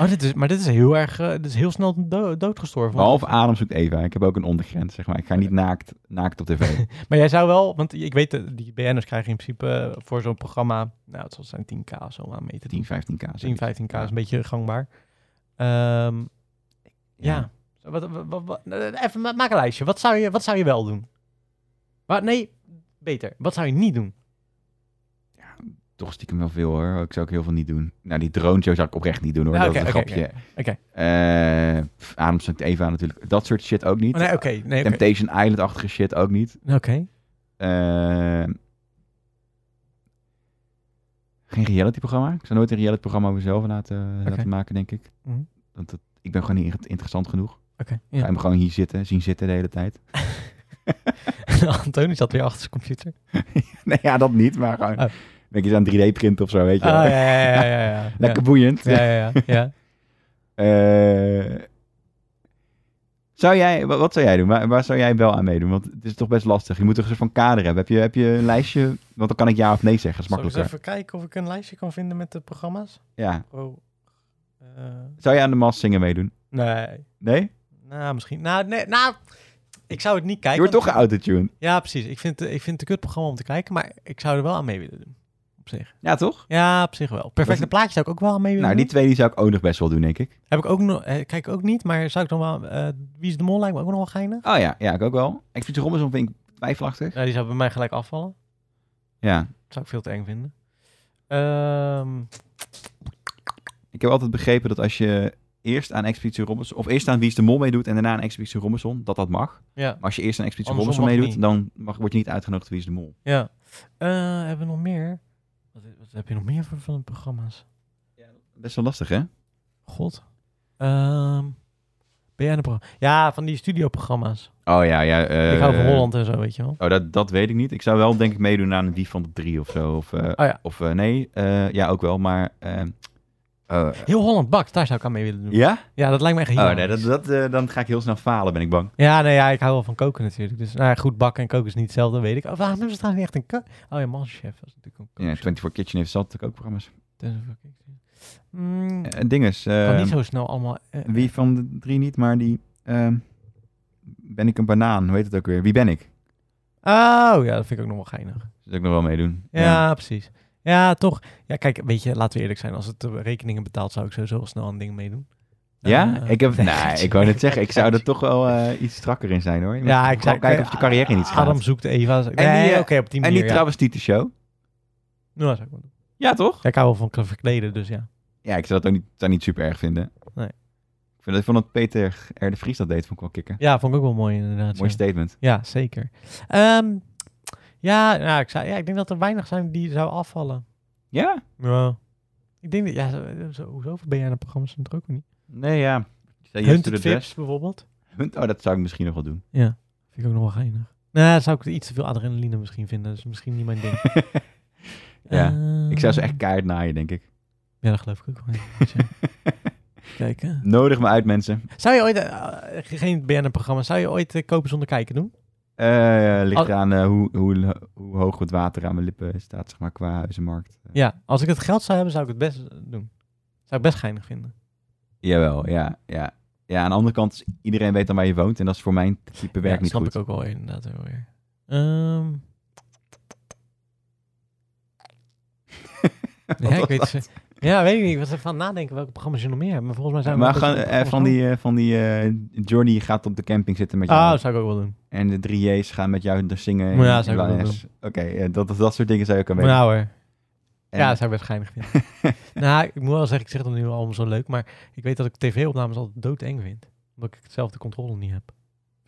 [SPEAKER 1] Oh, dit is, maar dit is heel erg, eh, dit is heel snel do- doodgestorven. want-
[SPEAKER 2] Behalve Adam zoekt Eva. Ik heb ook een ondergrens, zeg maar. Ik ga niet naakt, naakt op tv.
[SPEAKER 1] Maar jij zou wel, want ik weet, eh, die BN'ers krijgen in principe eh, voor zo'n programma, nou, het zal zijn 10k of zo aan mee te
[SPEAKER 2] 10,
[SPEAKER 1] doen.
[SPEAKER 2] 15k.
[SPEAKER 1] 10, 15k is
[SPEAKER 2] Ja.
[SPEAKER 1] een beetje gangbaar. Ehm, ja. Zo, Wat, wat, wat- wat- eh, even ma- maak een lijstje. Wat zou je, wat zou je wel doen? Maar, nee, beter. Wat zou je niet doen?
[SPEAKER 2] Toch stiekem wel veel, hoor. Ik zou ook heel veel niet doen. Nou, die drone show zou ik oprecht niet doen, hoor.
[SPEAKER 1] Ja,
[SPEAKER 2] dat
[SPEAKER 1] Ah, oké,
[SPEAKER 2] is een
[SPEAKER 1] oké,
[SPEAKER 2] grapje.
[SPEAKER 1] oké.
[SPEAKER 2] Eh, pff, Adam zoekt Eva natuurlijk. Dat soort shit ook niet.
[SPEAKER 1] Oh, nee, oké. nee, oké.
[SPEAKER 2] Temptation Island-achtige shit ook niet.
[SPEAKER 1] Oké.
[SPEAKER 2] Eh, geen reality-programma. Ik zou nooit een reality-programma over mezelf laten, laten maken, denk ik.
[SPEAKER 1] Mhm.
[SPEAKER 2] Want dat, ik ben gewoon niet inter- interessant genoeg. Ik
[SPEAKER 1] Oké.
[SPEAKER 2] ga
[SPEAKER 1] ja.
[SPEAKER 2] hem gewoon hier zitten, zien zitten de hele tijd.
[SPEAKER 1] Antonie zat weer achter zijn computer.
[SPEAKER 2] nee, ja, dat niet, maar gewoon...
[SPEAKER 1] Oh.
[SPEAKER 2] Denk je aan 3D-print of zo, weet je
[SPEAKER 1] Ah,
[SPEAKER 2] wel.
[SPEAKER 1] ja, ja, ja, ja, ja.
[SPEAKER 2] Lekker boeiend.
[SPEAKER 1] Ja, ja, ja. ja, ja.
[SPEAKER 2] Eh, zou jij, wa- wat zou jij doen? Waar, waar zou jij wel aan meedoen? Want het is toch best lastig. Je moet toch een soort van kader hebben. Heb je, heb je een lijstje? Want dan kan ik ja of nee zeggen. Dat is
[SPEAKER 1] Zal ik eens
[SPEAKER 2] makkelijker.
[SPEAKER 1] even kijken of ik een lijstje kan vinden met de programma's?
[SPEAKER 2] Ja.
[SPEAKER 1] Oh, eh,
[SPEAKER 2] Zou jij aan de Mask zingen meedoen?
[SPEAKER 1] nee.
[SPEAKER 2] Nee?
[SPEAKER 1] Nou, misschien. Nou, nee, nou, ik zou het niet kijken.
[SPEAKER 2] Je wordt toch
[SPEAKER 1] want-
[SPEAKER 2] geautotune.
[SPEAKER 1] Ja, precies. Ik vind, het- ik vind het een kut programma om te kijken, maar ik zou er wel aan mee willen doen. Op zich.
[SPEAKER 2] Ja, toch?
[SPEAKER 1] Ja, op zich wel. Perfecte
[SPEAKER 2] Dat-
[SPEAKER 1] plaatje zou ik ook wel aan mee willen
[SPEAKER 2] Nou, die
[SPEAKER 1] doen.
[SPEAKER 2] twee die zou ik ook nog best wel doen, denk ik.
[SPEAKER 1] Heb ik ook nog, eh, kijk ik ook niet, maar zou ik dan wel, eh, Wie is de Mol lijkt me ook nog wel geinig.
[SPEAKER 2] Oh ja, ja, ik ook wel. Expeditie Robinson vind ik twijfelachtig.
[SPEAKER 1] Ja, die zou bij mij gelijk afvallen.
[SPEAKER 2] Ja.
[SPEAKER 1] Dat zou ik veel te eng vinden. Ehm,
[SPEAKER 2] Ik heb altijd begrepen dat als je eerst aan Expeditie Robinson... of eerst aan Wie is de Mol meedoet en daarna aan Expeditie Robinson, dat dat mag.
[SPEAKER 1] ja,
[SPEAKER 2] Maar als je eerst aan Expeditie
[SPEAKER 1] Andersom
[SPEAKER 2] Robinson
[SPEAKER 1] mag
[SPEAKER 2] meedoet, dan mag, word je niet uitgenodigd Wie is de Mol.
[SPEAKER 1] ja. Eh, hebben we nog meer? Wat, wat heb je nog meer voor, van de programma's?
[SPEAKER 2] Best wel lastig, hè?
[SPEAKER 1] God. Ehm ben jij een programma? Ja, van die studioprogramma's.
[SPEAKER 2] Oh ja, ja. eh,
[SPEAKER 1] ik hou van Holland en zo, weet je wel.
[SPEAKER 2] Oh, dat, dat weet ik niet. Ik zou wel denk ik meedoen aan een dief van de drie of zo. Of, eh,
[SPEAKER 1] Oh ja.
[SPEAKER 2] of eh, nee, eh, ja ook wel, maar... eh, eh,
[SPEAKER 1] Heel Holland bakt, daar zou ik aan mee willen doen. Ja,
[SPEAKER 2] ja?
[SPEAKER 1] dat lijkt me echt heel
[SPEAKER 2] Oh nee, dat,
[SPEAKER 1] nice.
[SPEAKER 2] dat, eh, dan ga ik heel snel falen, ben ik bang.
[SPEAKER 1] Ja, nee, ja, ik hou wel van koken natuurlijk. Dus nou, ja, goed bakken en koken is niet hetzelfde, weet ik. Oh, waarom hebben ze trouwens niet echt een kok? Oh ja, Masterchef was natuurlijk Dus ook
[SPEAKER 2] Ja, 24 Kitchen heeft zat natuurlijk ook programma's.
[SPEAKER 1] Mm,
[SPEAKER 2] Eh dinges,
[SPEAKER 1] kan
[SPEAKER 2] eh,
[SPEAKER 1] niet zo snel allemaal... eh,
[SPEAKER 2] wie van de drie niet, maar die... ehm, ben ik een banaan? Hoe heet het ook weer? Wie ben ik?
[SPEAKER 1] Oh ja, dat vind ik ook nog wel geinig.
[SPEAKER 2] Dat zou ik nog wel meedoen.
[SPEAKER 1] Ja, precies. Ja, toch. Ja, kijk, weet je, laten we eerlijk zijn. Als het eh, rekeningen betaalt, zou ik sowieso wel snel aan dingen meedoen.
[SPEAKER 2] Ja?
[SPEAKER 1] Eh,
[SPEAKER 2] ik heb...
[SPEAKER 1] nee,
[SPEAKER 2] nee, ik wou net zeggen, ik zou er toch wel eh, iets strakker in zijn hoor. Je moet
[SPEAKER 1] Ja, ik
[SPEAKER 2] vooral
[SPEAKER 1] zou
[SPEAKER 2] kijken of je carrière niet schaadt.
[SPEAKER 1] Adam zoekt Eva. Nee,
[SPEAKER 2] die, eh,
[SPEAKER 1] oké, op die
[SPEAKER 2] En
[SPEAKER 1] manier.
[SPEAKER 2] die
[SPEAKER 1] ja.
[SPEAKER 2] travestiete show.
[SPEAKER 1] Nou, dat zou ik wel doen.
[SPEAKER 2] Ja, toch?
[SPEAKER 1] Ja, ik hou wel van k- verkleden, dus ja.
[SPEAKER 2] Ja, ik zou dat ook niet, zou niet super erg vinden.
[SPEAKER 1] Nee.
[SPEAKER 2] Ik vind dat van dat Peter R. de Vries dat deed, vond ik wel kicken.
[SPEAKER 1] Ja, vond ik ook wel mooi inderdaad.
[SPEAKER 2] Mooi
[SPEAKER 1] ja.
[SPEAKER 2] statement.
[SPEAKER 1] Ja, zeker. Ehm, ja, nou, ik zou, ja, ik denk dat er weinig zijn die zou afvallen.
[SPEAKER 2] Ja?
[SPEAKER 1] Ja. Ik denk dat, ja, zo, eh, zo, hoezo ben jij aan de programma's dan ook niet?
[SPEAKER 2] Nee, ja.
[SPEAKER 1] Hunt het Vips bijvoorbeeld.
[SPEAKER 2] Hunt, oh, dat zou ik misschien nog wel doen.
[SPEAKER 1] Ja, vind ik ook nog wel geinig. Nou, dan zou ik iets te veel adrenaline misschien vinden. Dat is misschien niet mijn ding.
[SPEAKER 2] Ja,
[SPEAKER 1] Ehm,
[SPEAKER 2] Ik zou ze echt keihard naaien, denk ik.
[SPEAKER 1] Ja, dat geloof ik ook wel. ja. Kijken.
[SPEAKER 2] Nodig me uit, mensen.
[SPEAKER 1] Zou je ooit, eh, geen BNN-programma, zou je ooit eh, kopen zonder kijken doen?
[SPEAKER 2] Eh ligt
[SPEAKER 1] Al-
[SPEAKER 2] eraan eh, hoe, hoe, hoe hoog het water aan mijn lippen staat, zeg maar, qua huizenmarkt. Eh,
[SPEAKER 1] Ja, als ik het geld zou hebben, zou ik het best eh, doen. Zou ik best geinig vinden.
[SPEAKER 2] Jawel, ja, ja. Ja, aan de andere kant, iedereen weet dan waar je woont. En dat is voor mijn type werk
[SPEAKER 1] ja,
[SPEAKER 2] niet
[SPEAKER 1] snap
[SPEAKER 2] goed.
[SPEAKER 1] ik ook wel inderdaad wel weer. Ehm, ja, ik
[SPEAKER 2] was
[SPEAKER 1] weet, ze- ja, weet ik niet. Ik was ervan nadenken welke programma's je nog meer hebt. Maar volgens mij zijn we
[SPEAKER 2] maar
[SPEAKER 1] wel
[SPEAKER 2] gewoon,
[SPEAKER 1] best wel
[SPEAKER 2] eh,
[SPEAKER 1] programma's
[SPEAKER 2] van die, eh, van die eh, Johnny gaat op de camping zitten met
[SPEAKER 1] aan. Ah,
[SPEAKER 2] jou.
[SPEAKER 1] dat zou ik ook wel doen.
[SPEAKER 2] En de drie J's gaan met jou zingen. in-
[SPEAKER 1] Ja,
[SPEAKER 2] in
[SPEAKER 1] zou ik ook
[SPEAKER 2] Lions. Oké, eh, dat, dat soort dingen zou je ook aan
[SPEAKER 1] Maar
[SPEAKER 2] weten.
[SPEAKER 1] nou hoor.
[SPEAKER 2] En-
[SPEAKER 1] Ja, dat zou ik best geinig vinden. nou, ik moet wel zeggen, ik zeg dat nu allemaal zo leuk. Maar ik weet dat ik tv-opnames altijd doodeng vind. Omdat ik zelf de controle niet heb.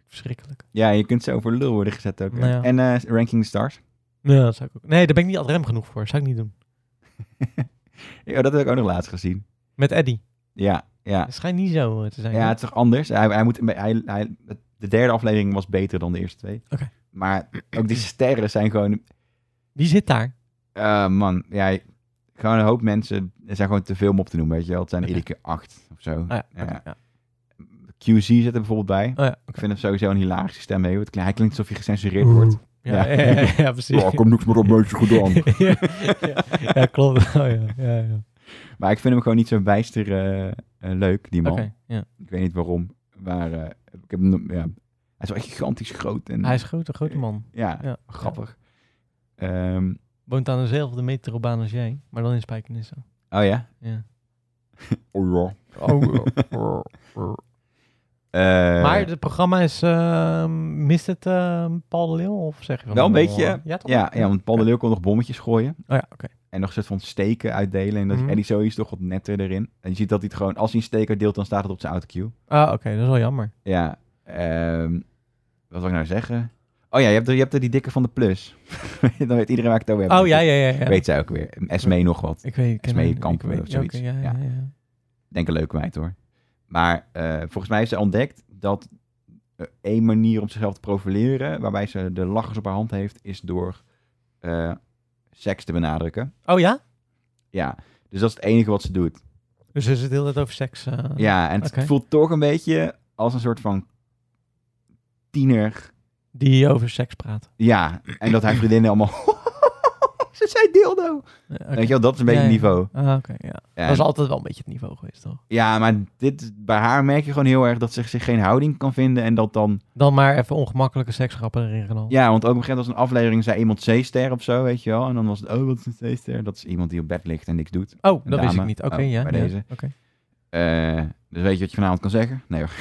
[SPEAKER 1] Verschrikkelijk.
[SPEAKER 2] ja, je kunt zo voor lul worden gezet ook. hè.
[SPEAKER 1] Nou ja.
[SPEAKER 2] En eh, Ranking the Stars.
[SPEAKER 1] Ja, dat zou ik ook. Nee, daar ben ik niet adrem genoeg voor. zou ik niet doen.
[SPEAKER 2] Ja, dat heb ik ook nog laatst gezien.
[SPEAKER 1] Met Eddie.
[SPEAKER 2] Ja, ja.
[SPEAKER 1] Het schijnt niet zo eh, te zijn.
[SPEAKER 2] Ja,
[SPEAKER 1] hoor.
[SPEAKER 2] het is toch anders? Hij, hij moet, hij, hij, de derde aflevering was beter dan de eerste twee.
[SPEAKER 1] Oké.
[SPEAKER 2] Maar ook die sterren zijn gewoon...
[SPEAKER 1] Die zit daar.
[SPEAKER 2] eh, man, ja, gewoon een hoop mensen. Er zijn gewoon te veel om op te noemen, weet je wel. Het zijn
[SPEAKER 1] Oké.
[SPEAKER 2] iedere keer acht of zo.
[SPEAKER 1] Ah, Oh ja,
[SPEAKER 2] Ja.
[SPEAKER 1] oké, ja.
[SPEAKER 2] QC zit er bijvoorbeeld bij.
[SPEAKER 1] Oh ja,
[SPEAKER 2] Ik
[SPEAKER 1] oké.
[SPEAKER 2] vind het sowieso een hilarisch systeem. Mee. want Hij klinkt alsof je gecensureerd wordt.
[SPEAKER 1] Ja,
[SPEAKER 2] Ja.
[SPEAKER 1] ja. ja, ja, precies.
[SPEAKER 2] Ja, Oh, niks meer op, meisje, goed aan.
[SPEAKER 1] ja, ja, ja, klopt. Oh, ja, ja, ja.
[SPEAKER 2] Maar ik vind hem gewoon niet zo bijster eh, eh, leuk, die
[SPEAKER 1] Oké,
[SPEAKER 2] man.
[SPEAKER 1] ja.
[SPEAKER 2] Ik weet niet waarom. Maar eh, ik heb, hem nog- ja, hij is wel echt gigantisch groot. En,
[SPEAKER 1] Hij is groot, een grote man.
[SPEAKER 2] ja,
[SPEAKER 1] Ja.
[SPEAKER 2] grappig. Ehm,
[SPEAKER 1] Woont aan dezelfde metrobaan als jij, maar dan in Spijkenisse.
[SPEAKER 2] oh ja?
[SPEAKER 1] Ja.
[SPEAKER 2] Oh ja.
[SPEAKER 1] Oh,
[SPEAKER 2] Eh,
[SPEAKER 1] maar het programma is, eh, mist het eh, Paul de Leeuw? Of zeg je van
[SPEAKER 2] Wel een
[SPEAKER 1] nou,
[SPEAKER 2] beetje,
[SPEAKER 1] eh, Ja, toch?
[SPEAKER 2] ja, ja, want Paul de Leeuw kon nog bommetjes gooien.
[SPEAKER 1] Oh ja, oké.
[SPEAKER 2] En nog een soort van steken uitdelen. En dat
[SPEAKER 1] Mhm.
[SPEAKER 2] Eddie Zoe is toch wat netter erin. En je ziet dat hij het gewoon... Als hij een steker deelt, dan staat het op zijn autocue.
[SPEAKER 1] Ah, oké, dat is wel jammer.
[SPEAKER 2] Ja. ehm, wat wil ik nou zeggen? Oh ja, je hebt er, je hebt er die dikke van de plus. dan weet iedereen waar ik het over heb.
[SPEAKER 1] Oh, ja, ja, ja. ja.
[SPEAKER 2] Weet zij ook weer. Esmee nog wat.
[SPEAKER 1] ik weet, ik ken
[SPEAKER 2] Smee
[SPEAKER 1] hem- ik
[SPEAKER 2] Kampen
[SPEAKER 1] weet-
[SPEAKER 2] of zoiets.
[SPEAKER 1] oké, ja,
[SPEAKER 2] Ja.
[SPEAKER 1] ja, ja.
[SPEAKER 2] Denk een leuke meid hoor. Maar eh, volgens mij heeft ze ontdekt dat eh, één manier om zichzelf te profileren... waarbij ze de lachers op haar hand heeft, is door eh, seks te benadrukken.
[SPEAKER 1] Oh ja?
[SPEAKER 2] Ja, dus dat is het enige wat ze doet.
[SPEAKER 1] Dus is het heel tijd over seks. eh,
[SPEAKER 2] Ja, en het
[SPEAKER 1] Oké.
[SPEAKER 2] voelt toch een beetje als een soort van tiener.
[SPEAKER 1] Die over seks praat.
[SPEAKER 2] Ja, en dat hij vriendinnen allemaal... ze zei dildo.
[SPEAKER 1] Ja, oké.
[SPEAKER 2] Weet je wel, dat is een beetje
[SPEAKER 1] Ja,
[SPEAKER 2] het
[SPEAKER 1] ja.
[SPEAKER 2] niveau.
[SPEAKER 1] Ah, oké, ja.
[SPEAKER 2] En-
[SPEAKER 1] Dat is altijd wel een beetje het niveau geweest, toch?
[SPEAKER 2] ja, maar dit, bij haar merk je gewoon heel erg dat ze zich geen houding kan vinden. En dat dan...
[SPEAKER 1] Dan maar even ongemakkelijke seksgrappen erin genomen.
[SPEAKER 2] Ja, want ook op een gegeven moment als een aflevering zei iemand C-ster of zo, weet je wel. En dan was het, oh, wat is een C-ster? Dat is iemand die op bed ligt en niks doet.
[SPEAKER 1] oh, dat
[SPEAKER 2] Een
[SPEAKER 1] wist ik
[SPEAKER 2] dame.
[SPEAKER 1] niet. Oké,
[SPEAKER 2] Oh,
[SPEAKER 1] ja.
[SPEAKER 2] bij
[SPEAKER 1] ja.
[SPEAKER 2] deze.
[SPEAKER 1] Oké.
[SPEAKER 2] Eh, dus weet je wat je vanavond kan zeggen? Nee hoor.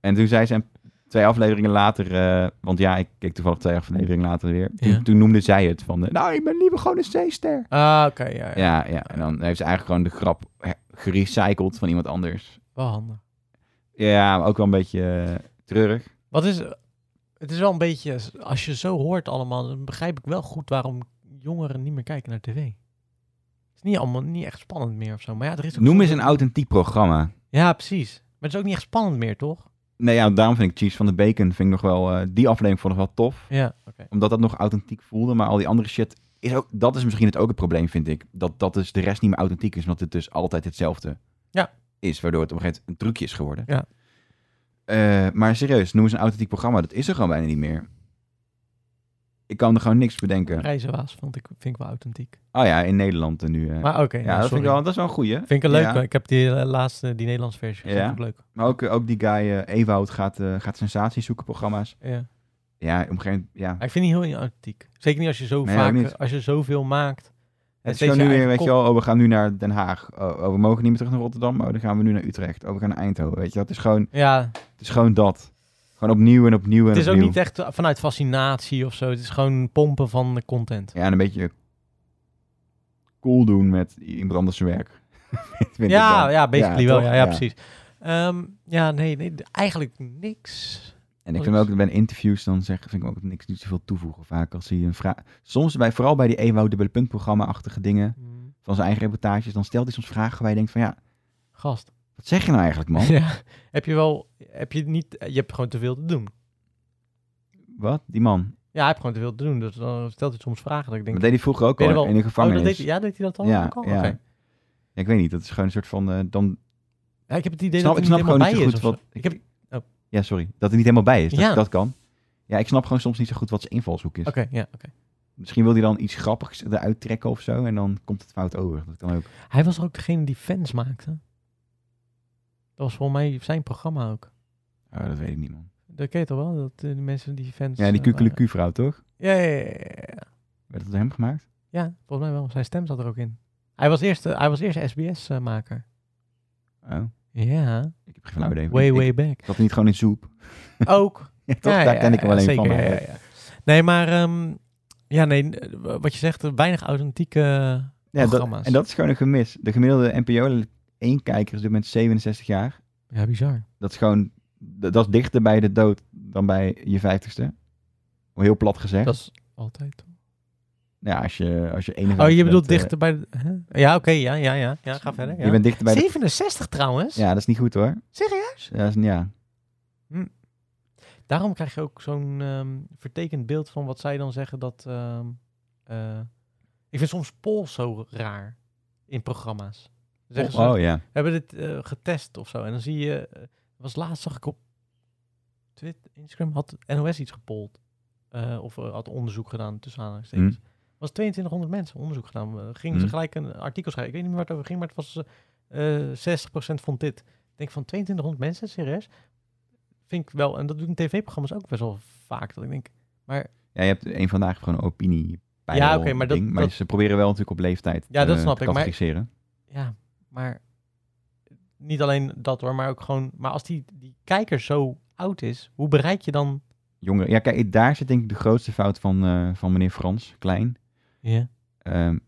[SPEAKER 2] en toen zei ze een- twee afleveringen later, eh, want ja, ik keek toevallig twee afleveringen later weer. Toen,
[SPEAKER 1] Ja.
[SPEAKER 2] toen noemde zij het van, eh, nou, ik ben liever gewoon een C-ster.
[SPEAKER 1] Ah, oké, ja, ja.
[SPEAKER 2] Ja, ja, en dan heeft ze eigenlijk gewoon de grap her- gerecycled van iemand anders.
[SPEAKER 1] Wel handig.
[SPEAKER 2] Ja, maar ook wel een beetje eh, treurig.
[SPEAKER 1] Wat is... Het is wel een beetje... Als je zo hoort allemaal, dan begrijp ik wel goed waarom jongeren niet meer kijken naar tv. Het is niet allemaal niet echt spannend meer of zo. Maar ja, er is ook
[SPEAKER 2] Noem eens
[SPEAKER 1] zoveel-
[SPEAKER 2] een authentiek programma.
[SPEAKER 1] Ja, precies. Maar het is ook niet echt spannend meer, toch?
[SPEAKER 2] Nee, ja, daarom vind ik Cheese van de Bacon, vind ik nog wel, eh, die aflevering vond ik nog wel tof.
[SPEAKER 1] Ja, oké.
[SPEAKER 2] Omdat dat nog authentiek voelde, maar al die andere shit is ook, dat is misschien het ook het probleem, vind ik. Dat, dat dus de rest niet meer authentiek is, omdat het dus altijd hetzelfde
[SPEAKER 1] Ja.
[SPEAKER 2] is. Waardoor het op een gegeven moment een trucje is geworden.
[SPEAKER 1] Ja.
[SPEAKER 2] Eh, maar serieus, noem eens een authentiek programma. Dat is er gewoon bijna niet meer. Ik kan er gewoon niks bedenken.
[SPEAKER 1] Reizenwaas vond ik, vind ik wel authentiek.
[SPEAKER 2] Oh ja, in Nederland eh, nu. eh.
[SPEAKER 1] Maar oké,
[SPEAKER 2] ja,
[SPEAKER 1] nou,
[SPEAKER 2] dat, vind
[SPEAKER 1] sorry.
[SPEAKER 2] ik wel, dat is wel een goeie.
[SPEAKER 1] Vind ik een leuk.
[SPEAKER 2] Ja.
[SPEAKER 1] Ik heb die eh, laatste, die Nederlandse versie.
[SPEAKER 2] Ja.
[SPEAKER 1] Ja. Vond ik leuk.
[SPEAKER 2] Maar ook, ook die guy eh, Ewout gaat, eh, gaat sensaties zoeken programma's.
[SPEAKER 1] Ja.
[SPEAKER 2] Ja, op een gegeven moment, ja.
[SPEAKER 1] Maar ik vind die heel authentiek. Zeker niet als je zo
[SPEAKER 2] Nee, ook
[SPEAKER 1] vaak,
[SPEAKER 2] niet.
[SPEAKER 1] als je zoveel maakt.
[SPEAKER 2] Het is
[SPEAKER 1] steeds
[SPEAKER 2] gewoon
[SPEAKER 1] je
[SPEAKER 2] nu weer,
[SPEAKER 1] eigen
[SPEAKER 2] weet je
[SPEAKER 1] kop.
[SPEAKER 2] wel, oh, we gaan nu naar Den Haag. Oh, oh, we mogen niet meer terug naar Rotterdam. Oh, dan gaan we nu naar Utrecht. Oh, we gaan naar Eindhoven. Weet je, wel. het is gewoon,
[SPEAKER 1] Ja,
[SPEAKER 2] het is gewoon dat. Gewoon opnieuw en opnieuw en
[SPEAKER 1] het is ook
[SPEAKER 2] opnieuw.
[SPEAKER 1] niet echt eh, vanuit fascinatie of zo. Het is gewoon pompen van de content.
[SPEAKER 2] Ja, en een beetje cool doen met iemand anders zijn werk. Vind ik
[SPEAKER 1] Ja,
[SPEAKER 2] dan.
[SPEAKER 1] ja, basically wel.
[SPEAKER 2] toch?
[SPEAKER 1] Ja, ja, precies. Ehm, ja, nee, nee, d- eigenlijk niks.
[SPEAKER 2] En ik vind ook, bij interviews dan zeg, vind ik ook niks niet zoveel toevoegen vaak. Als hij een vraag... Soms, bij, vooral bij die E Ewout dubbele punt programma-achtige dingen
[SPEAKER 1] Mm,
[SPEAKER 2] van zijn eigen reportages, dan stelt hij soms vragen waar je denkt van, ja,
[SPEAKER 1] Gast.
[SPEAKER 2] wat zeg je nou eigenlijk, man?
[SPEAKER 1] Ja. Heb je wel, heb je niet, eh, je hebt gewoon te veel te doen.
[SPEAKER 2] Wat? Die man.
[SPEAKER 1] Ja, hij heeft gewoon te veel te doen. Dus dan stelt hij soms vragen dat ik denk...
[SPEAKER 2] Dat deed hij vroeger ook
[SPEAKER 1] Ben je
[SPEAKER 2] al
[SPEAKER 1] wel-
[SPEAKER 2] in de gevangenis.
[SPEAKER 1] Oh, dat deed, hij- ja, deed hij dat dan
[SPEAKER 2] Ja,
[SPEAKER 1] ook al?
[SPEAKER 2] ja.
[SPEAKER 1] Oké.
[SPEAKER 2] Ja, ik weet niet, dat is gewoon een soort van... eh, dan,
[SPEAKER 1] Ja, ik heb het idee
[SPEAKER 2] snap, ik
[SPEAKER 1] dat hij
[SPEAKER 2] snap
[SPEAKER 1] niet
[SPEAKER 2] gewoon
[SPEAKER 1] helemaal
[SPEAKER 2] niet zo
[SPEAKER 1] bij
[SPEAKER 2] goed
[SPEAKER 1] is. of
[SPEAKER 2] wat...
[SPEAKER 1] zo. Ik heb, oké,
[SPEAKER 2] Ja, sorry. Dat hij niet helemaal bij is. Dat,
[SPEAKER 1] Ja.
[SPEAKER 2] dat kan. Ja, ik snap gewoon soms niet zo goed wat zijn invalshoek is.
[SPEAKER 1] ja, oké.
[SPEAKER 2] Misschien wil hij dan iets grappigs eruit trekken of zo. En dan komt het fout over. Dat kan ook.
[SPEAKER 1] Hij was ook degene die fans maakte. Dat was volgens mij zijn programma ook.
[SPEAKER 2] Oh, dat weet ik niet, man.
[SPEAKER 1] Dat ken je toch wel? Dat eh, de mensen die fans...
[SPEAKER 2] Ja, die
[SPEAKER 1] eh, waren.
[SPEAKER 2] kukkelekuvrouw, toch?
[SPEAKER 1] Ja, ja, ja, ja, ja.
[SPEAKER 2] Werd dat door hem gemaakt?
[SPEAKER 1] Ja, volgens mij wel. Zijn stem zat er ook in. Hij was eerst, eh, hij was eerst SBS-maker.
[SPEAKER 2] Oh,
[SPEAKER 1] Ja,
[SPEAKER 2] ik heb geen flauw idee.
[SPEAKER 1] way,
[SPEAKER 2] Ik-
[SPEAKER 1] way
[SPEAKER 2] Nou, Ik
[SPEAKER 1] back.
[SPEAKER 2] zat niet gewoon in zoep.
[SPEAKER 1] Ook.
[SPEAKER 2] Ja, toch? Daar ken ik hem alleen
[SPEAKER 1] zeker,
[SPEAKER 2] van.
[SPEAKER 1] ja, ja, ja. Nee, maar... ehm, ja, nee, eh, wat je zegt, eh, weinig authentieke...
[SPEAKER 2] Ja, dat,
[SPEAKER 1] Programma's.
[SPEAKER 2] en dat is gewoon een gemis. De gemiddelde NPO 1 kijker is op dit moment 67 jaar.
[SPEAKER 1] Ja, bizar.
[SPEAKER 2] Dat is gewoon... Dat dat is dichter bij de dood dan bij je 50ste. Heel plat gezegd.
[SPEAKER 1] Dat is altijd...
[SPEAKER 2] Ja, als je, als je 51
[SPEAKER 1] Oh, je bedoelt
[SPEAKER 2] bent, eh,
[SPEAKER 1] dichter bij de... hè? Ja, oké, ja, ja, ja. Ja, ga verder. Ja.
[SPEAKER 2] Je bent dichter bij de...
[SPEAKER 1] 67 trouwens?
[SPEAKER 2] Ja, dat is niet goed hoor.
[SPEAKER 1] Serieus?
[SPEAKER 2] Ja, dat is, ja.
[SPEAKER 1] Daarom krijg je ook zo'n ehm, vertekend beeld van wat zij dan zeggen dat... ehm, eh, ik vind soms Pol zo raar in programma's. Zeggen ze,
[SPEAKER 2] Oh ja.
[SPEAKER 1] We hebben dit eh, getest of zo. En dan zie je, eh, was laatst zag ik op Twitter, Instagram, had NOS iets gepold. Eh, of eh, had onderzoek gedaan tussen aanhalingstekens. was 2200 mensen onderzoek gedaan. Eh, gingen ze
[SPEAKER 2] Mm.
[SPEAKER 1] gelijk een artikel schrijven. Ik weet niet meer waar het over ging, maar het was eh eh 60% vond dit. Ik denk van 2200 mensen, serieus? Vind ik wel, en dat doen tv-programma's ook best wel vaak. Dat ik denk,
[SPEAKER 2] ja, je hebt een vandaag gewoon een opinie.
[SPEAKER 1] Ja, oké, maar dat-
[SPEAKER 2] ding, maar
[SPEAKER 1] dat-
[SPEAKER 2] ze proberen wel natuurlijk op leeftijd
[SPEAKER 1] Ja, dat
[SPEAKER 2] eh,
[SPEAKER 1] snap
[SPEAKER 2] te
[SPEAKER 1] ik, maar-
[SPEAKER 2] categoriseren.
[SPEAKER 1] Ja, maar niet alleen dat hoor, maar ook gewoon. Maar als die, die kijker zo oud is, hoe bereik je dan.
[SPEAKER 2] Jongeren, ja, kijk, daar zit denk ik de grootste fout van, eh, van meneer Frans Klein.
[SPEAKER 1] Ja.
[SPEAKER 2] Ehm,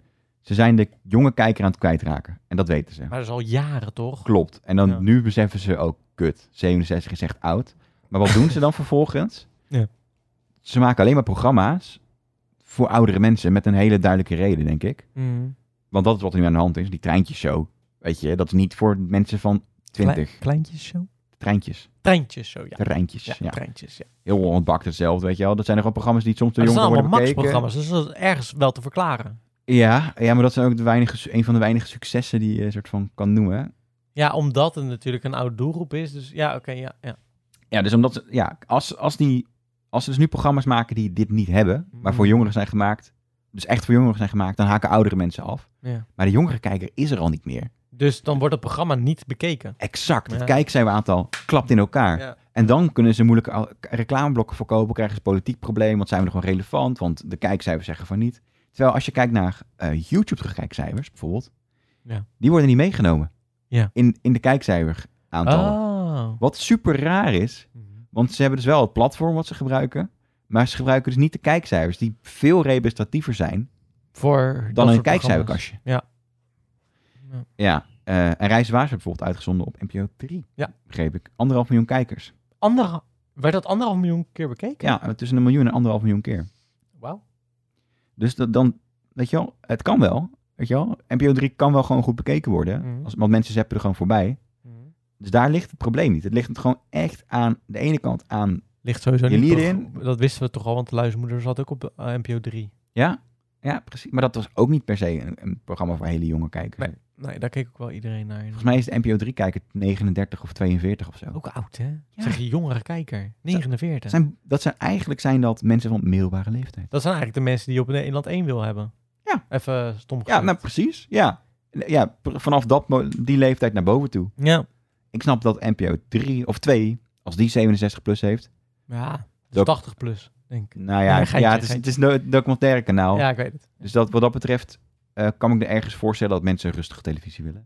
[SPEAKER 2] ze zijn de jonge kijker aan het kwijtraken. En dat weten ze.
[SPEAKER 1] Maar dat is al jaren toch?
[SPEAKER 2] Klopt. En dan
[SPEAKER 1] Ja.
[SPEAKER 2] nu beseffen ze ook, kut, 67 is echt oud. Maar wat doen ze dan vervolgens?
[SPEAKER 1] Ja.
[SPEAKER 2] Ze maken alleen maar programma's voor oudere mensen met een hele duidelijke reden, denk ik.
[SPEAKER 1] Mm.
[SPEAKER 2] Want dat is wat er nu aan de hand is. Die treintjesshow, weet je, dat is niet voor mensen van 20.
[SPEAKER 1] Klei- kleintjes zo?
[SPEAKER 2] Treintjes,
[SPEAKER 1] Treintjes zo, ja.
[SPEAKER 2] terreintjes.
[SPEAKER 1] Ja,
[SPEAKER 2] Ja,
[SPEAKER 1] treintjes. Ja.
[SPEAKER 2] Heel ontbakt hetzelfde, weet je wel. Dat zijn er gewoon programma's die soms de
[SPEAKER 1] Maar dat zijn
[SPEAKER 2] jongeren
[SPEAKER 1] allemaal
[SPEAKER 2] worden bekeken.
[SPEAKER 1] Max-programma's, dus dat is ergens wel te verklaren.
[SPEAKER 2] Ja, ja, maar dat zijn ook de weinige, su- een van de weinige successen die je eh, soort van kan noemen.
[SPEAKER 1] Ja, omdat het natuurlijk een oude doelgroep is. Dus ja, oké, ja, ja.
[SPEAKER 2] Ja, dus omdat ze, ja, als, als, die, als ze dus nu programma's maken die dit niet hebben, maar
[SPEAKER 1] Mhm.
[SPEAKER 2] voor jongeren zijn gemaakt, dus echt voor jongeren zijn gemaakt, dan haken oudere mensen af.
[SPEAKER 1] ja.
[SPEAKER 2] Maar de jongere kijker is er al niet meer.
[SPEAKER 1] Dus dan wordt het programma niet bekeken.
[SPEAKER 2] Exact. Het
[SPEAKER 1] Ja.
[SPEAKER 2] kijkcijferaantal klapt in elkaar.
[SPEAKER 1] Ja.
[SPEAKER 2] En dan kunnen ze moeilijke al- reclameblokken verkopen, krijgen ze politiek probleem, want zijn we nog wel relevant, want de kijkcijfers zeggen van niet. Terwijl als je kijkt naar eh, YouTube terugkijkcijfers bijvoorbeeld,
[SPEAKER 1] Ja.
[SPEAKER 2] die worden niet meegenomen
[SPEAKER 1] Ja.
[SPEAKER 2] in, in de kijkcijferaantallen.
[SPEAKER 1] Oh.
[SPEAKER 2] Wat super raar is,
[SPEAKER 1] Mhm.
[SPEAKER 2] Want ze hebben dus wel het platform wat ze gebruiken. Maar ze gebruiken dus niet de kijkcijfers, die veel representatiever zijn
[SPEAKER 1] Voor dat
[SPEAKER 2] dan een
[SPEAKER 1] soort
[SPEAKER 2] kijkcijferkastje.
[SPEAKER 1] programma's. Ja. Ja.
[SPEAKER 2] Ja, eh, en Reis Waars werd bijvoorbeeld uitgezonden op NPO 3.
[SPEAKER 1] Ja.
[SPEAKER 2] Begreep ik. Anderhalf miljoen kijkers.
[SPEAKER 1] Ander, werd dat anderhalf miljoen keer bekeken?
[SPEAKER 2] Ja, tussen een miljoen en anderhalf miljoen keer.
[SPEAKER 1] Wauw.
[SPEAKER 2] Dus dat, dan, weet je wel, het kan wel. Weet je wel, NPO 3 kan wel gewoon goed bekeken worden.
[SPEAKER 1] Mhm.
[SPEAKER 2] Als, want mensen zeppen er gewoon voorbij. Dus daar ligt het probleem niet. Het ligt het gewoon echt aan de ene kant aan,
[SPEAKER 1] Ligt sowieso
[SPEAKER 2] Je
[SPEAKER 1] niet.
[SPEAKER 2] liet
[SPEAKER 1] pro-
[SPEAKER 2] in.
[SPEAKER 1] Dat wisten we toch al, want de luistermoeder zat ook op de eh, NPO 3.
[SPEAKER 2] ja, ja, precies. Maar dat was ook niet per se een, een programma voor hele jonge kijkers.
[SPEAKER 1] Nee. Nee, daar keek ook wel iedereen naar.
[SPEAKER 2] Volgens mij is de NPO 3-kijker 39 of 42 of zo.
[SPEAKER 1] Ook oud, hè? Zeg je jongere kijker. 49.
[SPEAKER 2] Zijn, dat zijn, eigenlijk zijn dat mensen van middelbare leeftijd.
[SPEAKER 1] Dat zijn eigenlijk de mensen die je op Nederland 1 wil hebben.
[SPEAKER 2] Ja.
[SPEAKER 1] Even stom
[SPEAKER 2] Ja,
[SPEAKER 1] gezegd.
[SPEAKER 2] nou precies. Ja, ja pr- vanaf dat, mo- die leeftijd naar boven toe.
[SPEAKER 1] ja.
[SPEAKER 2] Ik snap dat NPO 3 of 2, als die 67 plus heeft.
[SPEAKER 1] Ja, dus
[SPEAKER 2] Doc-
[SPEAKER 1] 80 plus, denk ik.
[SPEAKER 2] Nou ja,
[SPEAKER 1] Nee, geintje,
[SPEAKER 2] ja het, is, het
[SPEAKER 1] geintje.
[SPEAKER 2] is een documentaire kanaal.
[SPEAKER 1] Ja, ik weet het.
[SPEAKER 2] Dus dat, wat dat betreft eh, kan ik me ergens voorstellen dat mensen rustig televisie willen.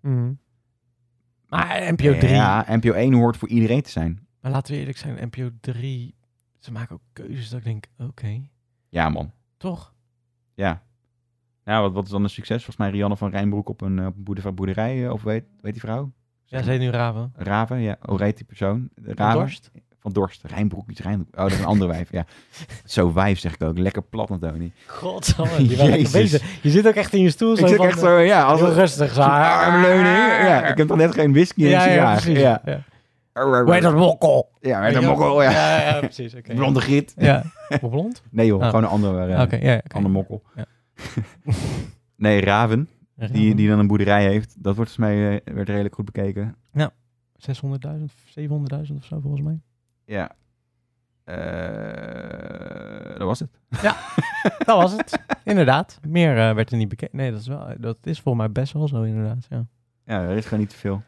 [SPEAKER 1] Maar NPO 3,
[SPEAKER 2] Ja, NPO 1 hoort voor iedereen te zijn.
[SPEAKER 1] maar laten we eerlijk zijn, NPO 3, ze maken ook keuzes dat ik denk, oké,
[SPEAKER 2] Ja man,
[SPEAKER 1] toch?
[SPEAKER 2] ja. Nou, wat, wat is dan een succes? Volgens mij Rianne van Rijnbroek op een eh, op een boerderij, boerderij eh, of weet, weet die vrouw?
[SPEAKER 1] Ja, ze heet nu Raven.
[SPEAKER 2] Raven, ja. Hoe heet die persoon? De
[SPEAKER 1] Van
[SPEAKER 2] Raven?
[SPEAKER 1] Dorst.
[SPEAKER 2] Van Dorst. Rijnbroek, iets Rijnbroek. Oh, dat is een andere wijf, ja. Zo wijf zeg ik ook. Lekker plat, Antoni.
[SPEAKER 1] Godsamme, die waren lekker
[SPEAKER 2] Jezus.
[SPEAKER 1] bezig. Je zit ook echt in je stoel zo van, eh,
[SPEAKER 2] ja,
[SPEAKER 1] heel rustig zo.
[SPEAKER 2] zo'n armleuning. Ja, ik heb toch net geen whisky en
[SPEAKER 1] ja,
[SPEAKER 2] sigaar.
[SPEAKER 1] ja, precies.
[SPEAKER 2] Ja,
[SPEAKER 1] Ja. Hoe heet dat mokkel?
[SPEAKER 2] ja met
[SPEAKER 1] Weet
[SPEAKER 2] een
[SPEAKER 1] je wel?
[SPEAKER 2] mokkel, ja.
[SPEAKER 1] Ja, ja, precies. oké.
[SPEAKER 2] Blonde git.
[SPEAKER 1] Ja. Blond?
[SPEAKER 2] Nee joh,
[SPEAKER 1] Oh.
[SPEAKER 2] gewoon een andere, eh,
[SPEAKER 1] Oké, ja. oké.
[SPEAKER 2] andere mokkel.
[SPEAKER 1] Ja.
[SPEAKER 2] nee, Raven, die, die dan een boerderij heeft. Dat wordt volgens mij eh, werd redelijk goed bekeken.
[SPEAKER 1] 600.000, 700.000 of zo volgens mij.
[SPEAKER 2] Ja. Eh, dat was het.
[SPEAKER 1] Dat was het. inderdaad. Meer eh, werd er niet bekend. Nee, dat is, wel, dat is volgens mij best wel zo inderdaad, ja.
[SPEAKER 2] Ja, er is gewoon niet te veel.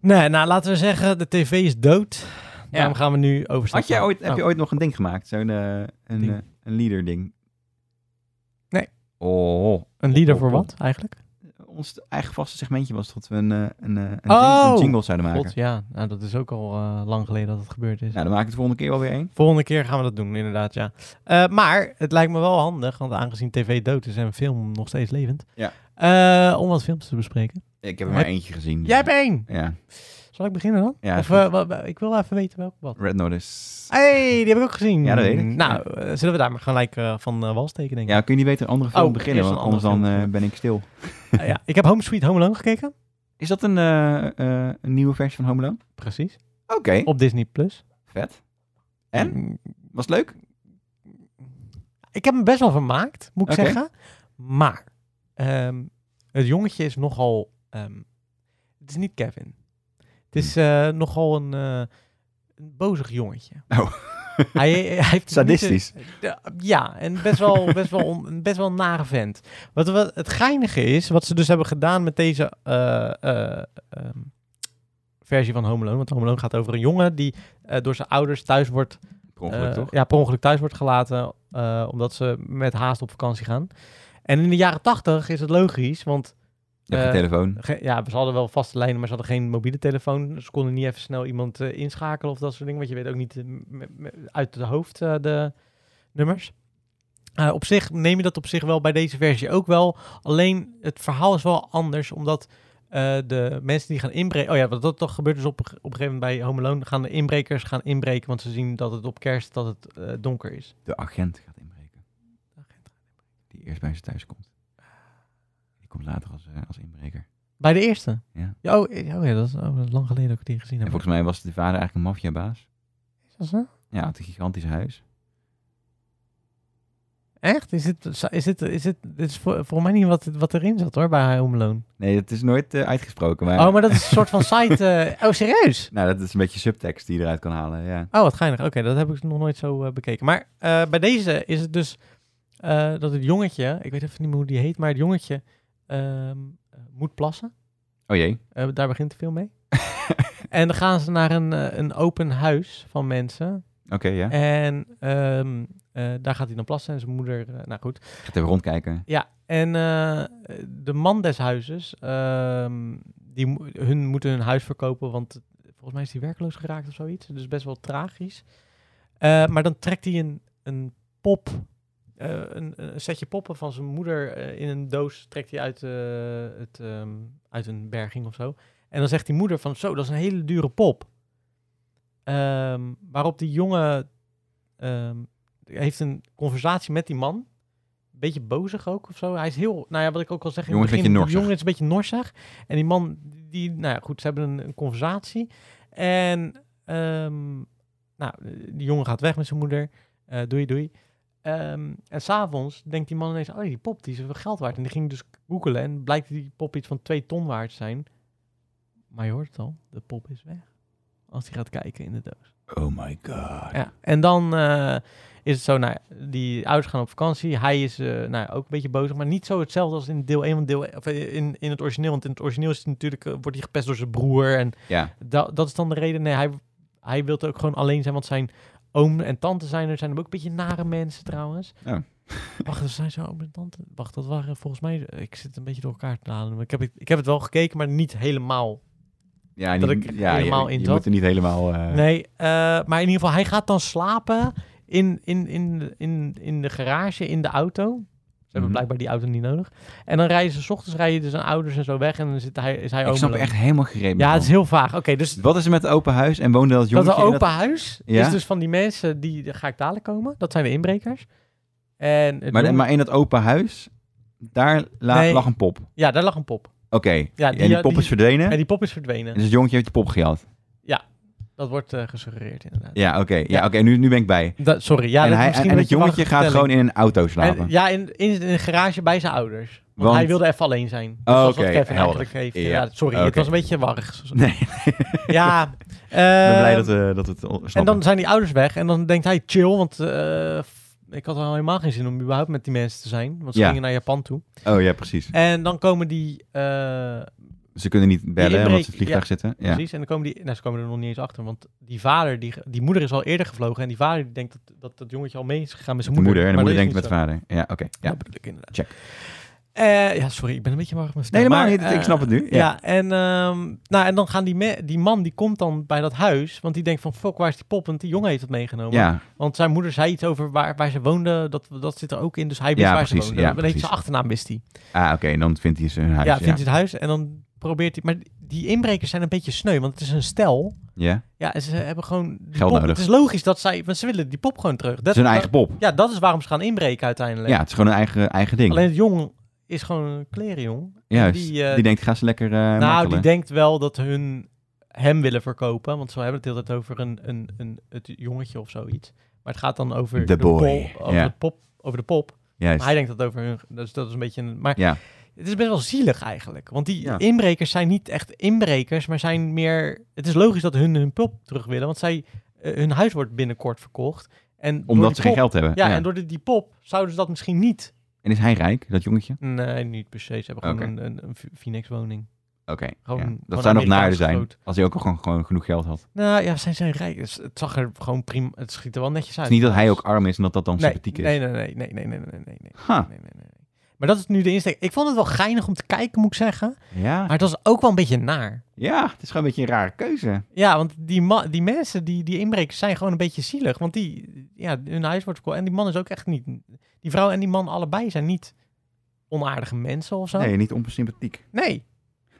[SPEAKER 1] Nee, nou laten we zeggen, de tv is dood. Daarom gaan we nu overstappen.
[SPEAKER 2] Had jij ooit, heb
[SPEAKER 1] Oh.
[SPEAKER 2] je ooit nog een ding gemaakt? Zo'n eh, een,
[SPEAKER 1] Ding?
[SPEAKER 2] eh, een leader ding?
[SPEAKER 1] Nee.
[SPEAKER 2] Oh.
[SPEAKER 1] Een leader voor
[SPEAKER 2] Oh, oh.
[SPEAKER 1] wat eigenlijk?
[SPEAKER 2] Ons eigen vaste segmentje was dat we een, eh, een, eh, een, jing-
[SPEAKER 1] Oh!
[SPEAKER 2] een jingle zouden maken.
[SPEAKER 1] God, ja. Nou, dat is ook al eh, lang geleden dat het gebeurd is.
[SPEAKER 2] Nou, dan maak ik het volgende keer wel weer één.
[SPEAKER 1] Volgende keer gaan we dat doen, inderdaad, ja. Eh, maar het lijkt me wel handig, want aangezien tv dood is en film nog steeds levend,
[SPEAKER 2] Ja.
[SPEAKER 1] eh, om wat films te bespreken.
[SPEAKER 2] Ik heb er
[SPEAKER 1] Heb-
[SPEAKER 2] maar eentje gezien.
[SPEAKER 1] Jij hebt één!
[SPEAKER 2] Ja,
[SPEAKER 1] Zal ik beginnen dan?
[SPEAKER 2] Ja,
[SPEAKER 1] of,
[SPEAKER 2] goed.
[SPEAKER 1] eh, wa- wa- ik wil even weten welk wat.
[SPEAKER 2] Red Notice.
[SPEAKER 1] hey, die heb ik ook gezien.
[SPEAKER 2] Ja, dat weet ik.
[SPEAKER 1] Nou, eh, zullen we daar maar gelijk eh, van eh, wal steken, denk ik.
[SPEAKER 2] Ja, kun je niet beter een andere film
[SPEAKER 1] Oh,
[SPEAKER 2] beginnen?
[SPEAKER 1] eerst
[SPEAKER 2] Want
[SPEAKER 1] een
[SPEAKER 2] anders
[SPEAKER 1] andere
[SPEAKER 2] dan
[SPEAKER 1] film
[SPEAKER 2] eh,
[SPEAKER 1] beginnen.
[SPEAKER 2] ben ik stil.
[SPEAKER 1] Eh, ja. Ik heb Home Sweet Home Alone gekeken.
[SPEAKER 2] Is dat een, eh, eh, een nieuwe versie van Home Alone?
[SPEAKER 1] Precies.
[SPEAKER 2] Oké,
[SPEAKER 1] Op Disney+. Plus. Mm,
[SPEAKER 2] vet. En? Was het leuk?
[SPEAKER 1] Ik heb hem best wel vermaakt, moet ik
[SPEAKER 2] Oké.
[SPEAKER 1] zeggen. Maar ehm, het jongetje is nogal... ehm, Het is niet Kevin. Het
[SPEAKER 2] Hm.
[SPEAKER 1] is eh, nogal een, eh, een bozig jongetje.
[SPEAKER 2] Oh.
[SPEAKER 1] Hij, hij heeft het niet zo-
[SPEAKER 2] Sadistisch.
[SPEAKER 1] Ja, Ja, en best wel, best wel, on- een best wel een nare vent. Wat, wat het geinige is, wat ze dus hebben gedaan met deze eh, eh, ehm, versie van Home Alone. Want Home Alone gaat over een jongen die eh, door zijn ouders thuis wordt...
[SPEAKER 2] Per ongeluk,
[SPEAKER 1] eh,
[SPEAKER 2] toch?
[SPEAKER 1] Ja, per ongeluk thuis wordt gelaten, eh, omdat ze met haast op vakantie gaan. En in de jaren tachtig is het logisch, want
[SPEAKER 2] Je hebt
[SPEAKER 1] eh,
[SPEAKER 2] geen telefoon.
[SPEAKER 1] Ge- Ja, ze hadden wel vaste lijnen, maar ze hadden geen mobiele telefoon. Ze konden niet even snel iemand eh, inschakelen of dat soort dingen. Want je weet ook niet eh, m- m- uit het hoofd eh, de nummers. Eh, op zich neem je dat op zich wel bij deze versie ook wel. Alleen het verhaal is wel anders, omdat eh, de mensen die gaan inbreken... Oh ja, want dat, dat gebeurt dus op, op een gegeven moment bij Home Alone. Gaan de inbrekers gaan inbreken, want ze zien dat het op kerst dat het eh, donker is.
[SPEAKER 2] De agent gaat inbreken. Die eerst bij ze thuis komt. Die komt later als, eh, als inbreker.
[SPEAKER 1] Bij de eerste?
[SPEAKER 2] Ja.
[SPEAKER 1] oh, eh, oh ja, dat is, oh, dat is lang geleden dat ik die gezien
[SPEAKER 2] En
[SPEAKER 1] heb.
[SPEAKER 2] volgens mij was de vader eigenlijk een maffiabaas.
[SPEAKER 1] Is dat zo?
[SPEAKER 2] Ja, had een gigantisch huis.
[SPEAKER 1] Echt? Is dit, is dit, is dit, dit is voor, voor mij niet wat, wat erin zat hoor, bij Home Alone.
[SPEAKER 2] Nee, dat is nooit eh, uitgesproken. Maar,
[SPEAKER 1] Oh, maar dat is een soort van site... eh, oh, serieus?
[SPEAKER 2] Nou, dat is een beetje subtekst die je eruit kan halen, ja.
[SPEAKER 1] Oh, wat geinig. Oké, dat heb ik nog nooit zo eh, bekeken. Maar eh, bij deze is het dus eh, dat het jongetje, ik weet even niet meer hoe die heet, maar het jongetje ehm, eh, moet plassen.
[SPEAKER 2] Oh jee.
[SPEAKER 1] Eh, daar begint de film mee. en dan gaan ze naar een, eh, een open huis van mensen.
[SPEAKER 2] Oké, ja.
[SPEAKER 1] Eh. En ehm, eh, daar gaat hij dan plassen en zijn moeder... eh, nou goed,
[SPEAKER 2] Ik ga het even rondkijken.
[SPEAKER 1] Ja, en eh, de man des huizes, ehm, die mo- hun moeten hun huis verkopen, want volgens mij is hij werkloos geraakt of zoiets. Dus best wel tragisch. Eh, maar dan trekt hij een, een pop, eh, een, een setje poppen van zijn moeder eh, in een doos, trekt hij uit, eh, het, ehm, uit een berging of zo. En dan zegt die moeder van, zo, dat is een hele dure pop. Ehm, waarop die jongen ehm, heeft een conversatie met die man. Beetje bozig ook of zo. Hij is heel, nou ja, wat ik ook al zeg. in het
[SPEAKER 2] Jongen is een
[SPEAKER 1] begin,
[SPEAKER 2] beetje
[SPEAKER 1] die
[SPEAKER 2] norsig.
[SPEAKER 1] jongen is een beetje norsig. En die man, die, nou ja, goed, ze hebben een, een conversatie. En, ehm, nou, die jongen gaat weg met zijn moeder. Eh, doei, doei. Ehm, en s'avonds denkt die man ineens, oh, die pop, die is wel geld waard. En die ging dus googelen en blijkt die pop iets van 2 ton waard te zijn. Maar je hoort het al, de pop is weg. Als hij gaat kijken in de doos.
[SPEAKER 2] Oh my god.
[SPEAKER 1] Ja. En dan eh, is het zo, nou, ja, die ouders gaan op vakantie. Hij is eh, nou, ja, ook een beetje bozig, maar niet zo hetzelfde als in deel 1 van deel, e- of in, in het origineel. Want in het origineel is het natuurlijk, eh, wordt hij gepest door zijn broer. En
[SPEAKER 2] Ja,
[SPEAKER 1] da- dat is dan de reden. Nee, hij, hij wil ook gewoon alleen zijn, want zijn oom en tante zijn er. Zijn hem ook een beetje nare mensen trouwens.
[SPEAKER 2] Oh.
[SPEAKER 1] Wacht, dat zijn zijn oom en tante. Wacht, dat waren volgens mij. Ik zit een beetje door elkaar te halen. maar Ik heb, het- ik heb het wel gekeken, maar niet helemaal
[SPEAKER 2] ja,
[SPEAKER 1] Dat
[SPEAKER 2] niet-
[SPEAKER 1] ik er
[SPEAKER 2] ja, je-
[SPEAKER 1] helemaal
[SPEAKER 2] je,
[SPEAKER 1] in zat.
[SPEAKER 2] moet er niet helemaal... eh,
[SPEAKER 1] Nee, eh, maar in ieder geval, hij gaat dan slapen in, in, in, in, in de garage, in de auto. Ze hebben
[SPEAKER 2] Mhm.
[SPEAKER 1] blijkbaar die auto niet nodig. En dan rijden ze, 's ochtends rijden dus zijn ouders en zo weg en dan zit hij, is hij
[SPEAKER 2] Ik snap
[SPEAKER 1] omeloos.
[SPEAKER 2] er echt helemaal gereed
[SPEAKER 1] oh, Ja, het is heel vaag. Oké, dus
[SPEAKER 2] Wat is er met het open huis en woonde dat
[SPEAKER 1] dat
[SPEAKER 2] jongetje
[SPEAKER 1] een
[SPEAKER 2] in
[SPEAKER 1] open huis
[SPEAKER 2] Ja.
[SPEAKER 1] is dus van die mensen, die daar ga ik dadelijk komen. Dat zijn de inbrekers. En het
[SPEAKER 2] Maar,
[SPEAKER 1] jongetje-
[SPEAKER 2] maar in dat open huis, daar la-
[SPEAKER 1] Nee.
[SPEAKER 2] lag een pop. Oké,
[SPEAKER 1] Ja, daar lag een pop. Ja, die-
[SPEAKER 2] en die
[SPEAKER 1] ja,
[SPEAKER 2] pop
[SPEAKER 1] die-
[SPEAKER 2] is verdwenen.
[SPEAKER 1] En
[SPEAKER 2] En
[SPEAKER 1] die pop is verdwenen.
[SPEAKER 2] dus het jongetje heeft de pop gehad.
[SPEAKER 1] Dat wordt eh, gesuggereerd inderdaad.
[SPEAKER 2] Ja, oké. ja,
[SPEAKER 1] Ja.
[SPEAKER 2] oké, nu, nu ben ik bij.
[SPEAKER 1] Da- sorry, ja.
[SPEAKER 2] en
[SPEAKER 1] dat
[SPEAKER 2] hij,
[SPEAKER 1] misschien
[SPEAKER 2] en
[SPEAKER 1] moet
[SPEAKER 2] het
[SPEAKER 1] je wachten
[SPEAKER 2] jongetje gaat
[SPEAKER 1] vertellen.
[SPEAKER 2] gewoon in een auto slapen.
[SPEAKER 1] En, ja, in, in, in een garage bij zijn ouders. Want,
[SPEAKER 2] Want-
[SPEAKER 1] hij wilde even alleen zijn. Dus
[SPEAKER 2] Oh,
[SPEAKER 1] dat is
[SPEAKER 2] oké,
[SPEAKER 1] wat Kevin
[SPEAKER 2] helder.
[SPEAKER 1] eigenlijk heeft.
[SPEAKER 2] Ja.
[SPEAKER 1] Ja. sorry, het
[SPEAKER 2] Oké.
[SPEAKER 1] was een beetje warrig.
[SPEAKER 2] Nee, ik
[SPEAKER 1] Ja,
[SPEAKER 2] ben blij
[SPEAKER 1] ehm,
[SPEAKER 2] dat, we dat we het on-
[SPEAKER 1] en
[SPEAKER 2] snappen.
[SPEAKER 1] dan zijn die ouders weg en dan denkt hij chill, want eh, f- ik had al helemaal geen zin om überhaupt met die mensen te zijn, want ze
[SPEAKER 2] Ja.
[SPEAKER 1] gingen naar Japan toe.
[SPEAKER 2] Oh ja, precies.
[SPEAKER 1] En dan komen die, eh,
[SPEAKER 2] Ze kunnen niet bellen
[SPEAKER 1] inbreek-
[SPEAKER 2] omdat ze in het vliegtuig zitten. Ja.
[SPEAKER 1] precies, en dan komen die, nou ze komen er nog niet eens achter, want die vader, die, die moeder is al eerder gevlogen en die vader die denkt dat dat, dat jongetje al mee is gegaan met
[SPEAKER 2] De
[SPEAKER 1] zijn
[SPEAKER 2] moeder.
[SPEAKER 1] moeder.
[SPEAKER 2] En de
[SPEAKER 1] maar
[SPEAKER 2] moeder
[SPEAKER 1] dat
[SPEAKER 2] denkt
[SPEAKER 1] is
[SPEAKER 2] met de
[SPEAKER 1] niet
[SPEAKER 2] vader. Ja, oké.
[SPEAKER 1] zo.
[SPEAKER 2] Ja.
[SPEAKER 1] Dat bedoel ik inderdaad.
[SPEAKER 2] Check.
[SPEAKER 1] Eh, ja, sorry, ik ben een beetje warm.
[SPEAKER 2] Nee, helemaal niet.
[SPEAKER 1] eh,
[SPEAKER 2] Ik snap het nu. Ja.
[SPEAKER 1] Ja, en, ehm, nou, en dan gaan die, me- die man die komt dan bij dat huis. Want die denkt van fuck, waar is die pop? Want die jongen heeft het meegenomen.
[SPEAKER 2] Ja,
[SPEAKER 1] Want zijn moeder zei iets over waar, waar ze woonde. Dat, dat zit er ook in. Dus hij wist
[SPEAKER 2] Ja,
[SPEAKER 1] waar
[SPEAKER 2] precies,
[SPEAKER 1] ze woonde.
[SPEAKER 2] ja,
[SPEAKER 1] Dan weet je,
[SPEAKER 2] precies.
[SPEAKER 1] zijn achternaam wist hij.
[SPEAKER 2] ah, oké. En dan vindt hij zijn huis.
[SPEAKER 1] ja, vindt hij het huis. En dan probeert hij. Maar die inbrekers zijn een beetje sneu. Want het is een stel.
[SPEAKER 2] Ja.
[SPEAKER 1] Ja, en ze hebben gewoon. die
[SPEAKER 2] Geld
[SPEAKER 1] pop.
[SPEAKER 2] nodig.
[SPEAKER 1] Het is logisch dat zij. Want ze willen die pop gewoon terug. Dat,
[SPEAKER 2] Zijn eigen pop.
[SPEAKER 1] Ja, dat is waarom ze gaan inbreken uiteindelijk.
[SPEAKER 2] Ja, het is gewoon een eigen, eigen ding.
[SPEAKER 1] Alleen het jong is gewoon een klerenjong.
[SPEAKER 2] Juist.
[SPEAKER 1] die,
[SPEAKER 2] Die,
[SPEAKER 1] eh,
[SPEAKER 2] denkt, ga ze lekker eh
[SPEAKER 1] Nou, die
[SPEAKER 2] martelen.
[SPEAKER 1] denkt wel dat hun hem willen verkopen. Want ze hebben het de hele tijd over een, een, een, het jongetje of zoiets. Maar het gaat dan over
[SPEAKER 2] The
[SPEAKER 1] de
[SPEAKER 2] boy,
[SPEAKER 1] pol- over,
[SPEAKER 2] ja.
[SPEAKER 1] het pop, over de pop.
[SPEAKER 2] Juist.
[SPEAKER 1] Maar hij denkt dat het over hun... Dus dat is een beetje een... Maar
[SPEAKER 2] Ja.
[SPEAKER 1] Het is best wel zielig eigenlijk. Want die
[SPEAKER 2] Ja.
[SPEAKER 1] inbrekers zijn niet echt inbrekers, maar zijn meer... Het is logisch dat hun hun pulp terug willen, want zij, eh, hun huis wordt binnenkort verkocht. En door
[SPEAKER 2] Omdat
[SPEAKER 1] die
[SPEAKER 2] ze geen
[SPEAKER 1] pop-
[SPEAKER 2] geld hebben.
[SPEAKER 1] Ja, en door die, die pop zouden ze dat misschien niet...
[SPEAKER 2] En is hij rijk, dat jongetje?
[SPEAKER 1] Nee, niet per se. Ze hebben gewoon
[SPEAKER 2] Oké.
[SPEAKER 1] een, een, een Phoenix woning.
[SPEAKER 2] Oké.
[SPEAKER 1] Gewoon-
[SPEAKER 2] ja.
[SPEAKER 1] gewoon
[SPEAKER 2] Dat zou nog naarder
[SPEAKER 1] Amerikaans
[SPEAKER 2] zijn.
[SPEAKER 1] groot.
[SPEAKER 2] Als hij ook al gewoon, gewoon genoeg geld had.
[SPEAKER 1] Nou ja, zijn zijn rijk. Dus Het zag er gewoon prima... Het schiet er wel netjes
[SPEAKER 2] Het
[SPEAKER 1] uit.
[SPEAKER 2] is niet dat hij ook arm is en dat dat dan
[SPEAKER 1] nee,
[SPEAKER 2] sympathiek is.
[SPEAKER 1] nee, nee, nee, nee, nee, nee, nee, nee, nee.
[SPEAKER 2] Ha.
[SPEAKER 1] nee, nee, nee. Maar dat is nu de insteek. Ik vond het wel geinig om te kijken, moet ik zeggen.
[SPEAKER 2] Ja.
[SPEAKER 1] Maar dat is ook wel een beetje naar.
[SPEAKER 2] ja, het is gewoon een beetje een rare keuze.
[SPEAKER 1] Ja, want die, ma- die mensen, die, die inbrekers, zijn gewoon een beetje zielig. Want die, ja, hun huis wordt verkocht. En die man is ook echt niet... Die vrouw en die man allebei zijn niet onaardige mensen of zo.
[SPEAKER 2] Nee, niet onsympathiek.
[SPEAKER 1] Nee.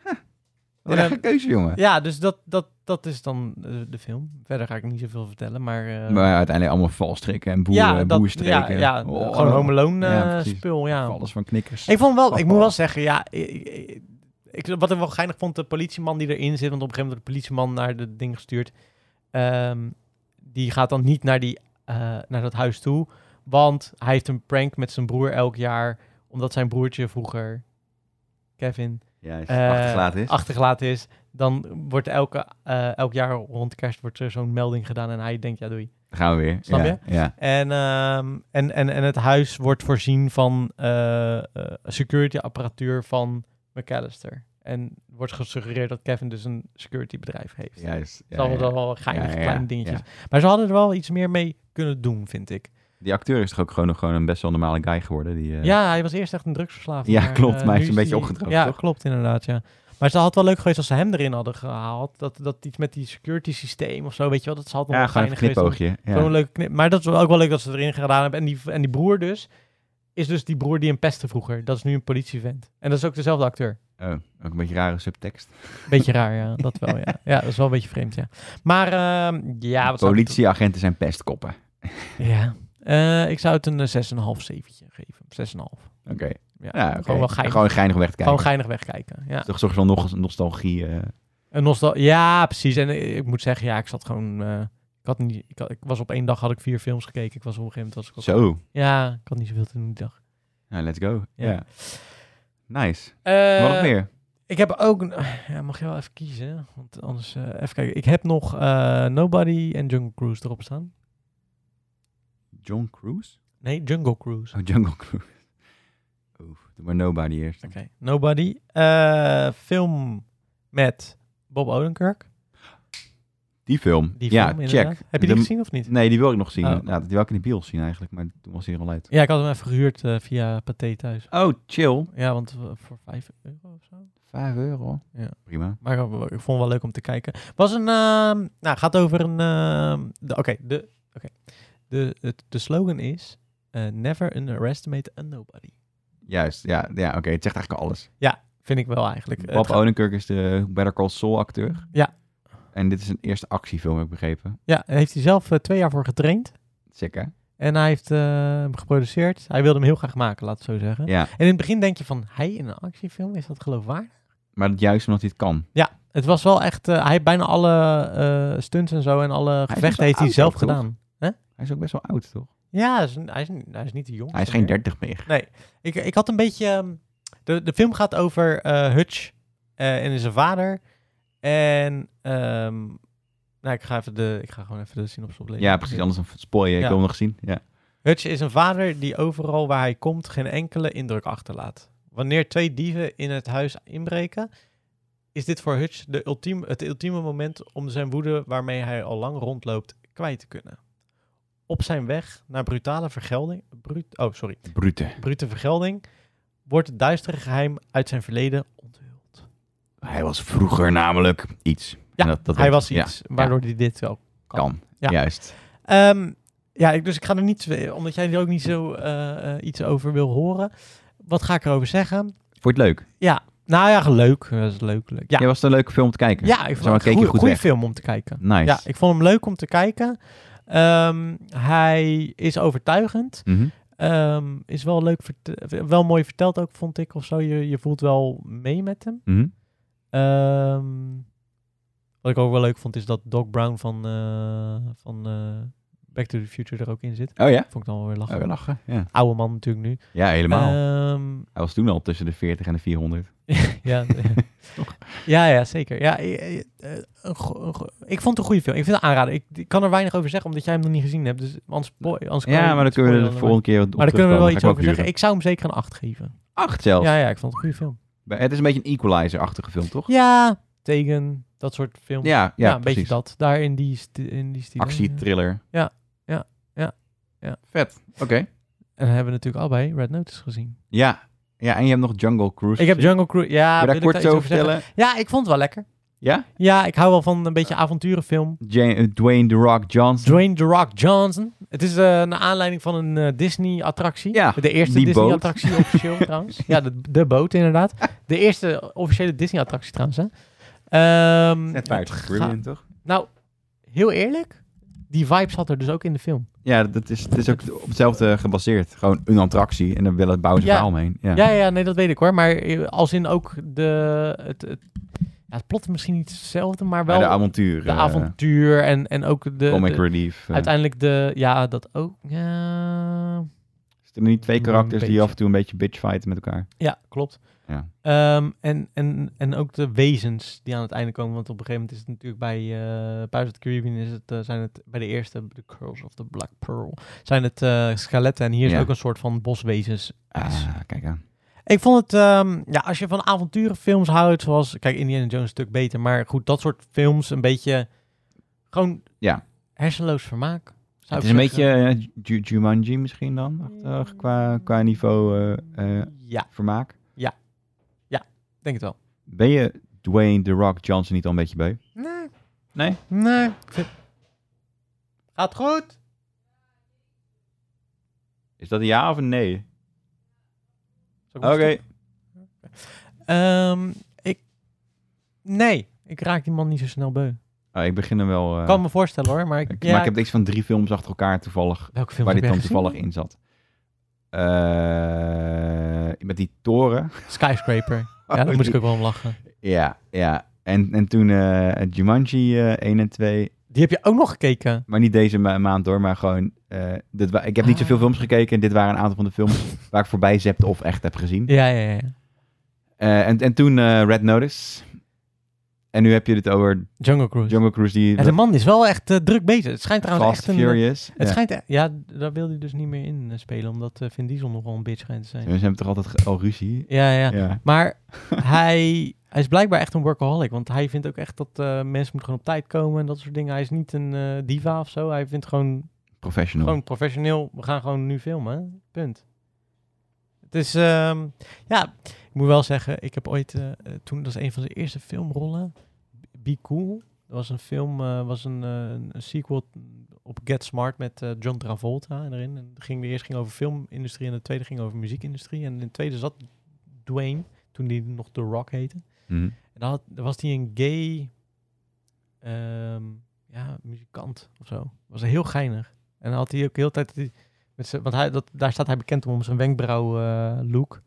[SPEAKER 2] Wat een
[SPEAKER 1] Eh,
[SPEAKER 2] rare keuze, jongen.
[SPEAKER 1] Ja, dus dat, dat, dat is dan eh, de film. Verder ga ik niet zoveel vertellen, maar... eh,
[SPEAKER 2] Maar ja, uiteindelijk allemaal valstrikken en boer,
[SPEAKER 1] ja, dat, ja,
[SPEAKER 2] boerstreken.
[SPEAKER 1] ja,
[SPEAKER 2] Oh,
[SPEAKER 1] gewoon Home Alone
[SPEAKER 2] Ja,
[SPEAKER 1] eh,
[SPEAKER 2] precies.
[SPEAKER 1] spul, ja.
[SPEAKER 2] Alles van knikkers.
[SPEAKER 1] Ik vond wel, ik moet
[SPEAKER 2] Oh.
[SPEAKER 1] wel zeggen, ja, ik, ik- ik- wat ik wel geinig vond, de politieman die erin zit, want op een gegeven moment wordt de politieman naar de ding gestuurd, ehm, die gaat dan niet naar, die, eh, naar dat huis toe, want hij heeft een prank met zijn broer elk jaar, omdat zijn broertje vroeger, Kevin,
[SPEAKER 2] Juist.
[SPEAKER 1] eh,
[SPEAKER 4] achtergelaten is.
[SPEAKER 1] achtergelaten is. Dan wordt elke, eh, elk jaar rond kerst wordt er zo'n melding gedaan en hij denkt, ja doei.
[SPEAKER 2] Daar gaan we weer.
[SPEAKER 1] Snap
[SPEAKER 2] ja,
[SPEAKER 1] je?
[SPEAKER 2] Ja.
[SPEAKER 1] En, ehm, en, en, en het huis wordt voorzien van eh, eh, security apparatuur van McAllister. En wordt gesuggereerd dat Kevin dus een security bedrijf heeft.
[SPEAKER 2] Juist. Ja,
[SPEAKER 1] dat was
[SPEAKER 2] ja.
[SPEAKER 1] dan wel geinige
[SPEAKER 2] Ja, ja,
[SPEAKER 1] kleine
[SPEAKER 2] ja.
[SPEAKER 1] dingetjes. Maar ze hadden er wel iets meer mee kunnen doen, vind ik.
[SPEAKER 2] Die acteur is toch ook gewoon, gewoon een best wel normale guy geworden. Die, eh,
[SPEAKER 1] Ja, hij was eerst echt een drugsverslaafde.
[SPEAKER 2] Ja, klopt,
[SPEAKER 1] eh,
[SPEAKER 2] maar hij is
[SPEAKER 1] nu
[SPEAKER 2] een beetje
[SPEAKER 1] die-
[SPEAKER 2] opgedroogd,
[SPEAKER 1] Ja,
[SPEAKER 2] toch?
[SPEAKER 1] klopt inderdaad, ja. Maar het had wel leuk geweest als ze hem erin hadden gehaald. Dat, dat iets met die security systeem of zo, weet je wel. Dat had nog
[SPEAKER 2] ja
[SPEAKER 1] wel
[SPEAKER 2] gewoon een
[SPEAKER 1] geinig geweest om-
[SPEAKER 2] knipoogje.
[SPEAKER 1] Zo'n
[SPEAKER 2] Ja.
[SPEAKER 1] leuke knip. Maar dat is wel ook wel leuk dat ze het erin gedaan hebben. En die, en die broer dus, is dus die broer die hem pestte vroeger. Dat is nu een politievent. En dat is ook dezelfde acteur.
[SPEAKER 2] Oh, ook een beetje rare subtekst.
[SPEAKER 1] Beetje raar, ja. Dat wel, ja. Ja, dat is wel een beetje vreemd, ja. Maar ehm, ja, wat zou ik
[SPEAKER 2] Politieagenten zijn pestkoppen.
[SPEAKER 1] doen? Ja. Eh, ik zou het een eh, 6,5 zeventje geven. 6,5.
[SPEAKER 2] Oké.
[SPEAKER 1] Ja,
[SPEAKER 2] Ja, oké.
[SPEAKER 1] Gewoon wel geinig.
[SPEAKER 2] Gewoon geinig om weg te kijken.
[SPEAKER 1] Gewoon geinig wegkijken, ja.
[SPEAKER 2] Toch zorg van nog nostalgie. eh.
[SPEAKER 1] Een nostal ja, precies. En eh, ik moet zeggen, ja, ik zat gewoon... eh, ik, had niet, ik, had- ik was op één dag had ik vier films gekeken. Ik was op een gegeven moment... Was ik ook-
[SPEAKER 2] Zo.
[SPEAKER 1] Ja, ik had niet zoveel te doen die dag.
[SPEAKER 2] Nou, let's go. Ja.
[SPEAKER 1] Ja.
[SPEAKER 2] Nice.
[SPEAKER 1] Eh,
[SPEAKER 2] Wat nog meer?
[SPEAKER 1] Ik heb ook... een- Ja, mag je wel even kiezen? Want anders... eh, even kijken. Ik heb nog eh, Nobody en Jungle Cruise erop staan.
[SPEAKER 2] John Cruise?
[SPEAKER 1] Nee, Jungle Cruise.
[SPEAKER 2] Oh, Jungle Cruise. Oef, doe maar Nobody eerst.
[SPEAKER 1] Oké. Nobody. Eh, film met Bob Odenkirk.
[SPEAKER 2] Die film.
[SPEAKER 1] Die
[SPEAKER 2] ja,
[SPEAKER 1] film, inderdaad.
[SPEAKER 2] check.
[SPEAKER 1] Heb je die
[SPEAKER 2] De-
[SPEAKER 1] gezien of niet?
[SPEAKER 2] Nee, die wil ik nog zien.
[SPEAKER 1] Oh.
[SPEAKER 2] Ja, die wil ik in de bios zien eigenlijk, maar toen was hij er al uit.
[SPEAKER 1] Ja, ik had hem even gehuurd eh, via Pathé thuis.
[SPEAKER 2] Oh, chill.
[SPEAKER 1] Ja, want eh, voor 5 euro of zo.
[SPEAKER 2] 5 euro.
[SPEAKER 1] Ja.
[SPEAKER 2] Prima.
[SPEAKER 1] Maar ik, ik vond het wel leuk om te kijken. Was een... ehm, nou, gaat over een... ehm, de- Oké, de, oké. de, het- de slogan is... eh, never underestimate a nobody.
[SPEAKER 2] Juist, ja, ja oké. Het zegt eigenlijk alles.
[SPEAKER 1] Vind ik wel eigenlijk. Eh,
[SPEAKER 2] Bob
[SPEAKER 1] het gaat-
[SPEAKER 2] Odenkirk is de Better Call Saul acteur.
[SPEAKER 1] Ja.
[SPEAKER 2] En dit is een eerste actiefilm, heb ik begrepen.
[SPEAKER 1] Ja, daar heeft hij zelf eh, twee jaar voor getraind.
[SPEAKER 2] Sick, hè?
[SPEAKER 1] En hij heeft eh, hem geproduceerd. Hij wilde hem heel graag maken, laat het zo zeggen.
[SPEAKER 2] Ja.
[SPEAKER 1] En in het begin denk je van, hij in een actiefilm, is dat geloofwaardig?
[SPEAKER 2] Maar dat juist omdat hij het kan.
[SPEAKER 1] Ja, het was wel echt... eh, hij heeft bijna alle eh, stunts en zo en alle
[SPEAKER 2] is
[SPEAKER 1] gevechten
[SPEAKER 2] wel
[SPEAKER 1] heeft hij
[SPEAKER 2] oud
[SPEAKER 1] zelf
[SPEAKER 2] ook, toch?
[SPEAKER 1] gedaan.
[SPEAKER 2] Hij is ook best wel oud, toch?
[SPEAKER 1] Ja, hij is, hij is, hij is niet de jongste.
[SPEAKER 2] Hij is geen
[SPEAKER 1] meer.
[SPEAKER 2] 30 meer.
[SPEAKER 1] Ik, ik had een beetje... ehm, de, de film gaat over eh Hutch eh, en zijn vader. En... ehm, nou, ik ga, even de, ik ga gewoon even de synopsis oplezen.
[SPEAKER 2] Ja, precies. Anders dan spoil je. Ik
[SPEAKER 1] Ja.
[SPEAKER 2] wil hem nog zien. Ja.
[SPEAKER 1] Hutch is een vader die overal waar hij komt geen enkele indruk achterlaat. Wanneer twee dieven in het huis inbreken, is dit voor Hutch de ultiem, het ultieme moment om zijn woede waarmee hij al lang rondloopt kwijt te kunnen. Op zijn weg naar brutale vergelding, brut, oh sorry,
[SPEAKER 2] Brute.
[SPEAKER 1] brute vergelding, wordt het duistere geheim uit zijn verleden onthuld.
[SPEAKER 2] Hij was vroeger namelijk iets. En dat- dat
[SPEAKER 1] hij
[SPEAKER 2] weet-
[SPEAKER 1] was
[SPEAKER 2] ja,
[SPEAKER 1] iets, waardoor hij dit wel kan.
[SPEAKER 2] kan.
[SPEAKER 1] Ja.
[SPEAKER 2] Juist.
[SPEAKER 1] Ehm, ja, ik, dus ik ga er niet, omdat jij er ook niet zo eh, eh, iets over wil horen. Wat ga ik erover zeggen?
[SPEAKER 2] Vond je het leuk?
[SPEAKER 1] Ja, nou ja, leuk. Dat is leuk, leuk. Ja,
[SPEAKER 2] Ja, was het een leuke film om te kijken?
[SPEAKER 1] ja ik
[SPEAKER 2] Zeg maar,
[SPEAKER 1] vond het
[SPEAKER 2] keek je
[SPEAKER 1] een
[SPEAKER 2] goed
[SPEAKER 1] goede
[SPEAKER 2] weg?
[SPEAKER 1] film om te kijken.
[SPEAKER 2] Nice.
[SPEAKER 1] Ja, ik vond hem leuk om te kijken. Ehm, hij is overtuigend.
[SPEAKER 2] Mhm.
[SPEAKER 1] Ehm, is wel leuk, verte- wel mooi verteld ook, vond ik. Of zo. Je, je voelt wel mee met hem.
[SPEAKER 2] Mhm.
[SPEAKER 1] Ehm, wat ik ook wel leuk vond, is dat Doc Brown van, eh, van eh, Back to the Future er ook in zit.
[SPEAKER 2] Oh ja?
[SPEAKER 1] Vond ik dan wel weer lachen.
[SPEAKER 2] Oh, we lachen. Ja,
[SPEAKER 1] Oude man natuurlijk nu.
[SPEAKER 2] ja helemaal.
[SPEAKER 1] Ehm,
[SPEAKER 2] Hij was toen al tussen de 40 en de 400.
[SPEAKER 1] ja, ja, ja, zeker. Ja, eh, eh, een go- een go- ik vond het een goede film. Ik vind het aanraden. Ik, ik kan er weinig over zeggen, omdat jij hem nog niet gezien hebt. Dus anders, boy, anders kan je
[SPEAKER 2] Ja, maar dan
[SPEAKER 1] iets
[SPEAKER 2] kunnen we er de
[SPEAKER 1] spoileren,
[SPEAKER 2] volgende keer op
[SPEAKER 1] Maar daar kunnen we wel iets over
[SPEAKER 2] terugkomen.
[SPEAKER 1] zeggen. Ik zou hem zeker een 8 geven.
[SPEAKER 2] Ga ik hem ook huren. Acht zelfs.
[SPEAKER 1] Ja, ja, ik vond het een goede film.
[SPEAKER 2] Het is een beetje een equalizer-achtige film, toch?
[SPEAKER 1] Ja, tegen dat soort films.
[SPEAKER 2] Ja, ja,
[SPEAKER 1] Ja, een
[SPEAKER 2] precies.
[SPEAKER 1] beetje dat. Daar in die, sti- in die stijl.
[SPEAKER 2] Actie-thriller.
[SPEAKER 1] Ja, ja, ja, ja.
[SPEAKER 2] Vet. Oké.
[SPEAKER 1] En dan hebben we natuurlijk allebei Red Notice gezien.
[SPEAKER 2] Ja. ja, en je hebt nog Jungle Cruise.
[SPEAKER 1] Ik heb
[SPEAKER 2] gezien.
[SPEAKER 1] Jungle Cruise. Ja,
[SPEAKER 2] Wil
[SPEAKER 1] wil
[SPEAKER 2] je
[SPEAKER 1] ik
[SPEAKER 2] daar kort
[SPEAKER 1] iets
[SPEAKER 2] over vertellen?
[SPEAKER 1] zeggen? Ja, ik vond het wel lekker.
[SPEAKER 2] Ja?
[SPEAKER 1] Ja, ik hou wel van een beetje avonturenfilm.
[SPEAKER 2] Ja- eh, Dwayne The Rock Johnson.
[SPEAKER 1] Dwayne The Rock Johnson. Het is eh naar aanleiding van een eh, Disney-attractie.
[SPEAKER 2] Ja,
[SPEAKER 1] de eerste
[SPEAKER 2] die
[SPEAKER 1] Disney-attractie officieel trouwens. Ja, de, de boot inderdaad. De eerste officiële Disney-attractie trouwens. Hè. Ehm,
[SPEAKER 2] Net
[SPEAKER 1] het
[SPEAKER 2] waar.
[SPEAKER 1] gaat-
[SPEAKER 2] Brilliant, toch?
[SPEAKER 1] Nou, heel eerlijk, die vibe zat er dus ook in de film.
[SPEAKER 2] Ja, dat is, het is ook op hetzelfde gebaseerd. Gewoon een attractie en dan willen bouwen ze een
[SPEAKER 1] Ja.
[SPEAKER 2] verhaal omheen. Ja.
[SPEAKER 1] Ja, ja, nee, dat weet ik hoor. Maar eh, als in ook de. Het, het, ja, het plot is misschien niet hetzelfde, maar wel
[SPEAKER 2] Maar de avontuur.
[SPEAKER 1] de
[SPEAKER 2] eh,
[SPEAKER 1] avontuur en, en ook de.
[SPEAKER 2] comic
[SPEAKER 1] de-
[SPEAKER 2] relief. eh.
[SPEAKER 1] uiteindelijk de. Ja, dat ook. Ja,
[SPEAKER 2] Zitten er niet twee
[SPEAKER 1] Een
[SPEAKER 2] karakters die
[SPEAKER 1] beetje.
[SPEAKER 2] af en toe een beetje bitchfighten met elkaar?
[SPEAKER 1] ja klopt.
[SPEAKER 2] Ja.
[SPEAKER 1] Ehm, en, en, en ook de wezens die aan het einde komen. Want op een gegeven moment is het natuurlijk bij eh Pirates of the Caribbean is het, eh, zijn het bij de eerste, The Curse of the Black Pearl, zijn het eh, skeletten. En hier is
[SPEAKER 2] Ja.
[SPEAKER 1] ook een soort van boswezens.
[SPEAKER 2] Ah, kijk aan.
[SPEAKER 1] Ik vond het, ehm, ja, als je van avonturenfilms houdt, zoals, kijk, Indiana Jones een stuk beter, maar goed, dat soort films, een beetje, gewoon
[SPEAKER 2] Ja.
[SPEAKER 1] hersenloos vermaak. zou
[SPEAKER 2] Het
[SPEAKER 1] ik
[SPEAKER 2] is een beetje
[SPEAKER 1] zeggen. Mm.
[SPEAKER 2] eh, Ju- Jumanji misschien dan, achtig, qua, qua niveau eh, eh,
[SPEAKER 1] Ja,
[SPEAKER 2] vermaak.
[SPEAKER 1] ik denk het wel.
[SPEAKER 2] Ben je Dwayne The Rock Johnson niet al een beetje beu?
[SPEAKER 1] Nee.
[SPEAKER 2] Nee?
[SPEAKER 1] Nee. ik vind- Gaat goed.
[SPEAKER 2] Is dat een ja of een nee?
[SPEAKER 1] Zal ik
[SPEAKER 2] Oké.
[SPEAKER 1] hem Ehm, ik. Nee, ik raak die man niet zo snel beu. Ik
[SPEAKER 2] Ah, ik begin hem wel... eh,
[SPEAKER 1] kan me voorstellen hoor, maar ik.
[SPEAKER 2] ik-
[SPEAKER 1] ja,
[SPEAKER 2] Maar ik heb iets van drie films achter elkaar toevallig,
[SPEAKER 1] welke film
[SPEAKER 2] waar
[SPEAKER 1] heb
[SPEAKER 2] dit dan
[SPEAKER 1] jij gezien?
[SPEAKER 2] toevallig in zat. Eh, met die toren.
[SPEAKER 1] Skyscraper.
[SPEAKER 2] Oh,
[SPEAKER 1] ja, daar moest ik ook wel om lachen.
[SPEAKER 2] Ja, ja. En, en toen eh Jumanji eh, 1 en 2.
[SPEAKER 1] Die heb je ook nog gekeken.
[SPEAKER 2] Maar niet deze ma- maand hoor, maar gewoon... eh, dit wa- ik heb niet
[SPEAKER 1] Ah.
[SPEAKER 2] zoveel films gekeken en dit waren een aantal van de films waar ik voorbij zepte of echt heb gezien.
[SPEAKER 1] Ja, ja, ja.
[SPEAKER 2] Eh, en, en toen eh, Red Notice. En nu heb je het over
[SPEAKER 1] Jungle Cruise.
[SPEAKER 2] Jungle Cruise die...
[SPEAKER 1] En de man is wel echt eh, druk bezig. Het schijnt trouwens
[SPEAKER 2] Fast
[SPEAKER 1] echt een...
[SPEAKER 2] Furious.
[SPEAKER 1] Het
[SPEAKER 2] Ja.
[SPEAKER 1] schijnt... e- Ja, d- daar wil hij dus niet meer in eh, spelen, omdat eh, Vin Diesel nogal een bitch schijnt te zijn.
[SPEAKER 2] Ze hebben toch altijd ge- al ruzie?
[SPEAKER 1] Ja, ja.
[SPEAKER 2] Ja.
[SPEAKER 1] Maar hij, hij is blijkbaar echt een workaholic, want hij vindt ook echt dat eh, mensen moeten gewoon op tijd komen en dat soort dingen. Hij is niet een eh, diva of zo. Hij vindt gewoon
[SPEAKER 2] Professional.
[SPEAKER 1] Gewoon professioneel, we gaan gewoon nu filmen. hè? Punt. Het is, ehm, ja, ik moet wel zeggen, ik heb ooit, eh, eh, toen, dat was een van de eerste filmrollen, Be Cool. Dat was een film, eh, was een, eh, een- een sequel op Get Smart met eh, John Travolta erin. En het ging, de eerste ging over filmindustrie en de tweede ging over muziekindustrie. En in de tweede zat Dwayne, toen die nog The Rock heette.
[SPEAKER 2] Mhm.
[SPEAKER 1] En dan had, dan was hij een gay ehm, ja, muzikant of zo. Was heel geinig. En dan had hij ook heel de tijd... dat hij met zijn, want hij, dat, daar staat hij bekend om, om zijn wenkbrauw eh, look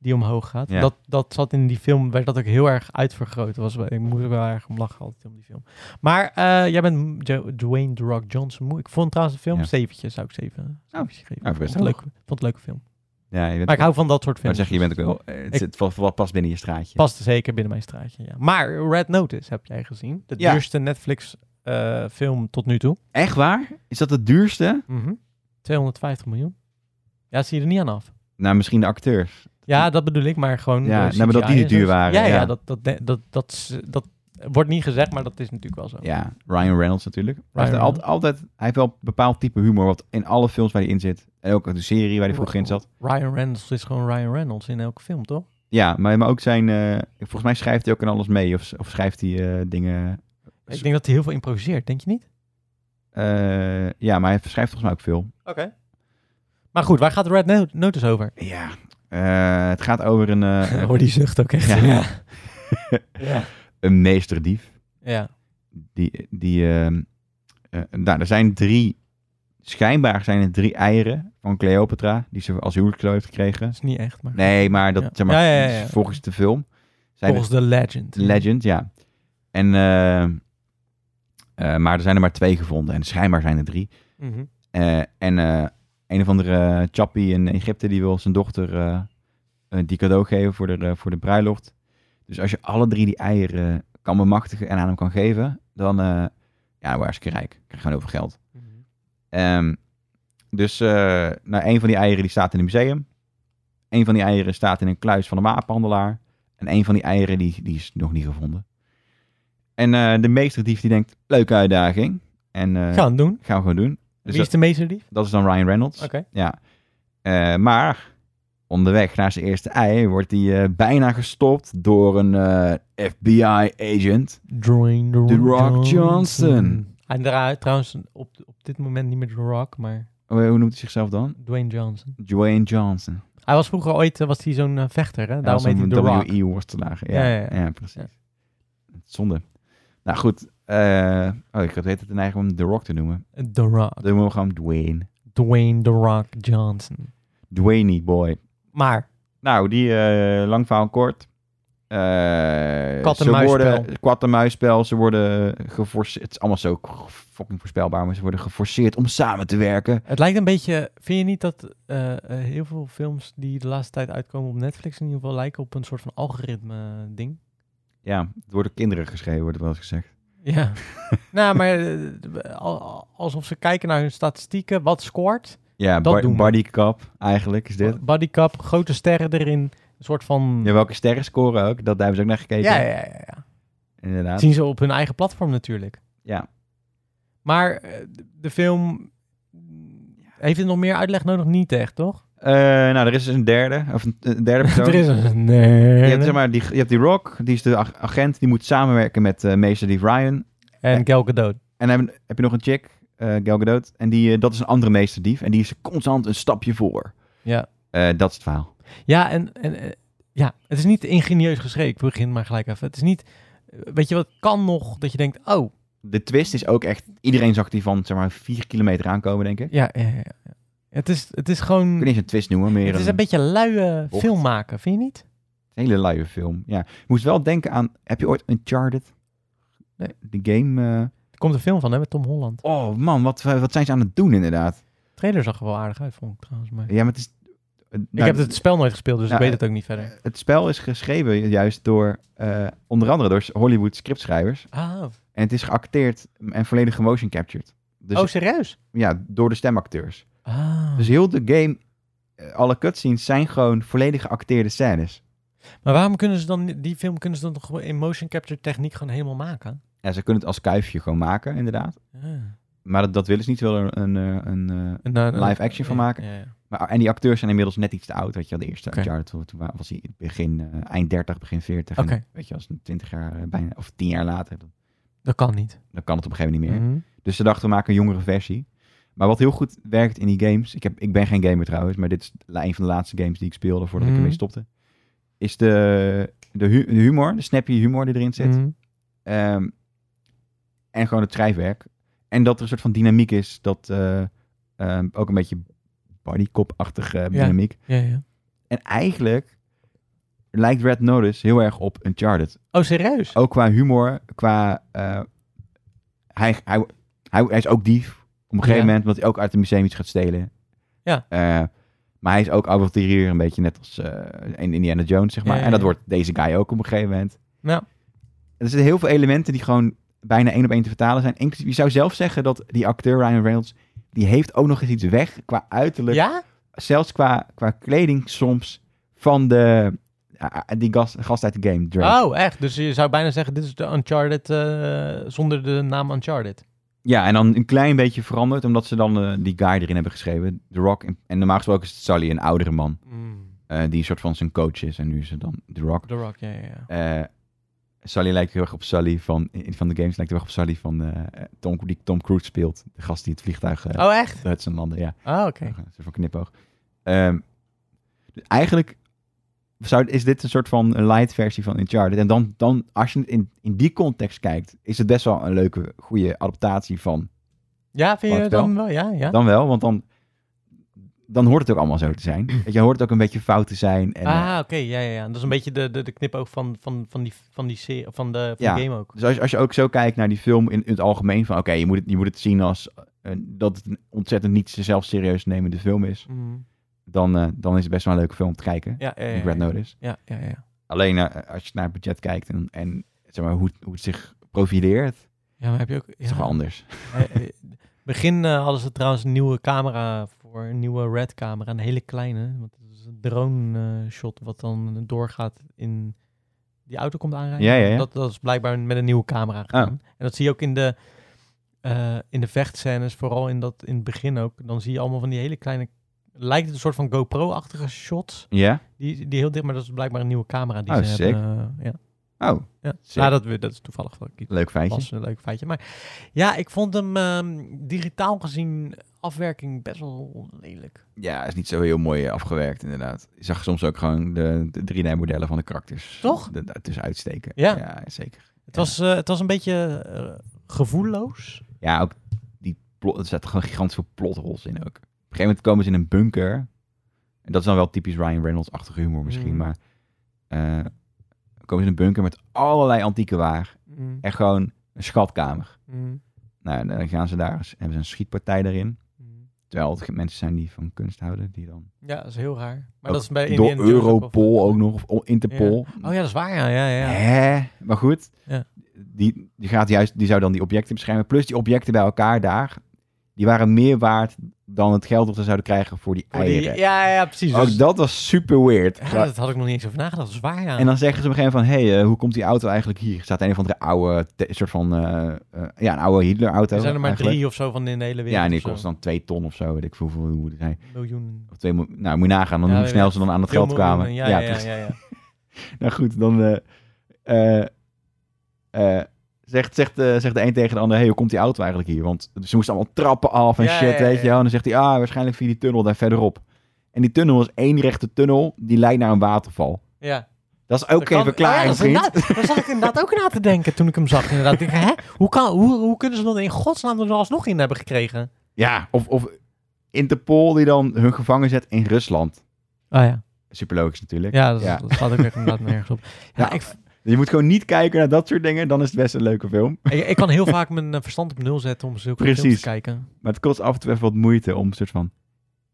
[SPEAKER 1] die omhoog gaat.
[SPEAKER 2] Ja.
[SPEAKER 1] Dat, dat zat in die film, werd dat ook heel erg uitvergroot. Dat Was, wel- ik moest er wel erg om lachen altijd om die film. Maar eh, jij bent Jo- Dwayne The Rock Johnson. moe. Ik vond trouwens de film
[SPEAKER 2] Ja.
[SPEAKER 1] zeventje, zou ik zeven. zeventje geven.
[SPEAKER 2] nou, best
[SPEAKER 1] vond, het
[SPEAKER 2] hoog.
[SPEAKER 1] leuk, vond het een leuke film.
[SPEAKER 2] Ja, je bent,
[SPEAKER 1] Maar ik hou van dat soort
[SPEAKER 2] maar
[SPEAKER 1] films.
[SPEAKER 2] zeg je, je bent ook wel... eh, Het,
[SPEAKER 1] Ik-
[SPEAKER 2] zit wel- wel past binnen je straatje.
[SPEAKER 1] Past zeker binnen mijn straatje, ja. Maar Red Notice heb jij gezien. De
[SPEAKER 2] Ja.
[SPEAKER 1] duurste Netflix eh, film tot nu toe.
[SPEAKER 2] Echt waar? Is dat het duurste?
[SPEAKER 1] 250 miljoen. Ja, zie je er niet aan af.
[SPEAKER 2] Nou, misschien de acteurs.
[SPEAKER 1] Ja, dat bedoel ik, maar gewoon...
[SPEAKER 2] Ja,
[SPEAKER 1] eh,
[SPEAKER 2] nou, maar dat die
[SPEAKER 1] CGI
[SPEAKER 2] niet duur
[SPEAKER 1] en zo.
[SPEAKER 2] waren,
[SPEAKER 1] Ja, ja.
[SPEAKER 2] ja.
[SPEAKER 1] dat, dat, dat, dat, is- dat wordt niet gezegd, maar dat is natuurlijk wel zo.
[SPEAKER 2] Ja, Ryan Reynolds natuurlijk. hij, heeft
[SPEAKER 1] Reynolds.
[SPEAKER 2] al- altijd, hij heeft wel een bepaald type humor, wat in alle films waar hij in zit, en ook de serie waar hij vroeger in zat.
[SPEAKER 1] Ryan Reynolds is gewoon Ryan Reynolds in elke film, toch?
[SPEAKER 2] Ja, maar, maar ook zijn... eh, volgens mij schrijft hij ook in alles mee, of, of schrijft hij eh, dingen...
[SPEAKER 1] Ik denk dat hij heel veel improviseert, denk je niet?
[SPEAKER 2] eh, ja, maar hij schrijft volgens mij ook veel.
[SPEAKER 1] Oké. Maar goed, waar gaat Red No- Notice over?
[SPEAKER 2] Ja, eh, het gaat over een, eh,
[SPEAKER 1] Hoor die zucht ook echt.
[SPEAKER 2] Ja.
[SPEAKER 1] Ja.
[SPEAKER 2] een meesterdief.
[SPEAKER 1] ja.
[SPEAKER 2] Die, die, ehm, eh, nou, er zijn drie, schijnbaar zijn er drie eieren van Cleopatra, die ze als huwelijkscadeau heeft gekregen.
[SPEAKER 1] Dat is niet echt, maar
[SPEAKER 2] Nee, maar dat
[SPEAKER 1] Ja.
[SPEAKER 2] zeg maar,
[SPEAKER 1] Ja, ja, ja, ja.
[SPEAKER 2] volgens de film. Zijn
[SPEAKER 1] volgens de legend.
[SPEAKER 2] er- legend, ja. En eh, Eh, maar er zijn er maar twee gevonden en schijnbaar zijn er drie.
[SPEAKER 1] Mhm.
[SPEAKER 2] Eh, en eh, een of andere eh, chappie in Egypte die wil zijn dochter eh, eh, die cadeau geven voor de, eh, voor de bruiloft. Dus als je alle drie die eieren eh, kan bemachtigen en aan hem kan geven, dan eh ja, dan word je hartstikke rijk. Krijg je gewoon over geld. Ehm, dus eh nou, een van die eieren die staat in een museum. Een van die eieren staat in een kluis van een wapenhandelaar. En een van die eieren die, die is nog niet gevonden. En eh, de meesterdief die denkt, leuke uitdaging. En eh,
[SPEAKER 1] Gaan doen.
[SPEAKER 2] gaan we gewoon doen.
[SPEAKER 1] Wie
[SPEAKER 2] Dus
[SPEAKER 1] is
[SPEAKER 2] dat,
[SPEAKER 1] de meesterdief?
[SPEAKER 2] dat is dan Ryan Reynolds.
[SPEAKER 1] Oké.
[SPEAKER 2] Ja. Eh, maar onderweg naar zijn eerste ei wordt hij eh, bijna gestopt door een eh, FBI-agent.
[SPEAKER 1] Dwayne
[SPEAKER 2] The Rock Johnson.
[SPEAKER 1] Hij draait trouwens op, op dit moment niet meer The Rock, maar
[SPEAKER 2] Hoe Eh, hoe noemt hij zichzelf dan?
[SPEAKER 1] Dwayne Johnson.
[SPEAKER 2] Dwayne Johnson.
[SPEAKER 1] Hij was vroeger ooit eh, was hij zo'n eh, vechter, hè?
[SPEAKER 2] Ja,
[SPEAKER 1] Daarom heet hij The
[SPEAKER 2] om
[SPEAKER 1] Rock.
[SPEAKER 2] een WI-worstelaar. Ja,
[SPEAKER 1] Ja,
[SPEAKER 2] ja,
[SPEAKER 1] ja, ja.
[SPEAKER 2] precies.
[SPEAKER 1] Ja.
[SPEAKER 2] Zonde. Nou goed. eh, oh, ik had het een eigen om The Rock te noemen.
[SPEAKER 1] The Rock.
[SPEAKER 2] Dan noemen we gewoon Dwayne.
[SPEAKER 1] Dwayne The Rock Johnson.
[SPEAKER 2] Dwayne boy.
[SPEAKER 1] Maar,
[SPEAKER 2] Nou, die eh, lang verhaal kort. Eh,
[SPEAKER 1] Kat en
[SPEAKER 2] ze
[SPEAKER 1] muisspel.
[SPEAKER 2] Worden, kat en muisspel. Ze worden geforceerd. Het is allemaal zo fucking voorspelbaar, maar ze worden geforceerd om samen te werken.
[SPEAKER 1] het lijkt een beetje... Vind je niet dat eh, eh, heel veel films die de laatste tijd uitkomen op Netflix in ieder geval lijken op een soort van algoritme eh, ding?
[SPEAKER 2] Ja, het wordt door kinderen geschreven, wordt er wel eens gezegd.
[SPEAKER 1] Ja. nou, maar eh, al- al- alsof ze kijken naar hun statistieken. Wat scoort?
[SPEAKER 2] Ja,
[SPEAKER 1] Dat
[SPEAKER 2] bo-
[SPEAKER 1] doen we.
[SPEAKER 2] bodycap eigenlijk is dit.
[SPEAKER 1] Bodycap, grote sterren erin. Een soort van...
[SPEAKER 2] Ja, welke sterren scoren ook. Dat daar hebben ze ook naar gekeken.
[SPEAKER 1] ja, ja, ja, ja.
[SPEAKER 2] Inderdaad.
[SPEAKER 1] Zien ze op hun eigen platform natuurlijk.
[SPEAKER 2] Ja.
[SPEAKER 1] Maar eh, de- de film... Heeft het nog meer uitleg nodig? Niet echt, toch?
[SPEAKER 2] Eh, nou, er is dus een derde, of een, een derde persoon.
[SPEAKER 1] er is een...
[SPEAKER 2] je,
[SPEAKER 1] Nee.
[SPEAKER 2] hebt, zeg maar, die, je hebt die Rock, die is de ag- agent, die moet samenwerken met eh, meester Dief Ryan.
[SPEAKER 1] En Gal Gadot.
[SPEAKER 2] En dan heb, heb je nog een chick, eh Gal Gadot, en die, eh, dat is een andere meester dief. En die is constant een stapje voor.
[SPEAKER 1] Ja.
[SPEAKER 2] Eh, dat is het verhaal.
[SPEAKER 1] Ja, en, en eh, ja, het is niet ingenieus geschreven. Ik begin maar gelijk even. Het is niet... eh, Weet je wat kan nog dat je denkt... Oh,
[SPEAKER 2] De twist is ook echt, iedereen zag die van, zeg maar, vier kilometer aankomen, denk ik. Ik
[SPEAKER 1] ja, ja, ja. ja. Het is, het is gewoon...
[SPEAKER 2] weet niet eens een twist noemen, meer
[SPEAKER 1] Het is
[SPEAKER 2] een,
[SPEAKER 1] een beetje luie
[SPEAKER 2] bocht.
[SPEAKER 1] film maken, vind je niet?
[SPEAKER 2] hele luie film. Ja. Ik moest wel denken aan, heb je ooit Uncharted?
[SPEAKER 1] Nee.
[SPEAKER 2] De game... eh,
[SPEAKER 1] Er komt een film van hè, met Tom Holland.
[SPEAKER 2] oh man, wat, wat zijn ze aan het doen inderdaad.
[SPEAKER 1] De trailer zag er wel aardig uit, vond ik trouwens. Maar...
[SPEAKER 2] Ja, maar het is...
[SPEAKER 1] ik heb het spel nooit gespeeld, dus
[SPEAKER 2] nou,
[SPEAKER 1] ik weet het ook niet verder.
[SPEAKER 2] het spel is geschreven juist door, eh, onder andere door Hollywood scriptschrijvers.
[SPEAKER 1] Ah,
[SPEAKER 2] En het is geacteerd en volledig motion captured. Dus
[SPEAKER 1] oh, serieus?
[SPEAKER 2] ja, door de stemacteurs.
[SPEAKER 1] Ah.
[SPEAKER 2] Dus heel de game, eh, alle cutscenes zijn gewoon volledig geacteerde scènes.
[SPEAKER 1] Maar waarom kunnen ze dan ni- die film kunnen ze dan toch in motion capture techniek gewoon helemaal maken?
[SPEAKER 2] Ja, ze kunnen het als kuifje gewoon maken, inderdaad.
[SPEAKER 1] Ah. Een,
[SPEAKER 2] Maar dat, dat willen ze niet, ze willen een, eh, een, eh,
[SPEAKER 1] eh,
[SPEAKER 2] Live action van
[SPEAKER 1] ja,
[SPEAKER 2] maken?
[SPEAKER 1] ja, ja.
[SPEAKER 2] maar, en die acteurs zijn inmiddels net iets te oud. Weet je wel, de eerste
[SPEAKER 1] Oké.
[SPEAKER 2] Uncharted, toen- toen wa- was hij begin, eh, eind 30, begin 40. En,
[SPEAKER 1] Oké.
[SPEAKER 2] weet je, als een 20 jaar eh, bijna, of 10 jaar later, dan,
[SPEAKER 1] Dat kan niet.
[SPEAKER 2] dan kan het op een gegeven moment niet meer.
[SPEAKER 1] Mhm.
[SPEAKER 2] Dus ze dachten, we maken een jongere versie. Maar wat heel goed werkt in die games... Ik, heb, ik ben geen gamer trouwens, maar dit is la- een van de laatste games die ik speelde... voordat ik
[SPEAKER 1] Mhm.
[SPEAKER 2] ermee stopte. Is de, de, hu- de humor, de snappy humor die erin zit.
[SPEAKER 1] Mhm.
[SPEAKER 2] Ehm, en gewoon het schrijfwerk. En dat er een soort van dynamiek is. Dat eh, ehm, ook een beetje bodycop-achtige dynamiek.
[SPEAKER 1] Ja, ja.
[SPEAKER 2] En eigenlijk lijkt Red Notice heel erg op Uncharted.
[SPEAKER 1] Oh, serieus?
[SPEAKER 2] Ook qua humor, qua... eh, hij, hij, hij, hij is ook dief. Op een gegeven
[SPEAKER 1] Ja.
[SPEAKER 2] moment, want hij ook uit het museum iets gaat stelen.
[SPEAKER 1] Ja.
[SPEAKER 2] Eh, maar hij is ook avontuurier, een beetje net als eh, in Indiana Jones, zeg maar.
[SPEAKER 1] Ja, ja,
[SPEAKER 2] En dat
[SPEAKER 1] ja.
[SPEAKER 2] wordt deze guy ook op een gegeven moment.
[SPEAKER 1] Ja.
[SPEAKER 2] Er zitten heel veel elementen die gewoon bijna één op één te vertalen zijn. Inclusief, je zou zelf zeggen dat die acteur Ryan Reynolds... die heeft ook nog eens iets weg qua uiterlijk.
[SPEAKER 1] Ja?
[SPEAKER 2] Zelfs qua, qua kleding soms van de... ah, die gast, gast uit de game, Drake.
[SPEAKER 1] Oh, echt? Dus je zou bijna zeggen, dit is de Uncharted eh, zonder de naam Uncharted.
[SPEAKER 2] Ja, en dan een klein beetje veranderd, omdat ze dan eh, die guy erin hebben geschreven, The Rock. En, en normaal gesproken is het Sully, een oudere man, eh, die een soort van zijn coach is. En nu is het dan The Rock.
[SPEAKER 1] The Rock, ja, ja, ja.
[SPEAKER 2] Eh, Sully lijkt heel erg op Sully van, in- van de games, lijkt heel erg op Sully van eh, Tom, die Tom Cruise speelt. De gast die het vliegtuig eh
[SPEAKER 1] Oh, echt?
[SPEAKER 2] uit zijn landen, ja.
[SPEAKER 1] Oh, oké.
[SPEAKER 2] Een soort van knipoog. Ehm, dus eigenlijk zou, is dit een soort van een light versie van Uncharted. En dan, dan als je het in, in die context kijkt, is het best wel een leuke, goede adaptatie van
[SPEAKER 1] Ja, vind
[SPEAKER 2] Van
[SPEAKER 1] je
[SPEAKER 2] het spel.
[SPEAKER 1] dan wel? Ja, ja.
[SPEAKER 2] Dan wel, want dan dan hoort het ook allemaal zo te zijn. Weet je, hoort het ook een beetje fout te zijn. En, eh,
[SPEAKER 1] ah, oké, ja, ja, ja. Dat is een beetje de, de, de knipoog van, van, van die, van die, serie, van de, van
[SPEAKER 2] Ja.
[SPEAKER 1] de game ook.
[SPEAKER 2] Dus als, je- als je ook zo kijkt naar die film in, in het algemeen, van oké, je moet het je moet het zien als eh, dat het een ontzettend niet zichzelf serieus nemende film is,
[SPEAKER 1] Mm.
[SPEAKER 2] dan, eh, dan is het best wel een leuke film om te kijken.
[SPEAKER 1] Ja, ja, ja,
[SPEAKER 2] die Red
[SPEAKER 1] ja.
[SPEAKER 2] Notice.
[SPEAKER 1] Ja, ja, ja.
[SPEAKER 2] Alleen eh, als je naar het budget kijkt en, en zeg maar, hoe, het- hoe het zich profileert, is
[SPEAKER 1] Ja, maar heb je ook... Ja.
[SPEAKER 2] toch wel anders.
[SPEAKER 1] Eh, eh, begin eh, hadden ze trouwens een nieuwe camera voor, een nieuwe red camera, een hele kleine. Want het is een drone eh, shot wat dan doorgaat in die auto komt aanrijden.
[SPEAKER 2] Ja, Ah. ja, ja.
[SPEAKER 1] Dat, dat is blijkbaar met een nieuwe camera gedaan. En dat zie je ook in de, eh, in de vechtscènes, vooral in, dat, in het begin ook. Dan zie je allemaal van die hele kleine, lijkt het een soort van GoPro-achtige shots.
[SPEAKER 2] Ja?
[SPEAKER 1] Die, die heel dicht, maar dat is blijkbaar een nieuwe camera die
[SPEAKER 2] Oh,
[SPEAKER 1] ze
[SPEAKER 2] sick.
[SPEAKER 1] hebben. eh, ja.
[SPEAKER 2] Oh,
[SPEAKER 1] Ja.
[SPEAKER 2] Sick.
[SPEAKER 1] Nou, dat, we- dat is toevallig wat ik
[SPEAKER 2] leuk feitje.
[SPEAKER 1] was een leuk feitje. Maar ja, ik vond hem ehm, digitaal gezien afwerking best wel lelijk.
[SPEAKER 2] Ja, is niet zo heel mooi eh, afgewerkt inderdaad. Je zag soms ook gewoon de, de 3D-modellen van de karakters.
[SPEAKER 1] Toch?
[SPEAKER 2] de- Daartussen uitsteken.
[SPEAKER 1] Ja.
[SPEAKER 2] zeker.
[SPEAKER 1] Het, was, eh, het was een beetje eh, gevoelloos.
[SPEAKER 2] Ja, ook die plot, er zaten gewoon gigantisch veel plotholes in ook. Op een gegeven moment komen ze in een bunker. En dat is dan wel typisch Ryan Reynolds-achtige humor misschien,
[SPEAKER 1] Mm.
[SPEAKER 2] maar... eh, komen ze in een bunker met allerlei antieke waar.
[SPEAKER 1] Mm,
[SPEAKER 2] Echt gewoon een schatkamer. Nou, en dan gaan ze daar, eens- hebben ze een schietpartij daarin. Terwijl het mensen zijn die van kunst houden, die dan...
[SPEAKER 1] mm. Ja, dat is heel raar. Maar
[SPEAKER 2] Ook
[SPEAKER 1] dat is bij
[SPEAKER 2] door
[SPEAKER 1] Indiana Eh, Jones ook wel
[SPEAKER 2] Europol
[SPEAKER 1] vaak.
[SPEAKER 2] ook nog, of o- Interpol.
[SPEAKER 1] Oh ja, dat is waar. Ja, ja, ja.
[SPEAKER 2] Hè? Maar goed,
[SPEAKER 1] Ja.
[SPEAKER 2] die, die, gaat juist, die zou dan die objecten beschermen. Plus die objecten bij elkaar daar, die waren meer waard dan het geld dat ze zouden krijgen voor die
[SPEAKER 1] Voor die-
[SPEAKER 2] eieren.
[SPEAKER 1] ja, ja, precies. Dus-
[SPEAKER 2] Ook dat was super weird.
[SPEAKER 1] ja, dat had ik nog niet eens over nagedacht. Dat is waar, ja.
[SPEAKER 2] En dan zeggen ze op een gegeven moment van, hé, hey, eh, hoe komt die auto eigenlijk hier? Er staat een of andere oude, te- soort van, eh, eh, ja, een oude Hitler-auto.
[SPEAKER 1] er zijn er maar
[SPEAKER 2] eigenlijk.
[SPEAKER 1] drie of zo van in de hele wereld.
[SPEAKER 2] Ja, en die
[SPEAKER 1] of zo.
[SPEAKER 2] kost dan twee ton of zo, weet ik veel hoeveel hoe het zijn.
[SPEAKER 1] Miljoenen.
[SPEAKER 2] Of twee miljoen. Nou, moet je nagaan dan
[SPEAKER 1] Ja,
[SPEAKER 2] hoe
[SPEAKER 1] ja,
[SPEAKER 2] snel ze dan aan het
[SPEAKER 1] Veel
[SPEAKER 2] geld kwamen.
[SPEAKER 1] miljoenen, Ja, ja,
[SPEAKER 2] precies.
[SPEAKER 1] ja. ja, ja.
[SPEAKER 2] Nou goed, dan eh, eh, eh, zegt, zegt, eh, zegt de een tegen de ander... hey, hoe komt die auto eigenlijk hier? Want ze moesten allemaal trappen af en
[SPEAKER 1] Ja,
[SPEAKER 2] shit,
[SPEAKER 1] ja, ja,
[SPEAKER 2] weet je
[SPEAKER 1] ja.
[SPEAKER 2] wel. En dan zegt hij, ah, waarschijnlijk via die tunnel daar verderop. En die tunnel is één rechte tunnel, die leidt naar een waterval.
[SPEAKER 1] ja.
[SPEAKER 2] Dat is
[SPEAKER 1] Dat
[SPEAKER 2] ook
[SPEAKER 1] kan- Oh
[SPEAKER 2] geen verklaring,
[SPEAKER 1] ja, dat is
[SPEAKER 2] vriend.
[SPEAKER 1] inderdaad- Daar zat ik inderdaad ook na te denken toen ik hem zag. Inderdaad. Ik, hè? Hoe, kan, hoe, hoe kunnen ze dat in godsnaam er alsnog in hebben gekregen?
[SPEAKER 2] Ja, of, of Interpol die dan hun gevangen zet in Rusland.
[SPEAKER 1] Ah ja.
[SPEAKER 2] Superlogisch natuurlijk.
[SPEAKER 1] Ja, dat,
[SPEAKER 2] Ja.
[SPEAKER 1] dat staat ook echt inderdaad nergens op. Ja,
[SPEAKER 2] Ja.
[SPEAKER 1] Ik,
[SPEAKER 2] Je moet gewoon niet kijken naar dat soort dingen, dan is het best een leuke film.
[SPEAKER 1] ik, ik kan heel vaak mijn eh, verstand op nul zetten om zulke
[SPEAKER 2] Precies.
[SPEAKER 1] films te kijken.
[SPEAKER 2] Maar het kost af en toe even wat moeite om een soort van...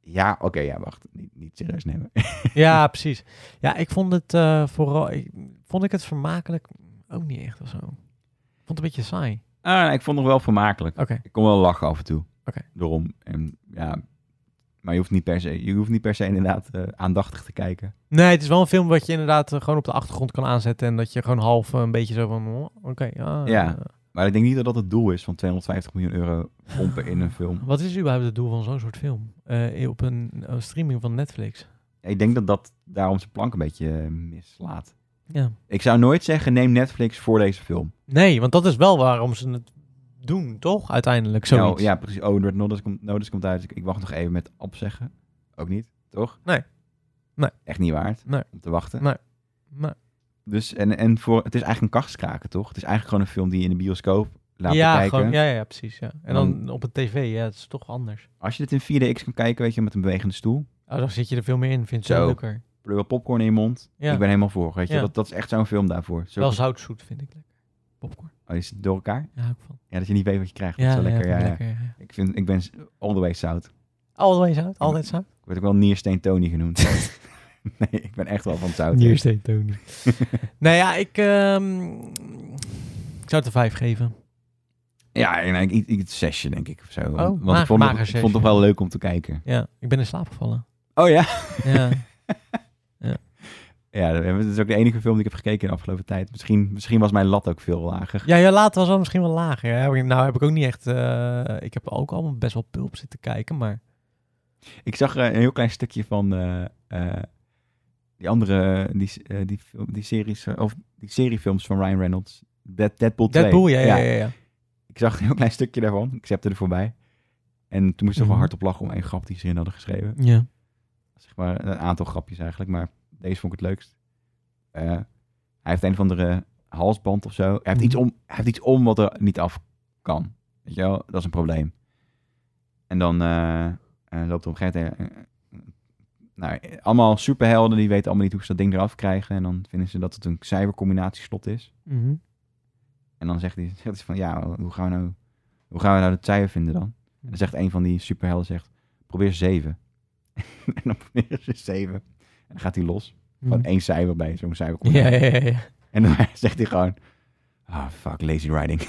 [SPEAKER 2] Ja, oké, ja, wacht. Niet, niet serieus nemen.
[SPEAKER 1] Ja, precies. Ja, ik vond het eh, vooral... Ik, vond ik het vermakelijk? Ook niet echt of zo. Ik vond het een beetje saai.
[SPEAKER 2] Ah, ik vond het nog wel vermakelijk.
[SPEAKER 1] Oké.
[SPEAKER 2] Ik kon wel lachen af en toe.
[SPEAKER 1] Oké.
[SPEAKER 2] Daarom. En, ja, maar je hoeft niet per se, je hoeft niet per se inderdaad eh, aandachtig te kijken.
[SPEAKER 1] Nee, het is wel een film wat je inderdaad eh, gewoon op de achtergrond kan aanzetten. En dat je gewoon half eh, een beetje zo van... oh, Oké, ja.
[SPEAKER 2] Ja.
[SPEAKER 1] eh,
[SPEAKER 2] Maar ik denk niet dat dat het doel is van 250 miljoen euro pompen in een film.
[SPEAKER 1] Wat is überhaupt het doel van zo'n soort film? Eh, op een, een streaming van Netflix.
[SPEAKER 2] Ik denk dat dat daarom zijn plank een beetje eh, mislaat.
[SPEAKER 1] Ja.
[SPEAKER 2] Ik zou nooit zeggen, neem Netflix voor deze film.
[SPEAKER 1] Nee, want dat is wel waarom ze het doen, toch? Uiteindelijk, zoiets.
[SPEAKER 2] Nou, ja, precies. Oh, Red Notice komt, Notice komt uit. Dus ik, ik wacht nog even met opzeggen. Ook niet, toch?
[SPEAKER 1] Nee. Nee.
[SPEAKER 2] Echt niet waard
[SPEAKER 1] Nee.
[SPEAKER 2] om te wachten.
[SPEAKER 1] Maar-
[SPEAKER 2] Dus, en, en voor, het is eigenlijk een kastkraken, toch? Het is eigenlijk gewoon een film die je in de bioscoop laat
[SPEAKER 1] ja,
[SPEAKER 2] bekijken.
[SPEAKER 1] gewoon, ja, ja, ja, precies. Ja. En dan op een tv, ja, het is toch anders.
[SPEAKER 2] Als je dit in 4DX kan kijken, weet je, met een bewegende stoel.
[SPEAKER 1] Oh, dan zit je er veel meer in, vind je
[SPEAKER 2] Zo.
[SPEAKER 1] het leuker.
[SPEAKER 2] Pleur popcorn in je mond.
[SPEAKER 1] Ja.
[SPEAKER 2] Ik ben helemaal voor, weet je.
[SPEAKER 1] Ja.
[SPEAKER 2] Dat, dat is echt zo'n film daarvoor. Zo,
[SPEAKER 1] Wel zoutzoet vind ik lekker. Popcorn,
[SPEAKER 2] oh, is het door elkaar?
[SPEAKER 1] daar hou ik van.
[SPEAKER 2] Ja, dat je niet weet wat je krijgt. dat is wel lekker, ja.
[SPEAKER 1] vind ik
[SPEAKER 2] ja. Ik, vind, ik ben s- all the way zout.
[SPEAKER 1] Always zout, altijd zout.
[SPEAKER 2] Ik word ook wel Niersteen Tony genoemd. nee, ik ben echt wel van het zout.
[SPEAKER 1] Hier steeds Tony. nou ja, ik, ehm, ik zou het een 5 geven.
[SPEAKER 2] Ja, en ik, ik, ik- het zesje, denk ik, of zo.
[SPEAKER 1] Oh,
[SPEAKER 2] Want
[SPEAKER 1] mager-
[SPEAKER 2] ik vond,
[SPEAKER 1] mager
[SPEAKER 2] het, ik vond het toch
[SPEAKER 1] zesje.
[SPEAKER 2] wel leuk om te kijken.
[SPEAKER 1] Ja, ik ben in slaap gevallen.
[SPEAKER 2] Oh ja?
[SPEAKER 1] Ja.
[SPEAKER 2] Ja, dat is ook de enige film die ik heb gekeken in de afgelopen tijd. Misschien, misschien was mijn lat ook veel lager.
[SPEAKER 1] Ja, ja, later was wel misschien wel lager. Ja, Heb ik- nou heb ik ook niet echt... eh, ik heb ook allemaal best wel pulp zitten kijken, maar...
[SPEAKER 2] Ik zag eh, een heel klein stukje van eh, eh, die andere, die, eh, die, film- die series, eh, of die seriefilms van Ryan Reynolds. Dead, Deadpool 2.
[SPEAKER 1] Deadpool, ja, ja, ja. ja.
[SPEAKER 2] Ik zag een heel klein stukje daarvan. Ik zette er voorbij. En toen moest ik er wel
[SPEAKER 1] Mhm.
[SPEAKER 2] hard op lachen om één grap die ze in hadden geschreven.
[SPEAKER 1] ja.
[SPEAKER 2] Zeg maar een aantal grapjes eigenlijk, maar deze vond ik het leukst. Eh, hij heeft een of andere halsband of zo. Hij heeft,
[SPEAKER 1] Mhm.
[SPEAKER 2] iets om, hij heeft iets om wat er niet af kan. Weet je wel, dat is een probleem. En dan eh, eh, loopt er op een gegeven moment een- nou, allemaal superhelden, die weten allemaal niet hoe ze dat ding eraf krijgen. En dan vinden ze dat het een cijfercombinatieslot is.
[SPEAKER 1] Mhm.
[SPEAKER 2] En dan zegt hij, zegt hij van, ja, hoe gaan we nou, hoe gaan we nou dat cijfer vinden dan?
[SPEAKER 1] Hm.
[SPEAKER 2] En dan zegt een van die superhelden, zegt, probeer zeven. en dan proberen ze zeven. En dan gaat hij los. Van één cijfer bij zo'n cijfer.
[SPEAKER 1] Hm. Mhm. Ja, ja, ja, ja.
[SPEAKER 2] En dan zegt hij gewoon, ah, fuck, lazy riding.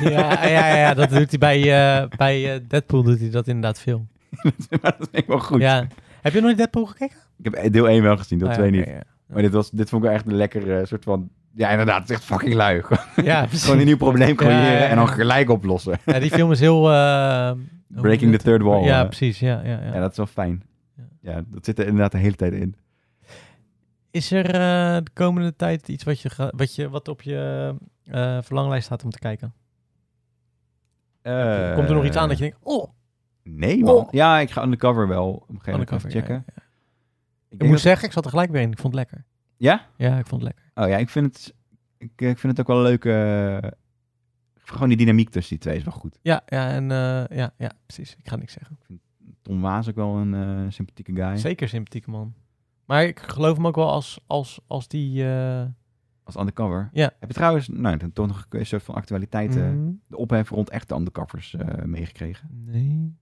[SPEAKER 1] ja, ja, ja, dat doet hij bij, eh, bij eh, Deadpool doet hij dat inderdaad veel.
[SPEAKER 2] maar dat vind ik wel goed.
[SPEAKER 1] Ja. Heb je nog niet Deadpool gekeken?
[SPEAKER 2] Ik heb deel 1 wel gezien, deel
[SPEAKER 1] Ah,
[SPEAKER 2] 2
[SPEAKER 1] ja,
[SPEAKER 2] niet.
[SPEAKER 1] oké,
[SPEAKER 2] Maar dit, was, dit vond ik wel echt een lekker eh, soort van... Ja, inderdaad, het is echt fucking lui. Gewoon
[SPEAKER 1] ja. Ja, precies.
[SPEAKER 2] een nieuw probleem creëren
[SPEAKER 1] Ja, ja, ja.
[SPEAKER 2] en dan gelijk oplossen.
[SPEAKER 1] Ja, die film is heel... eh, hoe noem je
[SPEAKER 2] Breaking the
[SPEAKER 1] het?
[SPEAKER 2] third wall.
[SPEAKER 1] Ja,
[SPEAKER 2] eh.
[SPEAKER 1] precies. Ja, ja, ja.
[SPEAKER 2] Ja, dat is wel fijn.
[SPEAKER 1] Ja.
[SPEAKER 2] Ja, dat zit er inderdaad de hele tijd in.
[SPEAKER 1] Is er eh, de komende tijd iets wat, je ga- wat, je, wat op je eh, verlanglijst staat om te kijken?
[SPEAKER 2] Eh,
[SPEAKER 1] Komt er nog iets aan dat je denkt, oh,
[SPEAKER 2] Nee, man.
[SPEAKER 1] Oh.
[SPEAKER 2] Ja, ik ga undercover wel op een gegeven moment
[SPEAKER 1] Undercover,
[SPEAKER 2] even checken.
[SPEAKER 1] ja,
[SPEAKER 2] Ik
[SPEAKER 1] Ik
[SPEAKER 2] denk
[SPEAKER 1] moet
[SPEAKER 2] dat-
[SPEAKER 1] zeggen, ik zat er gelijk weer in. Ik vond het lekker.
[SPEAKER 2] Ja?
[SPEAKER 1] Ja, ik vond het lekker.
[SPEAKER 2] Oh ja, ik vind het, ik, ik vind het ook wel leuk. eh, gewoon die dynamiek tussen die twee is wel goed.
[SPEAKER 1] Ja, ja, en, eh, ja, ja precies. Ik ga niks zeggen.
[SPEAKER 2] Tom Waas ook wel een eh, sympathieke guy.
[SPEAKER 1] Zeker sympathieke man. Maar ik geloof hem ook wel als, als, als die... eh,
[SPEAKER 2] Als undercover.
[SPEAKER 1] Ja.
[SPEAKER 2] Heb je trouwens, nou, dan toch nog een soort van actualiteit, eh,
[SPEAKER 1] mm,
[SPEAKER 2] de ophef rond echte undercovers eh, meegekregen.
[SPEAKER 1] nee.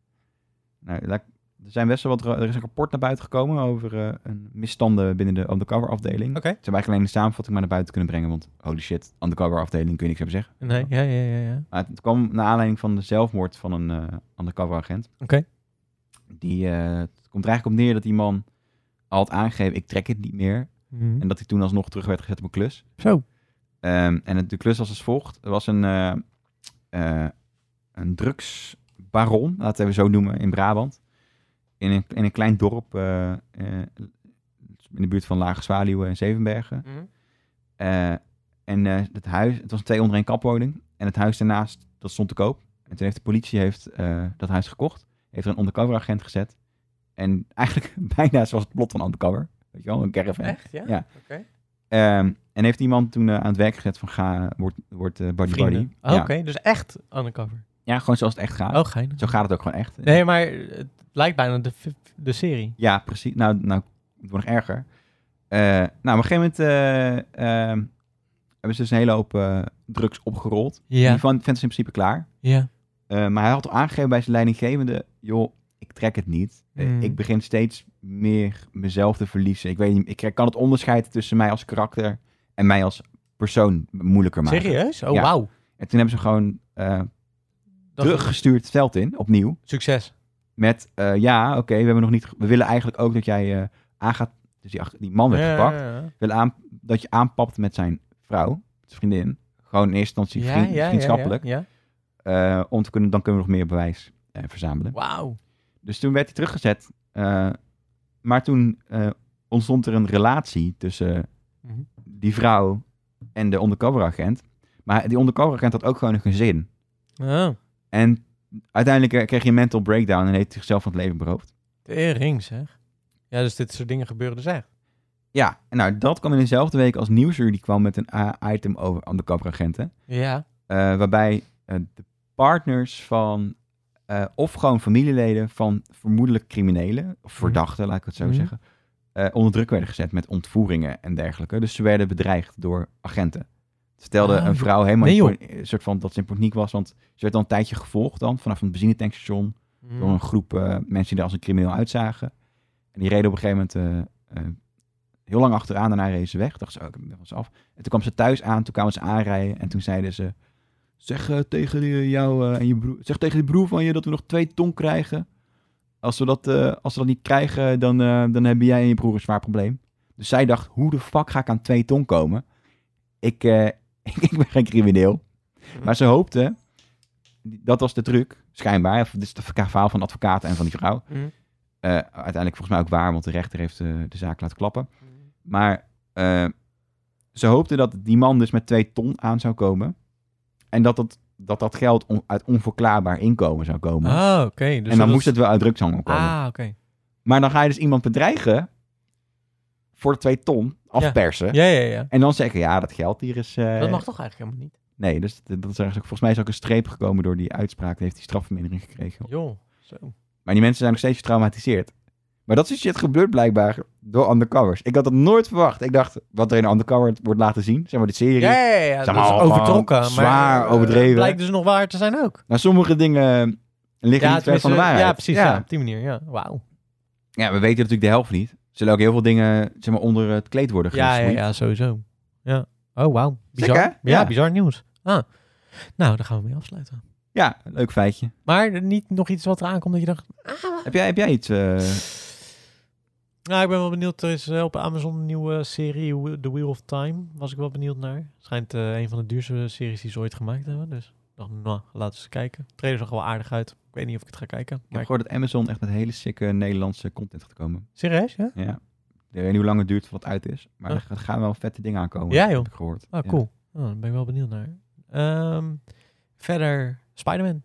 [SPEAKER 2] Nou, laat ik- er zijn best wel wat, ra- er is een rapport naar buiten gekomen over eh, een misstanden binnen de undercover afdeling.
[SPEAKER 1] Oké.
[SPEAKER 2] Ze hebben eigenlijk alleen de samenvatting maar naar buiten kunnen brengen, want holy shit, undercover afdeling kun je niks hebben zeggen.
[SPEAKER 1] Nee, ja, ja, ja. ja.
[SPEAKER 2] Maar het kwam naar aanleiding van de zelfmoord van een eh undercover agent.
[SPEAKER 1] Oké.
[SPEAKER 2] Die, eh, het komt er eigenlijk op neer dat die man al had aangegeven, ik trek het niet meer.
[SPEAKER 1] Mhm.
[SPEAKER 2] En dat hij toen alsnog terug werd gezet op een klus.
[SPEAKER 1] Zo.
[SPEAKER 2] Ehm, en het, de klus was als volgt. Er was een, eh, eh, een drugsbaron, laten we hem zo noemen, in Brabant. In een, in een klein dorp eh, eh, in de buurt van Lage Zwaluwen en Zevenbergen. Eh, en eh, het huis, het was een twee onder één kapwoning. En het huis daarnaast, dat stond te koop. En toen heeft de politie heeft, eh, dat huis gekocht. Heeft er een undercover agent gezet. En eigenlijk bijna zoals het plot van undercover. Weet je wel, een caravan.
[SPEAKER 1] Echt, ja?
[SPEAKER 2] Ja.
[SPEAKER 1] Oké.
[SPEAKER 2] Ehm, en heeft iemand toen eh, aan het werk gezet van ga, wordt word, eh buddy buddy.
[SPEAKER 1] Vrienden. Oh,
[SPEAKER 2] Ja.
[SPEAKER 1] Oké, dus echt undercover.
[SPEAKER 2] ja, gewoon zoals het echt gaat.
[SPEAKER 1] Oh, geinig.
[SPEAKER 2] Zo gaat het ook gewoon echt.
[SPEAKER 1] Nee, maar het lijkt bijna de, fi- de serie.
[SPEAKER 2] Ja, precies. Nou, nou het wordt nog erger. Eh, nou, op een gegeven moment eh, ehm, hebben ze dus een hele hoop eh, drugs opgerold.
[SPEAKER 1] Ja,
[SPEAKER 2] Die van vent is in principe klaar.
[SPEAKER 1] ja.
[SPEAKER 2] Eh, maar hij had al aangegeven bij zijn leidinggevende... joh, ik trek het niet. Eh,
[SPEAKER 1] Mm.
[SPEAKER 2] Ik begin steeds meer mezelf te verliezen. Ik, weet niet, ik krijg- kan het onderscheid tussen mij als karakter... en mij als persoon moeilijker maken.
[SPEAKER 1] Serieus? Oh,
[SPEAKER 2] Ja.
[SPEAKER 1] wauw.
[SPEAKER 2] En toen hebben ze gewoon eh,
[SPEAKER 1] Dat is
[SPEAKER 2] teruggestuurd het veld in, opnieuw.
[SPEAKER 1] Succes.
[SPEAKER 2] Met, eh, ja, oké, we hebben nog niet... ge- We willen eigenlijk ook dat jij eh aangaat... Dus die, ach- die man werd
[SPEAKER 1] Ja,
[SPEAKER 2] gepakt.
[SPEAKER 1] ja, ja.
[SPEAKER 2] We willen aan, dat je aanpapt met zijn vrouw, zijn vriendin. Gewoon in eerste instantie
[SPEAKER 1] Ja,
[SPEAKER 2] vriend-
[SPEAKER 1] ja, ja,
[SPEAKER 2] vriendschappelijk.
[SPEAKER 1] Ja,
[SPEAKER 2] Eh, om te kunnen, dan kunnen we nog meer bewijs eh, verzamelen.
[SPEAKER 1] Wauw.
[SPEAKER 2] Dus toen werd hij teruggezet. eh, maar toen eh, ontstond er een relatie tussen
[SPEAKER 1] Mhm.
[SPEAKER 2] die vrouw en de undercoveragent. Maar hij- die undercoveragent had ook gewoon een gezin.
[SPEAKER 1] Oh,
[SPEAKER 2] En uiteindelijk eh, kreeg hij een mental breakdown en heeft hij zichzelf van het leven beroofd.
[SPEAKER 1] tering zeg. Ja, dus dit soort dingen gebeuren dus echt.
[SPEAKER 2] Ja, en nou, dat kwam in dezelfde week als Nieuwsuur. Die kwam met een eh, item over undercoveragenten.
[SPEAKER 1] Ja.
[SPEAKER 2] Eh, waarbij eh, de partners van, eh, of gewoon familieleden van vermoedelijk criminelen, of verdachten, laat ik het zo
[SPEAKER 1] Mhm.
[SPEAKER 2] zeggen, eh, onder druk werden gezet met ontvoeringen en dergelijke. Dus ze werden bedreigd door agenten. Stelde
[SPEAKER 1] Ah,
[SPEAKER 2] een
[SPEAKER 1] joh.
[SPEAKER 2] vrouw helemaal
[SPEAKER 1] Nee,
[SPEAKER 2] in pan- een soort van dat ze in paniek was, want ze werd al een tijdje gevolgd dan vanaf een benzinetankstation
[SPEAKER 1] Mhm.
[SPEAKER 2] door
[SPEAKER 1] Mm.
[SPEAKER 2] een groep eh, mensen die er als een crimineel uitzagen. En die reden op een gegeven moment eh, eh, heel lang achteraan. Daarna reden ze weg. Dacht ze, oh, ik ben van ze af. En toen kwam ze thuis aan. Toen kwamen ze aanrijden. En toen zeiden ze... Zeg eh, tegen die- jou eh, en je broer... Zeg tegen die broer van je dat we nog twee ton krijgen. Als we dat, eh, als we dat niet krijgen, dan, eh, dan hebben jij en je broer een zwaar probleem. Dus zij dacht, hoe de fuck ga ik aan twee ton komen? Ik, eh, ik ben geen crimineel.
[SPEAKER 1] Mhm.
[SPEAKER 2] Maar ze hoopte... Dat was de truc, schijnbaar. Of Dit is het verhaal van de advocaat en van die vrouw.
[SPEAKER 1] Mm.
[SPEAKER 2] Eh, uiteindelijk volgens mij ook waar, want de rechter heeft eh, de zaak laten klappen.
[SPEAKER 1] Mhm.
[SPEAKER 2] Maar eh, ze hoopte dat die man dus met twee ton aan zou komen. En dat dat, dat, dat geld on- uit onverklaarbaar inkomen zou komen.
[SPEAKER 1] Oh, oké. Dus
[SPEAKER 2] en dan
[SPEAKER 1] dat
[SPEAKER 2] moest
[SPEAKER 1] is-
[SPEAKER 2] het wel uit drugshandel komen.
[SPEAKER 1] Ah, oké.
[SPEAKER 2] Maar dan ga je dus iemand bedreigen voor de twee ton, afpersen.
[SPEAKER 1] Ja, ja, ja.
[SPEAKER 2] En dan zeggen, ja, dat geld hier is... eh,
[SPEAKER 1] Dat mag toch eigenlijk helemaal niet?
[SPEAKER 2] Nee, dus dat, dat is eigenlijk, volgens mij is ook een streep gekomen door die uitspraak. Die heeft die strafvermindering gekregen.
[SPEAKER 1] Joh, zo.
[SPEAKER 2] Maar die mensen zijn nog steeds getraumatiseerd. Maar dat is shit gebeurd blijkbaar door undercovers. Ik had dat nooit verwacht. Ik dacht, wat er in undercover wordt laten zien, zeg maar de serie.
[SPEAKER 1] Ja, ja, ja.
[SPEAKER 2] Zeg
[SPEAKER 1] dat is
[SPEAKER 2] maar,
[SPEAKER 1] overtrokken. Maar,
[SPEAKER 2] gewoon zwaar
[SPEAKER 1] eh,
[SPEAKER 2] overdreven.
[SPEAKER 1] Blijkt dus nog waar te zijn ook.
[SPEAKER 2] Nou, sommige dingen liggen niet ver van de
[SPEAKER 1] tenminste,
[SPEAKER 2] waarheid.
[SPEAKER 1] ja precies. Ja.
[SPEAKER 2] Ja.
[SPEAKER 1] op die manier. Ja. Wauw.
[SPEAKER 2] Ja, we weten natuurlijk de helft niet. Er zullen ook heel veel dingen zeg maar, onder het kleed worden
[SPEAKER 1] Ja, ja,
[SPEAKER 2] gesmoeid.
[SPEAKER 1] ja, sowieso. Ja. Oh, wauw. Bizar.
[SPEAKER 2] Sick, hè?
[SPEAKER 1] ja,
[SPEAKER 2] Ja.
[SPEAKER 1] bizar nieuws. Ah. Nou, daar gaan we mee afsluiten.
[SPEAKER 2] Ja, leuk feitje.
[SPEAKER 1] Maar niet nog iets wat eraan komt dat je
[SPEAKER 2] Eh.
[SPEAKER 1] dacht...
[SPEAKER 2] Heb jij, heb jij iets? eh,
[SPEAKER 1] Nou, ik ben wel benieuwd. Er is eh, op Amazon een nieuwe serie, Wh- The Wheel of Time. Was ik wel benieuwd naar. Schijnt eh, een van de duurste series die ze ooit gemaakt hebben. Dus ik dacht, nou, laten we eens kijken. De trailer zag wel aardig uit. Ik weet niet of ik het ga kijken.
[SPEAKER 2] Ik heb
[SPEAKER 1] Maar
[SPEAKER 2] gehoord dat Amazon echt met hele sikke Nederlandse content gaat komen.
[SPEAKER 1] Serieus, ja?
[SPEAKER 2] Ja. Ik weet niet hoe lang het duurt voordat het uit is, maar
[SPEAKER 1] Ah.
[SPEAKER 2] er gaan wel vette dingen aankomen.
[SPEAKER 1] Ja, joh.
[SPEAKER 2] Heb ik gehoord.
[SPEAKER 1] Ah,
[SPEAKER 2] Ja.
[SPEAKER 1] cool. Oh, daar ben ik wel benieuwd naar. Ehm, verder, Spider-Man.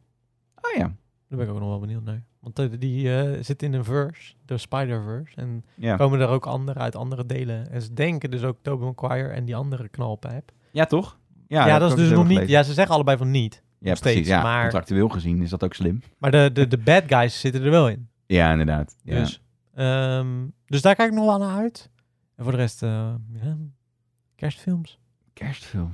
[SPEAKER 2] Oh ja.
[SPEAKER 1] Daar ben ik ook nog wel benieuwd naar. Want eh, die eh, zit in een verse, de Spider-Verse. En
[SPEAKER 2] Ja.
[SPEAKER 1] komen er ook anderen uit andere delen. En ze denken dus ook Tobey Maguire en die andere knalpijp.
[SPEAKER 2] ja, toch?
[SPEAKER 1] Ja,
[SPEAKER 2] heb
[SPEAKER 1] dat is
[SPEAKER 2] ik ook
[SPEAKER 1] dus
[SPEAKER 2] zo
[SPEAKER 1] nog niet...
[SPEAKER 2] gelezen.
[SPEAKER 1] Ja, ze zeggen allebei van niet.
[SPEAKER 2] Ja,
[SPEAKER 1] nog
[SPEAKER 2] precies.
[SPEAKER 1] steeds,
[SPEAKER 2] ja.
[SPEAKER 1] maar-
[SPEAKER 2] Contractueel gezien is dat ook slim.
[SPEAKER 1] Maar de, de, de bad guys zitten er wel in.
[SPEAKER 2] Ja, inderdaad. Ja.
[SPEAKER 1] Dus, ehm, dus daar kijk ik nog wel naar uit. En voor de rest, eh, ja, kerstfilms.
[SPEAKER 2] Kerstfilm.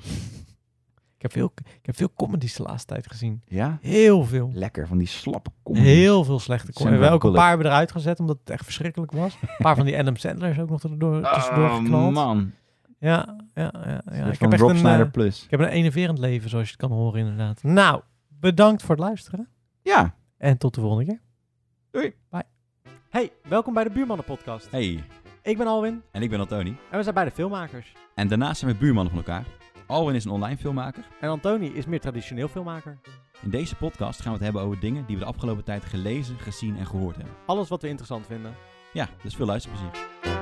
[SPEAKER 1] Ik heb, veel, ik heb veel comedies de laatste tijd gezien.
[SPEAKER 2] Ja.
[SPEAKER 1] Heel veel.
[SPEAKER 2] Lekker van die slappe comedy.
[SPEAKER 1] Heel veel slechte comedies.
[SPEAKER 2] Sandra
[SPEAKER 1] Wel, ook een
[SPEAKER 2] Bullock.
[SPEAKER 1] paar hebben we eruit gezet, omdat het echt verschrikkelijk was. Een paar van die Adam Sandler's ook nog erdoor, tussendoor
[SPEAKER 2] Oh,
[SPEAKER 1] geknald.
[SPEAKER 2] man.
[SPEAKER 1] Ja, ja, ja. ja. Ik,
[SPEAKER 2] van
[SPEAKER 1] heb echt
[SPEAKER 2] Rob
[SPEAKER 1] een, eh,
[SPEAKER 2] Snyder Plus.
[SPEAKER 1] ik heb een enerverend leven, zoals je het kan horen inderdaad. Nou, bedankt voor het luisteren.
[SPEAKER 2] Ja.
[SPEAKER 1] En tot de volgende keer.
[SPEAKER 3] Hey, welkom bij de Buurmannen Podcast.
[SPEAKER 2] Hey,
[SPEAKER 3] Ik ben Alwin
[SPEAKER 2] en ik ben Antoni.
[SPEAKER 3] en we zijn beide filmmakers.
[SPEAKER 2] En daarnaast zijn we buurmannen van elkaar. Alwin is een online filmmaker.
[SPEAKER 3] En Antoni is meer traditioneel filmmaker.
[SPEAKER 2] In deze podcast gaan we het hebben over dingen die we de afgelopen tijd gelezen, gezien en gehoord hebben.
[SPEAKER 3] Alles wat we interessant vinden.
[SPEAKER 2] Ja, dus veel luisterplezier.